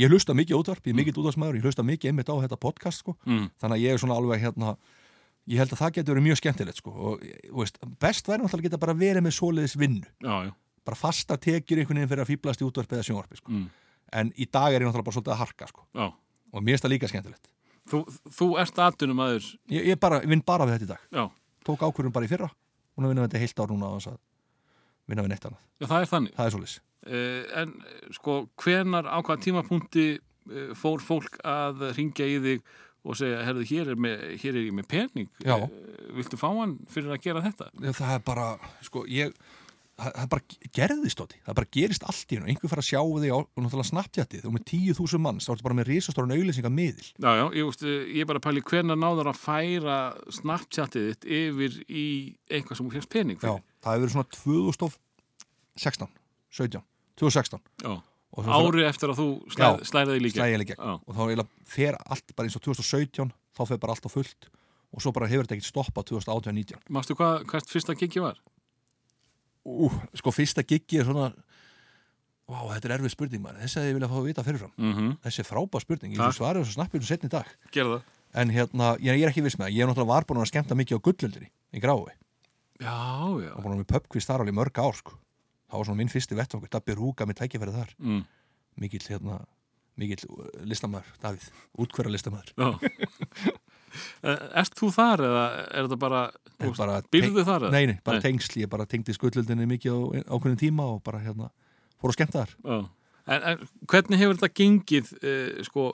ég hlusta mikið á útvarp, ég er mikill útvarpsmaður, ég hlusta mikið einmitt á þetta podcast sko, Mm. þannig að ég er svona alveg hérna, ég held að það getur verið mjög skemmtilegt sko og þú veist, best væri náttúrulega að geta bara verið með svoleiðis vinnu, já, já, bara fasta tekjur einhvern veginn fyrir að fýblast í útvarp eða sjónvarpi sko. Mm. En í dag er ég náttúrulega bara svolítið að harka sko já. og mér er það líka skemmtilegt. Þú, þú ert aðdunum aður, Ég, ég bara, ég vinn bara við þetta í dag. já, Tók ákvörðun bara í fyrra, hún er vinnað þetta heilt ár núna á þess að vinna við neitt annað. já, það er þannig. Það er svoleiðis. Uh, en eh, sko, hvenar á hvaða tímapunkti uh, fór fólk að ringja í þig og segja, herðu, hér er, með, hér er ég með pening, Já. Eh, viltu fá hann fyrir að gera þetta? Já, það er bara, sko, ég það það bara gerðist Doddi, það bara gerist allt í hennu einhver fara að sjá þig á, og náttúrulega snapptjættið og með 10.000 manns, þá ertu bara með risastóran auðlýsingar miðil, Já, já, ég, veist, ég er bara að pæli hvernig náður að færa Snapchatið þitt yfir í eitthvað sem þú fjast pening já, fyrir. það hefur verið svona 2016, 17 2016, Já. og svo- Ári eftir að þú slæ, Já, slæðið í líka. slæja í gegn Já, og þá eiginlega fer allt bara eins og 2017 þá fer bara allt á fullt og svo bara hefur þetta ekkert stoppað 2018-19 mástu hvað, hvert fyrsta gigi var? Ú, sko fyrsta giggi er svona Vá, þetta er erfið spurning maður þessi hefði ég viljað fá að vita fyrirfram Mm -hmm. þessi er frábær spurning, ég Takk. svo svarið þessu snappinu setni í dag Gerða það. en hérna, ég ég er ekki viss með það ég er náttúrulega var búin að skemmta mikið á gullöldinni í grái, Já, já. og búin að við pubquiz þar alveg í mörg ár sko. það var svona minn fyrsti vettvang Dabbi Rúka með tækifæri þar Mm. mikill, hérna, mikill uh, listamaður, Davíð, útkverra listamaður Já. Eh, Ert þú þar eða er þetta bara, þú veist, bara býrðu þar? eða? Nei, nei, bara Nei. tengsl, ég bara tengdi skullöldinni mikið á ákveðin tíma og bara hérna fór að skemmta þar. Já. En, en hvernig hefur þetta gengið eh, sko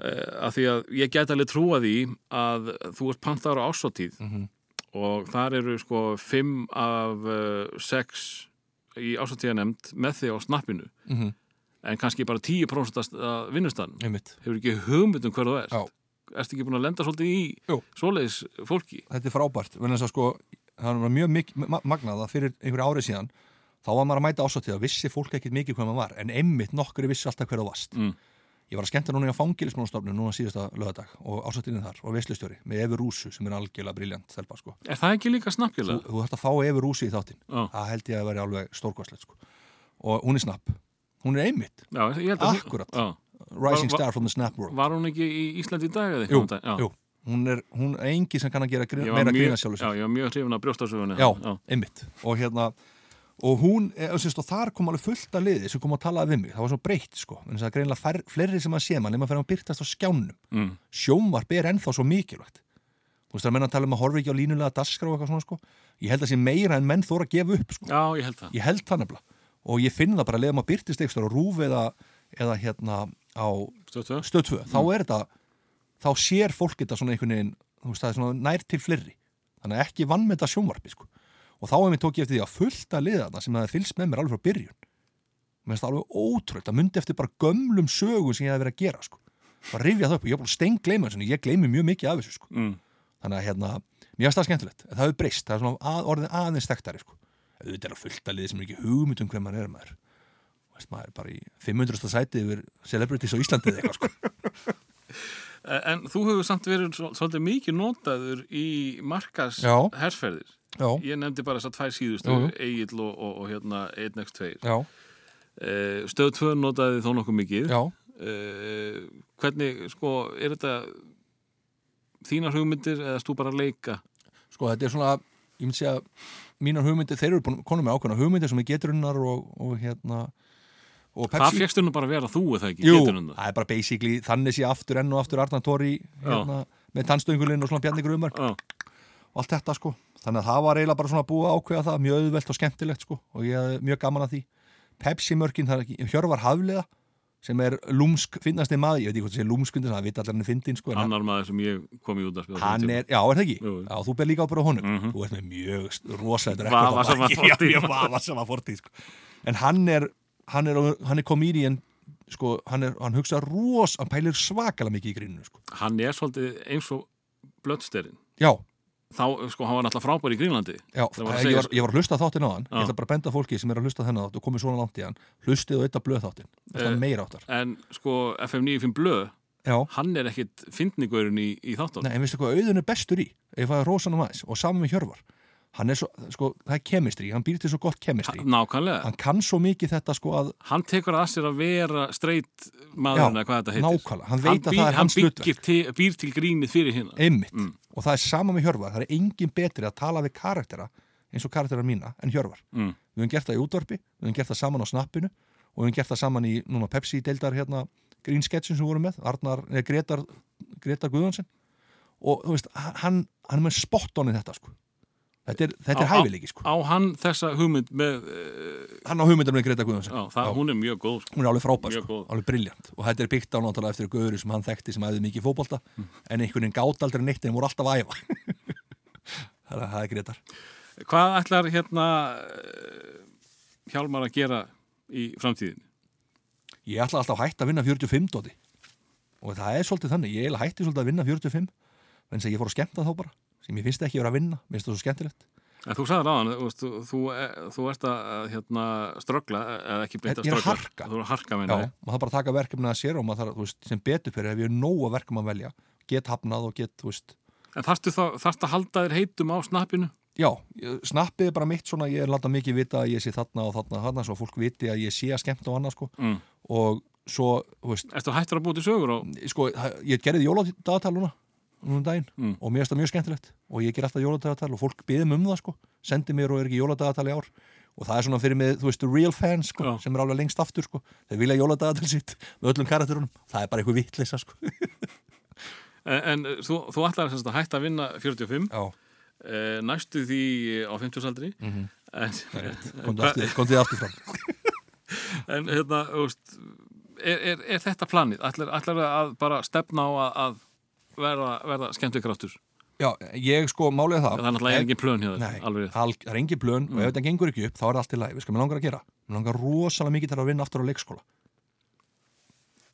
eh, að því að ég get alveg trúa því að þú ert pantaður á ásatíð Mhm. og þar eru sko fimm af eh, sex í ásatíða með þig á snappinu Mm -hmm. en kannski bara 10% að vinnustann Einmitt. hefur ekki hugmynd um hver þú ert Já. ertu ekki búin að lenda svolítið í Jú. svoleiðis fólki Þetta er frábært, vegna þess að sko það var mjög mik- ma- magnað að fyrir einhverju árið síðan þá var maður að mæta ásatíð að vissi fólk ekkert mikið hvað maður var, en einmitt nokkri vissi alltaf hver þú varst. Mm. Ég var að skemmta núna í fangilismánustofnun núna síðasta lögadag og ásatíðin þar og veslustjóri með Efi Rúsu sem er algjörlega briljant þelpa sko. er það ekki líka Þú, snappjulega? þú þarft að fá Efi Rúsu í þáttinn. Já. Það held ég að vera alveg stórkvæslegt sko. Og hún er snapp. Hún er einmitt. Já, ég held að Akkurat. Já. Rising Var- var- star from the snap world var hún ekki í Íslandi í dag eða Jú, eitthvað? um Já. jú. Hún er, hún er engi sem kann að gera grín, Ég var meira mjög- grína sjálfur Já, sér. ég var mjög hrifin að brjóstasögunni Já, einmitt. Og hérna, og hún, e, sérst, og þar kom alveg fullt af liði sem kom að tala við mig. Það var svo breytt, sko. En það er greinlega fær, fleiri sem að sé mann, nema fyrir að byrtast á skjánum. mm. Sjónvarp er ennþá svo mikilvægt. Þú veist það er menn að tala um að horfa ekki á línulega daskra og eitthvað svona, sko. Ég held að sé meira en menn þóra að gefa upp, sko. já, ég held það Ég held það nefnilega. Og ég finn það bara að leiða maður byrtist eitthvað á rúf eða, eða hérna á Stöð tvö. Mm. stöð 2, þá er þetta þá sér fólk þetta svona einhvern veginn þú veist, það er svona nær til fleiri þannig að ekki vann með þetta sjónvarpi sko. og þá hefum við tók ég eftir því að fullta liðana sem það fylgst með mér alveg frá byrjun mér finnst það alveg ótröld, það myndi eftir bara gömlum sögum sem ég hef verið að gera sko. bara rifja það upp og ég er búin stein gleyma þessu en ég gleymi mjög mikið af þessu sko. Mm. þannig að hérna, mér finnst það skemmtilegt En það hefur breyst, það er svona að, orðin aðeins þekktari sko. auðvitað er að fullta liði sem er ekki hugmynd um hver maður er maður Þú veist, maður er bara í 500. sæti yfir celebrities á Íslandi eða eitthvað sko. En- Eh, En þú hefur samt verið svol- svolítið mikið notaður í markas Já. herrferðir. Já, Ég nefndi bara þess að tvær síðustu, Jú, jú. Egil og, og, og hérna 1x2. já, Eh, Stöð 2 notaði þó nokkuð mikið. já Eh, Hvernig, sko, er þetta þínar hugmyndir eða erst þú bara að leika? Sko þetta er svona, ég myndi segja mínar hugmyndir, þeir eru búin, konum með ákveðna hugmyndir sem er geturinnar og, og hérna og Það Pepsi fegst hennu bara að vera þú eða ekki? Jú, getur hún það? það er bara basically þannig sé aftur enn og aftur Arnar Tóri hérna, með tannstöngulinn og svona Bjarni Grumar Já, og allt þetta sko þannig að það var eiginlega bara svona búið að ákveða það mjög auðvelt og skemmtilegt sko og ég hafði mjög gaman að því Pepsi mörkin, það er ekki, Hjörvar Hafliða sem er lúmsk, finnasti maður ég veit ekki hvort það sé lúmsk, finnast, það vita allir hann er fyndin sko, en hann- annar maður sem ég kom í út að spila. hann er, já, er það ekki? Jú, jú. Já, þú ber líka ábyrgð á honum þú ert með mjög st- rosalega Vafasama fortíð. vafa sem að fortíð sko. en hann er hann er, hann er komedian sko, hann, er, hann hugsa ros, hann pælir svakalega mikið í gríninu sko. Hann er svolítið eins og blöttsterinn. já, Þá, sko, hann var náttúrulega frábær í Grínlandi. já, Það var að ég segja, sko. var, ég var að hlusta á þáttinn á hann Já. ég ætla bara að benda fólki sem er að hlusta þennan þátt og komið svona langt í hann, hlustið og eitthvað blöð þáttinn þetta Eh, er meira áttar En sko, FM 95 Blöð, já, hann er ekkit fyndningurinn í, í þáttunum. nei, en veistu hvað auðun er bestur í ef það er rosanum aðeins og saman með Hjörvar hann er svo, sko, það er kemistri, hann býr til svo gott kemistri Nákvæmlega. hann kann svo mikið þetta sko að Hann tekur að sér að vera straight maðurinn Já, eða hvað þetta heitir. nákvæmlega. Hann veit að það er hann hans byggir til, býr til grínið fyrir hérna. einmitt og það er sama með Hjörvar, það er engin betri að tala við karaktera eins og karaktera mína en Hjörvar, Mm. við höfum gert það í útvarpi við höfum gert það saman á snappinu og við höfum gert það saman í núna Pepsi deildar hérna grínsketsin sem við vorum með, Arnar, nei, Gretar Gretar Guðjónsson og þú veist, hann, hann er með spot on í þetta sko, þetta er, þetta Á- er á- hæfileiki sko, Á hann þessa hugmynd með, uh, hann á hugmyndar með Gretar Guðjónsson á, það, hún er mjög góð. sko. hún er alveg frábær, Mjög sko, góð. alveg briljant og þetta er byggt á náttúrulega eftir göðuru sem hann þekkti sem æði mikið í fótbolta Mm. en einhvern veginn gátt aldrei neitt en voru alltaf að æfa þannig að það er greitar Hvað ætlar hérna eh, Hjálmar að gera í framtíðin? Ég ætla alltaf að hætta að vinna 45 dóti og það er svolítið þannig, ég ætla hætti svolítið að vinna 45 en ég fór að skemmta þá bara sem ég finnst ekki að vera að vinna, mér finnst það svo skemmtilegt En þú sagði ráðan, þú, veist, þú, þú, eh, þú ert að hérna, ströggla, eða ekki beint að Ég er að ströggla. harka. Þú er að harka Já, minna. maður þarf bara að taka verkefni að sér og maður þarf, þú veist, sem betur fyrir ef ég er nóg að verkefni að velja, get hafnað og get, þú veist, En þarftu þá, þarftu að halda þér heitum á snappinu? já, ég- snappið er bara mitt svona, ég er láta mikið vita að ég sé þarna og þarna og þarna, svo fólk viti að ég sé að skemmta og annað, sko, Mm. og svo, þú veist, Ertu hættur að búti sögur á? sko, það- ég gerði jóladagatal núna, núna um daginn, Mm. og mér finnst það mjög skemmtilegt, og ég ger alltaf jóladagatal og fólk byðum um það, sko, sendi mér og er ekki jóladagatal í ár, og það er svona fyrir mig, þú veist, real fans, sko, Já. sem er alveg lengst aftur, sko, þeir vilja jóladagatal sitt með öllum karakterunum, það er bara eitthvað vitleysa, sko. En, en eh, þú, þú ætlar sem sagt að hætta að vinna 45, Já. eh, næstu því eh, á 50 aldri. Mhm. en, Komdu aftur, komdu aftur fram en hérna, úst, er, er, er þetta planið? Ætlar, ætlar að bara stefna á að, að verða, verða skemmt ykkur áttur? Já, ég sko málið er það Það er náttúrulega Ef- engin plön hjá Nei, þér, alveg rétt. Mm. al- það er engin plön og ef þetta gengur ekki upp þá er það allt í lagi, við sko, mér langar að gera Mér langar rosalega mikið til að vinna aftur á leikskóla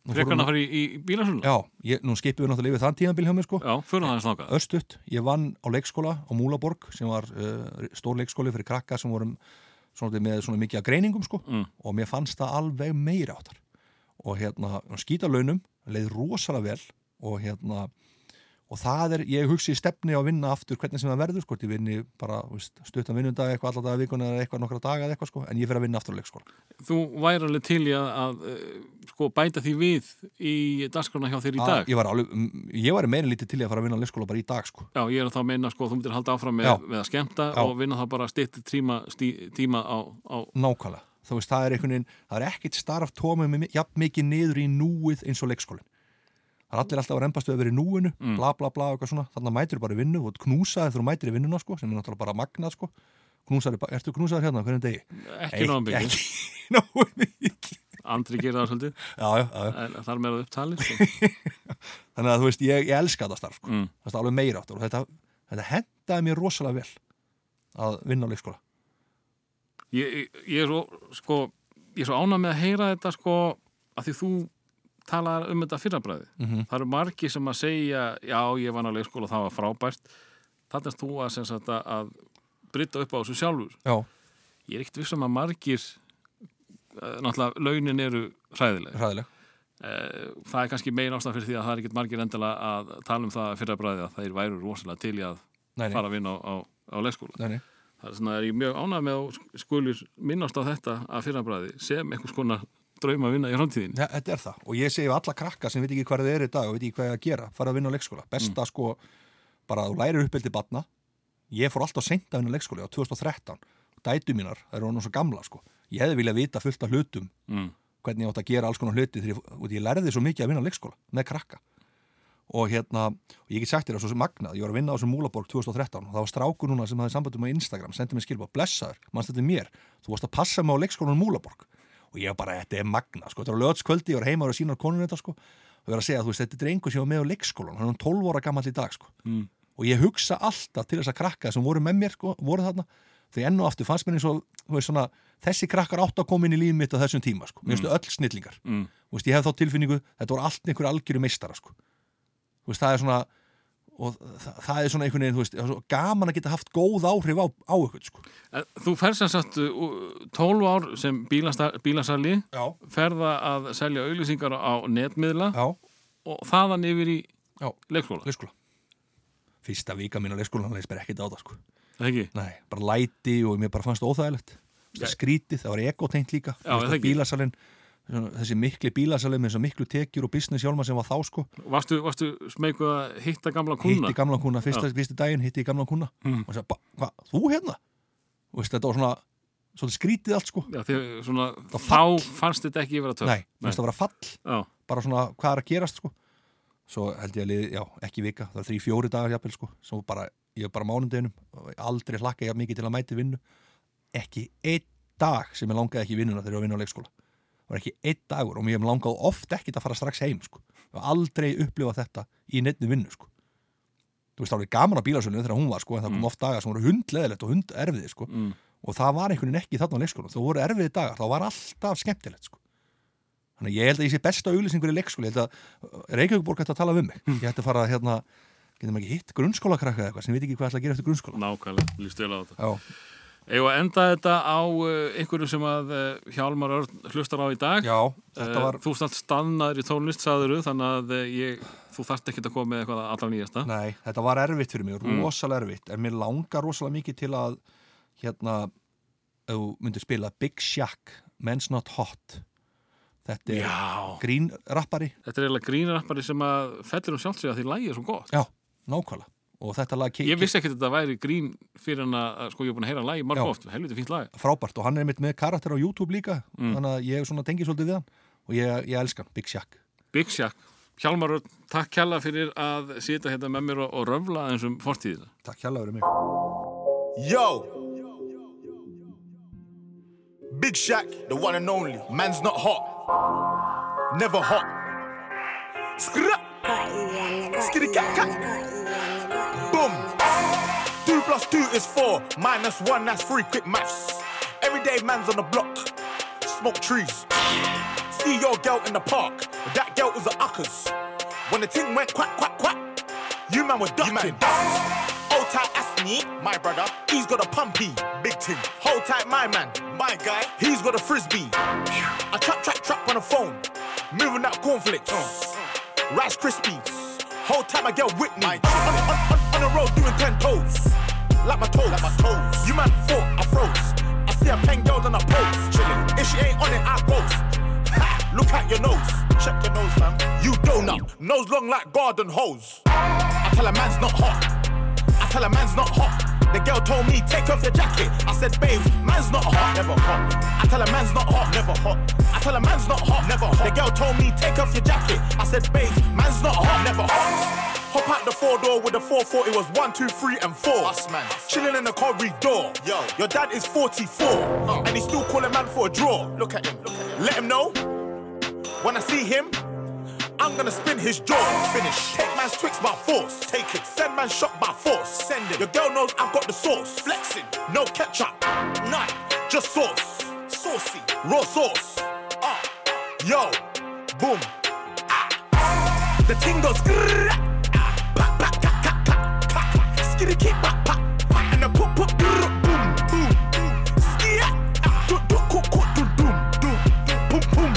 Nú Frekar fórum- hann að fara í, í bílasölu? Já, ég, nú skipum við náttúrulega yfir þann tíðanbíl hjá mér sko Já, fyrir það hans nákað. Östutt, ég vann á leikskóla á Múlaborg sem var uh, stór leikskóli fyrir krakka sem vorum svona, með svona mikið að greiningum sko Mm. og mér fannst það alveg meira áttar og hérna, skýta launum leið rosalega vel og hérna og það er, ég hugsi í stefni á að vinna aftur hvernig sem það verður, sko, ég vinni bara þú veist, stuttan vinnundag eitthvað, alltaf dagar vikuna eða eitthvað nokkra daga eða eitthvað, sko, en ég fyrir að vinna aftur á leikskóla Þú væri alveg til í að, að eh, sko, bæta því við í dagskrána hjá þér í Að- dag. ég var alveg, mm, ég var meira en lítið til í að fara að vinna á leikskóla bara í dag, sko, Já, ég er að þá að meina, sko, þú myndir halda áfram með, Já. með að skemmta Já. og vinna þá bara stýtti tíma, stí, tíma á, á... nákvæmlega þú veist, það er einhvern veginn, það er ekkit starf tómið með jafn mikið niður í núið eins og leikskólin það er allir alltaf að rempast yfir í núinu, Mm. bla bla bla og eitthvað svona, þannig að mætir bara í vinnu og knúsaðir þú mætir í vinnuna, sko, sem er náttúrulega bara magnað, sko, knúsaðir, ertu knúsaðir hérna á hvernig degi? ekki náðan byggja. ekki nógu mikið Andri gerir það svolítið, já, já, já, já. en þar meira upptalið. Sko. þannig að þú veist, ég, ég elska þetta starf sko. Mm. þetta er alveg meira áttur og þetta, þetta hendaði mér rosalega vel að vinna á leikskóla Ég, ég, ég er svo, sko, ég er svo ánað með að heyra þetta, sko, að því þú talar um þetta fyrrabræði. Mhm. Það eru margi sem að segja, já, ég var nálega í skóla, það var frábært. Þannig að þú að, sem sagt, að- að brytta upp á þessu sjálfur. já, Ég er ekkert vissum að margir, eh, náttúrulega, launin eru hræðileg. ræðileg Eh, Það er kannski megin ástæð fyrir því að það er ekkert margir endilega að tala um það fyrrabræði að þeir væru rosalega til í að nei, nei, fara að vinna á, á, á leikskóla. nei, nei. Það er svona, er ég mjög ánægð með að þú skulir minnast á þetta að fyrrabræði sem einhvers konar draum að vinna í framtíðin. Ja, þetta er það og ég segi við alla krakka sem veit ekki hvað það er í dag og veit ekki hvað það að gera, fara að vinna á leikskóla besta sko, bara að þú lærir uppbyldi batna ég fór alltaf seint að vinna á leikskóla á 2013, dætu mínar það eru hann svo gamla sko, ég hefði viljað vita fullt af hlutum Mm. hvernig ég átt að gera alls konar hluti þegar ég, út, ég lærði svo mikið að vinna á leikskóla með krakka og hérna, og ég get sagt þér að svo sem magnað, ég var að vinna á þessum Múlaborg 2013 og það var strákur núna sem hafði sambandum á Instagram sendið mér skilbað, blessaður, mannst þetta mér þú varst að passa mig á leikskólanum Múlaborg og ég var bara, þetta er magnað, sko, þetta var lögskvöldi ég var heima og var að sína konun þetta, sko og ég var að segja, þú veist, þetta er drengur sem var með á leikskólan hann er 12 ára gammal í dag, sko Mm. og ég hugsa alltaf til þess að krakka sem voru með mér, sko, voru þarna því enn og aftur fannst mér eins og, þú veist, svona þessi krakkar átt að koma inn í líf mitt á þessum tíma, sko, mér finnst öll snillingar Mm. Þú veist, ég hef þá tilfinningu, þetta voru allt einhverju algjöru meistara sko. Þú veist, það er svona og það, það er svona einhvern veginn, þú veist það er svo gaman að geta haft góð áhrif á, á ykkur sko. En Þú ferð sem sagt uh, 12 ár sem bílasta- bílasali, já, ferða að selja auglýsingar á netmiðla já, og þaðan yfir í já, leikskóla. leikskóla fyrsta vika mín á leikskóla, hann leist mér ekkert á það sko. Það ekki? Nei, bara læti og mér bara fannst það óþægilegt Þú veist, það skrítið, það var ekotengt líka Já, Þú veist, það að ekki. bílasalinn, svona, þessi mikli bílasalinn með þessi miklu tekjur og business hjálma sem var þá sko, Varstu, varstu smeyku að hitta gamla kúna? hitti gamlan kuna, fyrsta, fyrsta daginn hitti ég gamlan kuna Mm. og sagði, "Ba- hvað, þú hérna? Þú Veist, þetta var svona, svona skrítið allt sko Já, því, svona, Það þá fannst þetta ekki vera töf. Nei, finnst það vera fall, Já, bara svona hvað er að gerast sko Svo held ég að liði, já, ekki vika, það var þrý, fjóri dagar jafnvel sko Svo bara, ég var bara mánudeginum, aldrei hlakka ég jafn mikið til að mæti vinnu Ekki einn dag sem ég langaði ekki í vinnuna þegar ég var að vinna á leikskóla Það var ekki einn dagur og mér langaði oft ekkit að fara strax heim sko Ég var aldrei upplifa þetta í neittni vinnu sko Þú þú veist, það var gaman á bílasölu þegar hún var sko, en það kom oft dagar sem voru hundleðilegt og hunderfið sko. Mm. og það var einhvern veginn ekki þarna á leikskóla þú voru erfiði dagar, það var alltaf skemmtilegt sko. þannig að ég held að ég sé besta auglýsingur í leikskóla, ég held að Reykjavíkborg ætti að tala við mig, ég ætti að fara að, hérna getum ekki hitt grunnskólakrakka eða eitthvað sem ég veit ekki hvað ætla að gera eftir grunnskóla nákvæmlega, líst vel á þetta Já, Eigum að enda þetta á uh, einhverju sem að uh, Hjálmar Örn hlustar á í dag Eh, já þetta var, Þú stannst stannaður í tónlist, sagðuru þannig að uh, ég, þú þarft ekki að koma með eitthvað allra nýjasta nei, þetta var erfitt fyrir mig, Hmm. rosalega erfitt en mér langar rosalega mikið til að hérna, ef þú myndir spila Big Shack, Men's Not Hot þetta er Já, grínrappari þetta er eiginlega grínrappari sem að fellir um sjálfsögja því lægi er svo gott Já, nákvæmlega og þetta lag Ég keiki vissi ekki að þetta væri grín fyrir hann að sko ég er búin að heyra lægi marg Já. oft, helviti fínt lag frábært og hann er einmitt með karakter á YouTube líka þannig að ég svona tengi svolítið við hann og ég, ég elska hann, Big Shack Big Shack, Hjálmar Örn, takk kjalla fyrir að sita hérna með mér og, og röfla eins um fortíðina Takk hérlega fyrir mig Yo! Big Shaq, the one and only. Man's not hot. Never hot. Skra! Skitty cat cat. Boom! Two plus two is four. Minus one, that's three. Quick maths. Everyday man's on the block. Smoke trees. See your girl in the park. But that girl was a uckers. When the ting went quack, quack, quack, you man were ducking. Hold tight, Asni, my brother. He's got a pumpy, big ting. Hold tight, my man, my guy. He's got a frisbee. I trap, trap, trap on the phone. Moving that cornflakes. Rice Krispies. Whole time I get Whitney. On, on, on, on the road doing ten toes. Like my toes. Like my toes. You man thought I froze. I see a pen girl on a post. Chilling. If she ain't on it, I ghost. Ha! Look at your nose. Check your nose, man. You donut. Nose long like garden hose. I tell a man's not hot. I tell a man's not hot. The girl told me, take off your jacket. I said, babe, man's not hot. Never hot. I tell a man's not hot. Never hot. I tell a man's not hot. Never hot. The girl told me, take off your jacket. I said, babe, man's not hot. Never hot. Hop out the four door with the 440 it was one, two, three, and four. Us man. Chilling in the corridor. Yo. Your dad is 44. And he's still calling man for a draw. Look at him. Look at him. Let him know. When I see him, I'm gonna spin his jaw. Finish. Take man's Twix by force. Take it. Send man's shot by force. Send it. Your girl knows I've got the sauce. Flexing. No ketchup. None. Just sauce. Saucy. Raw sauce. Uh. Yo. Boom. Ah. The ting goes. grrrr. Ah. Ba, ba, ka, ka, ka, ka. Skitty kick. Ba, ba, ba. And the pop pop. grrrr. Boom. Boom. Boom. Skia. Ah. Do, do, ko, ko, do, doom. Doom. Boom. Boom.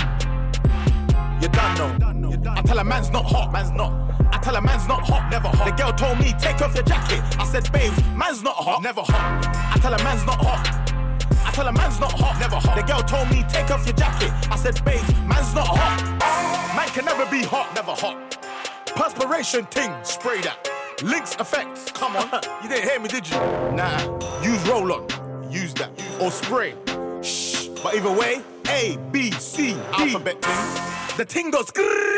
You done know. I tell a man's not hot, man's not. I tell a man's not hot, never hot. The girl told me take off your jacket. I said, babe, man's not hot, never hot. I tell a man's not hot. I tell a man's not hot, never hot. The girl told me take off your jacket. I said, babe, man's not hot. Man can never be hot, never hot. Perspiration ting, spray that. Links effects, come on. you didn't hear me, did you? Nah. Use roll on, use that, or spray. Shh. But either way, A, B, C, D. Alphabet ting. The ting goes. grrrr,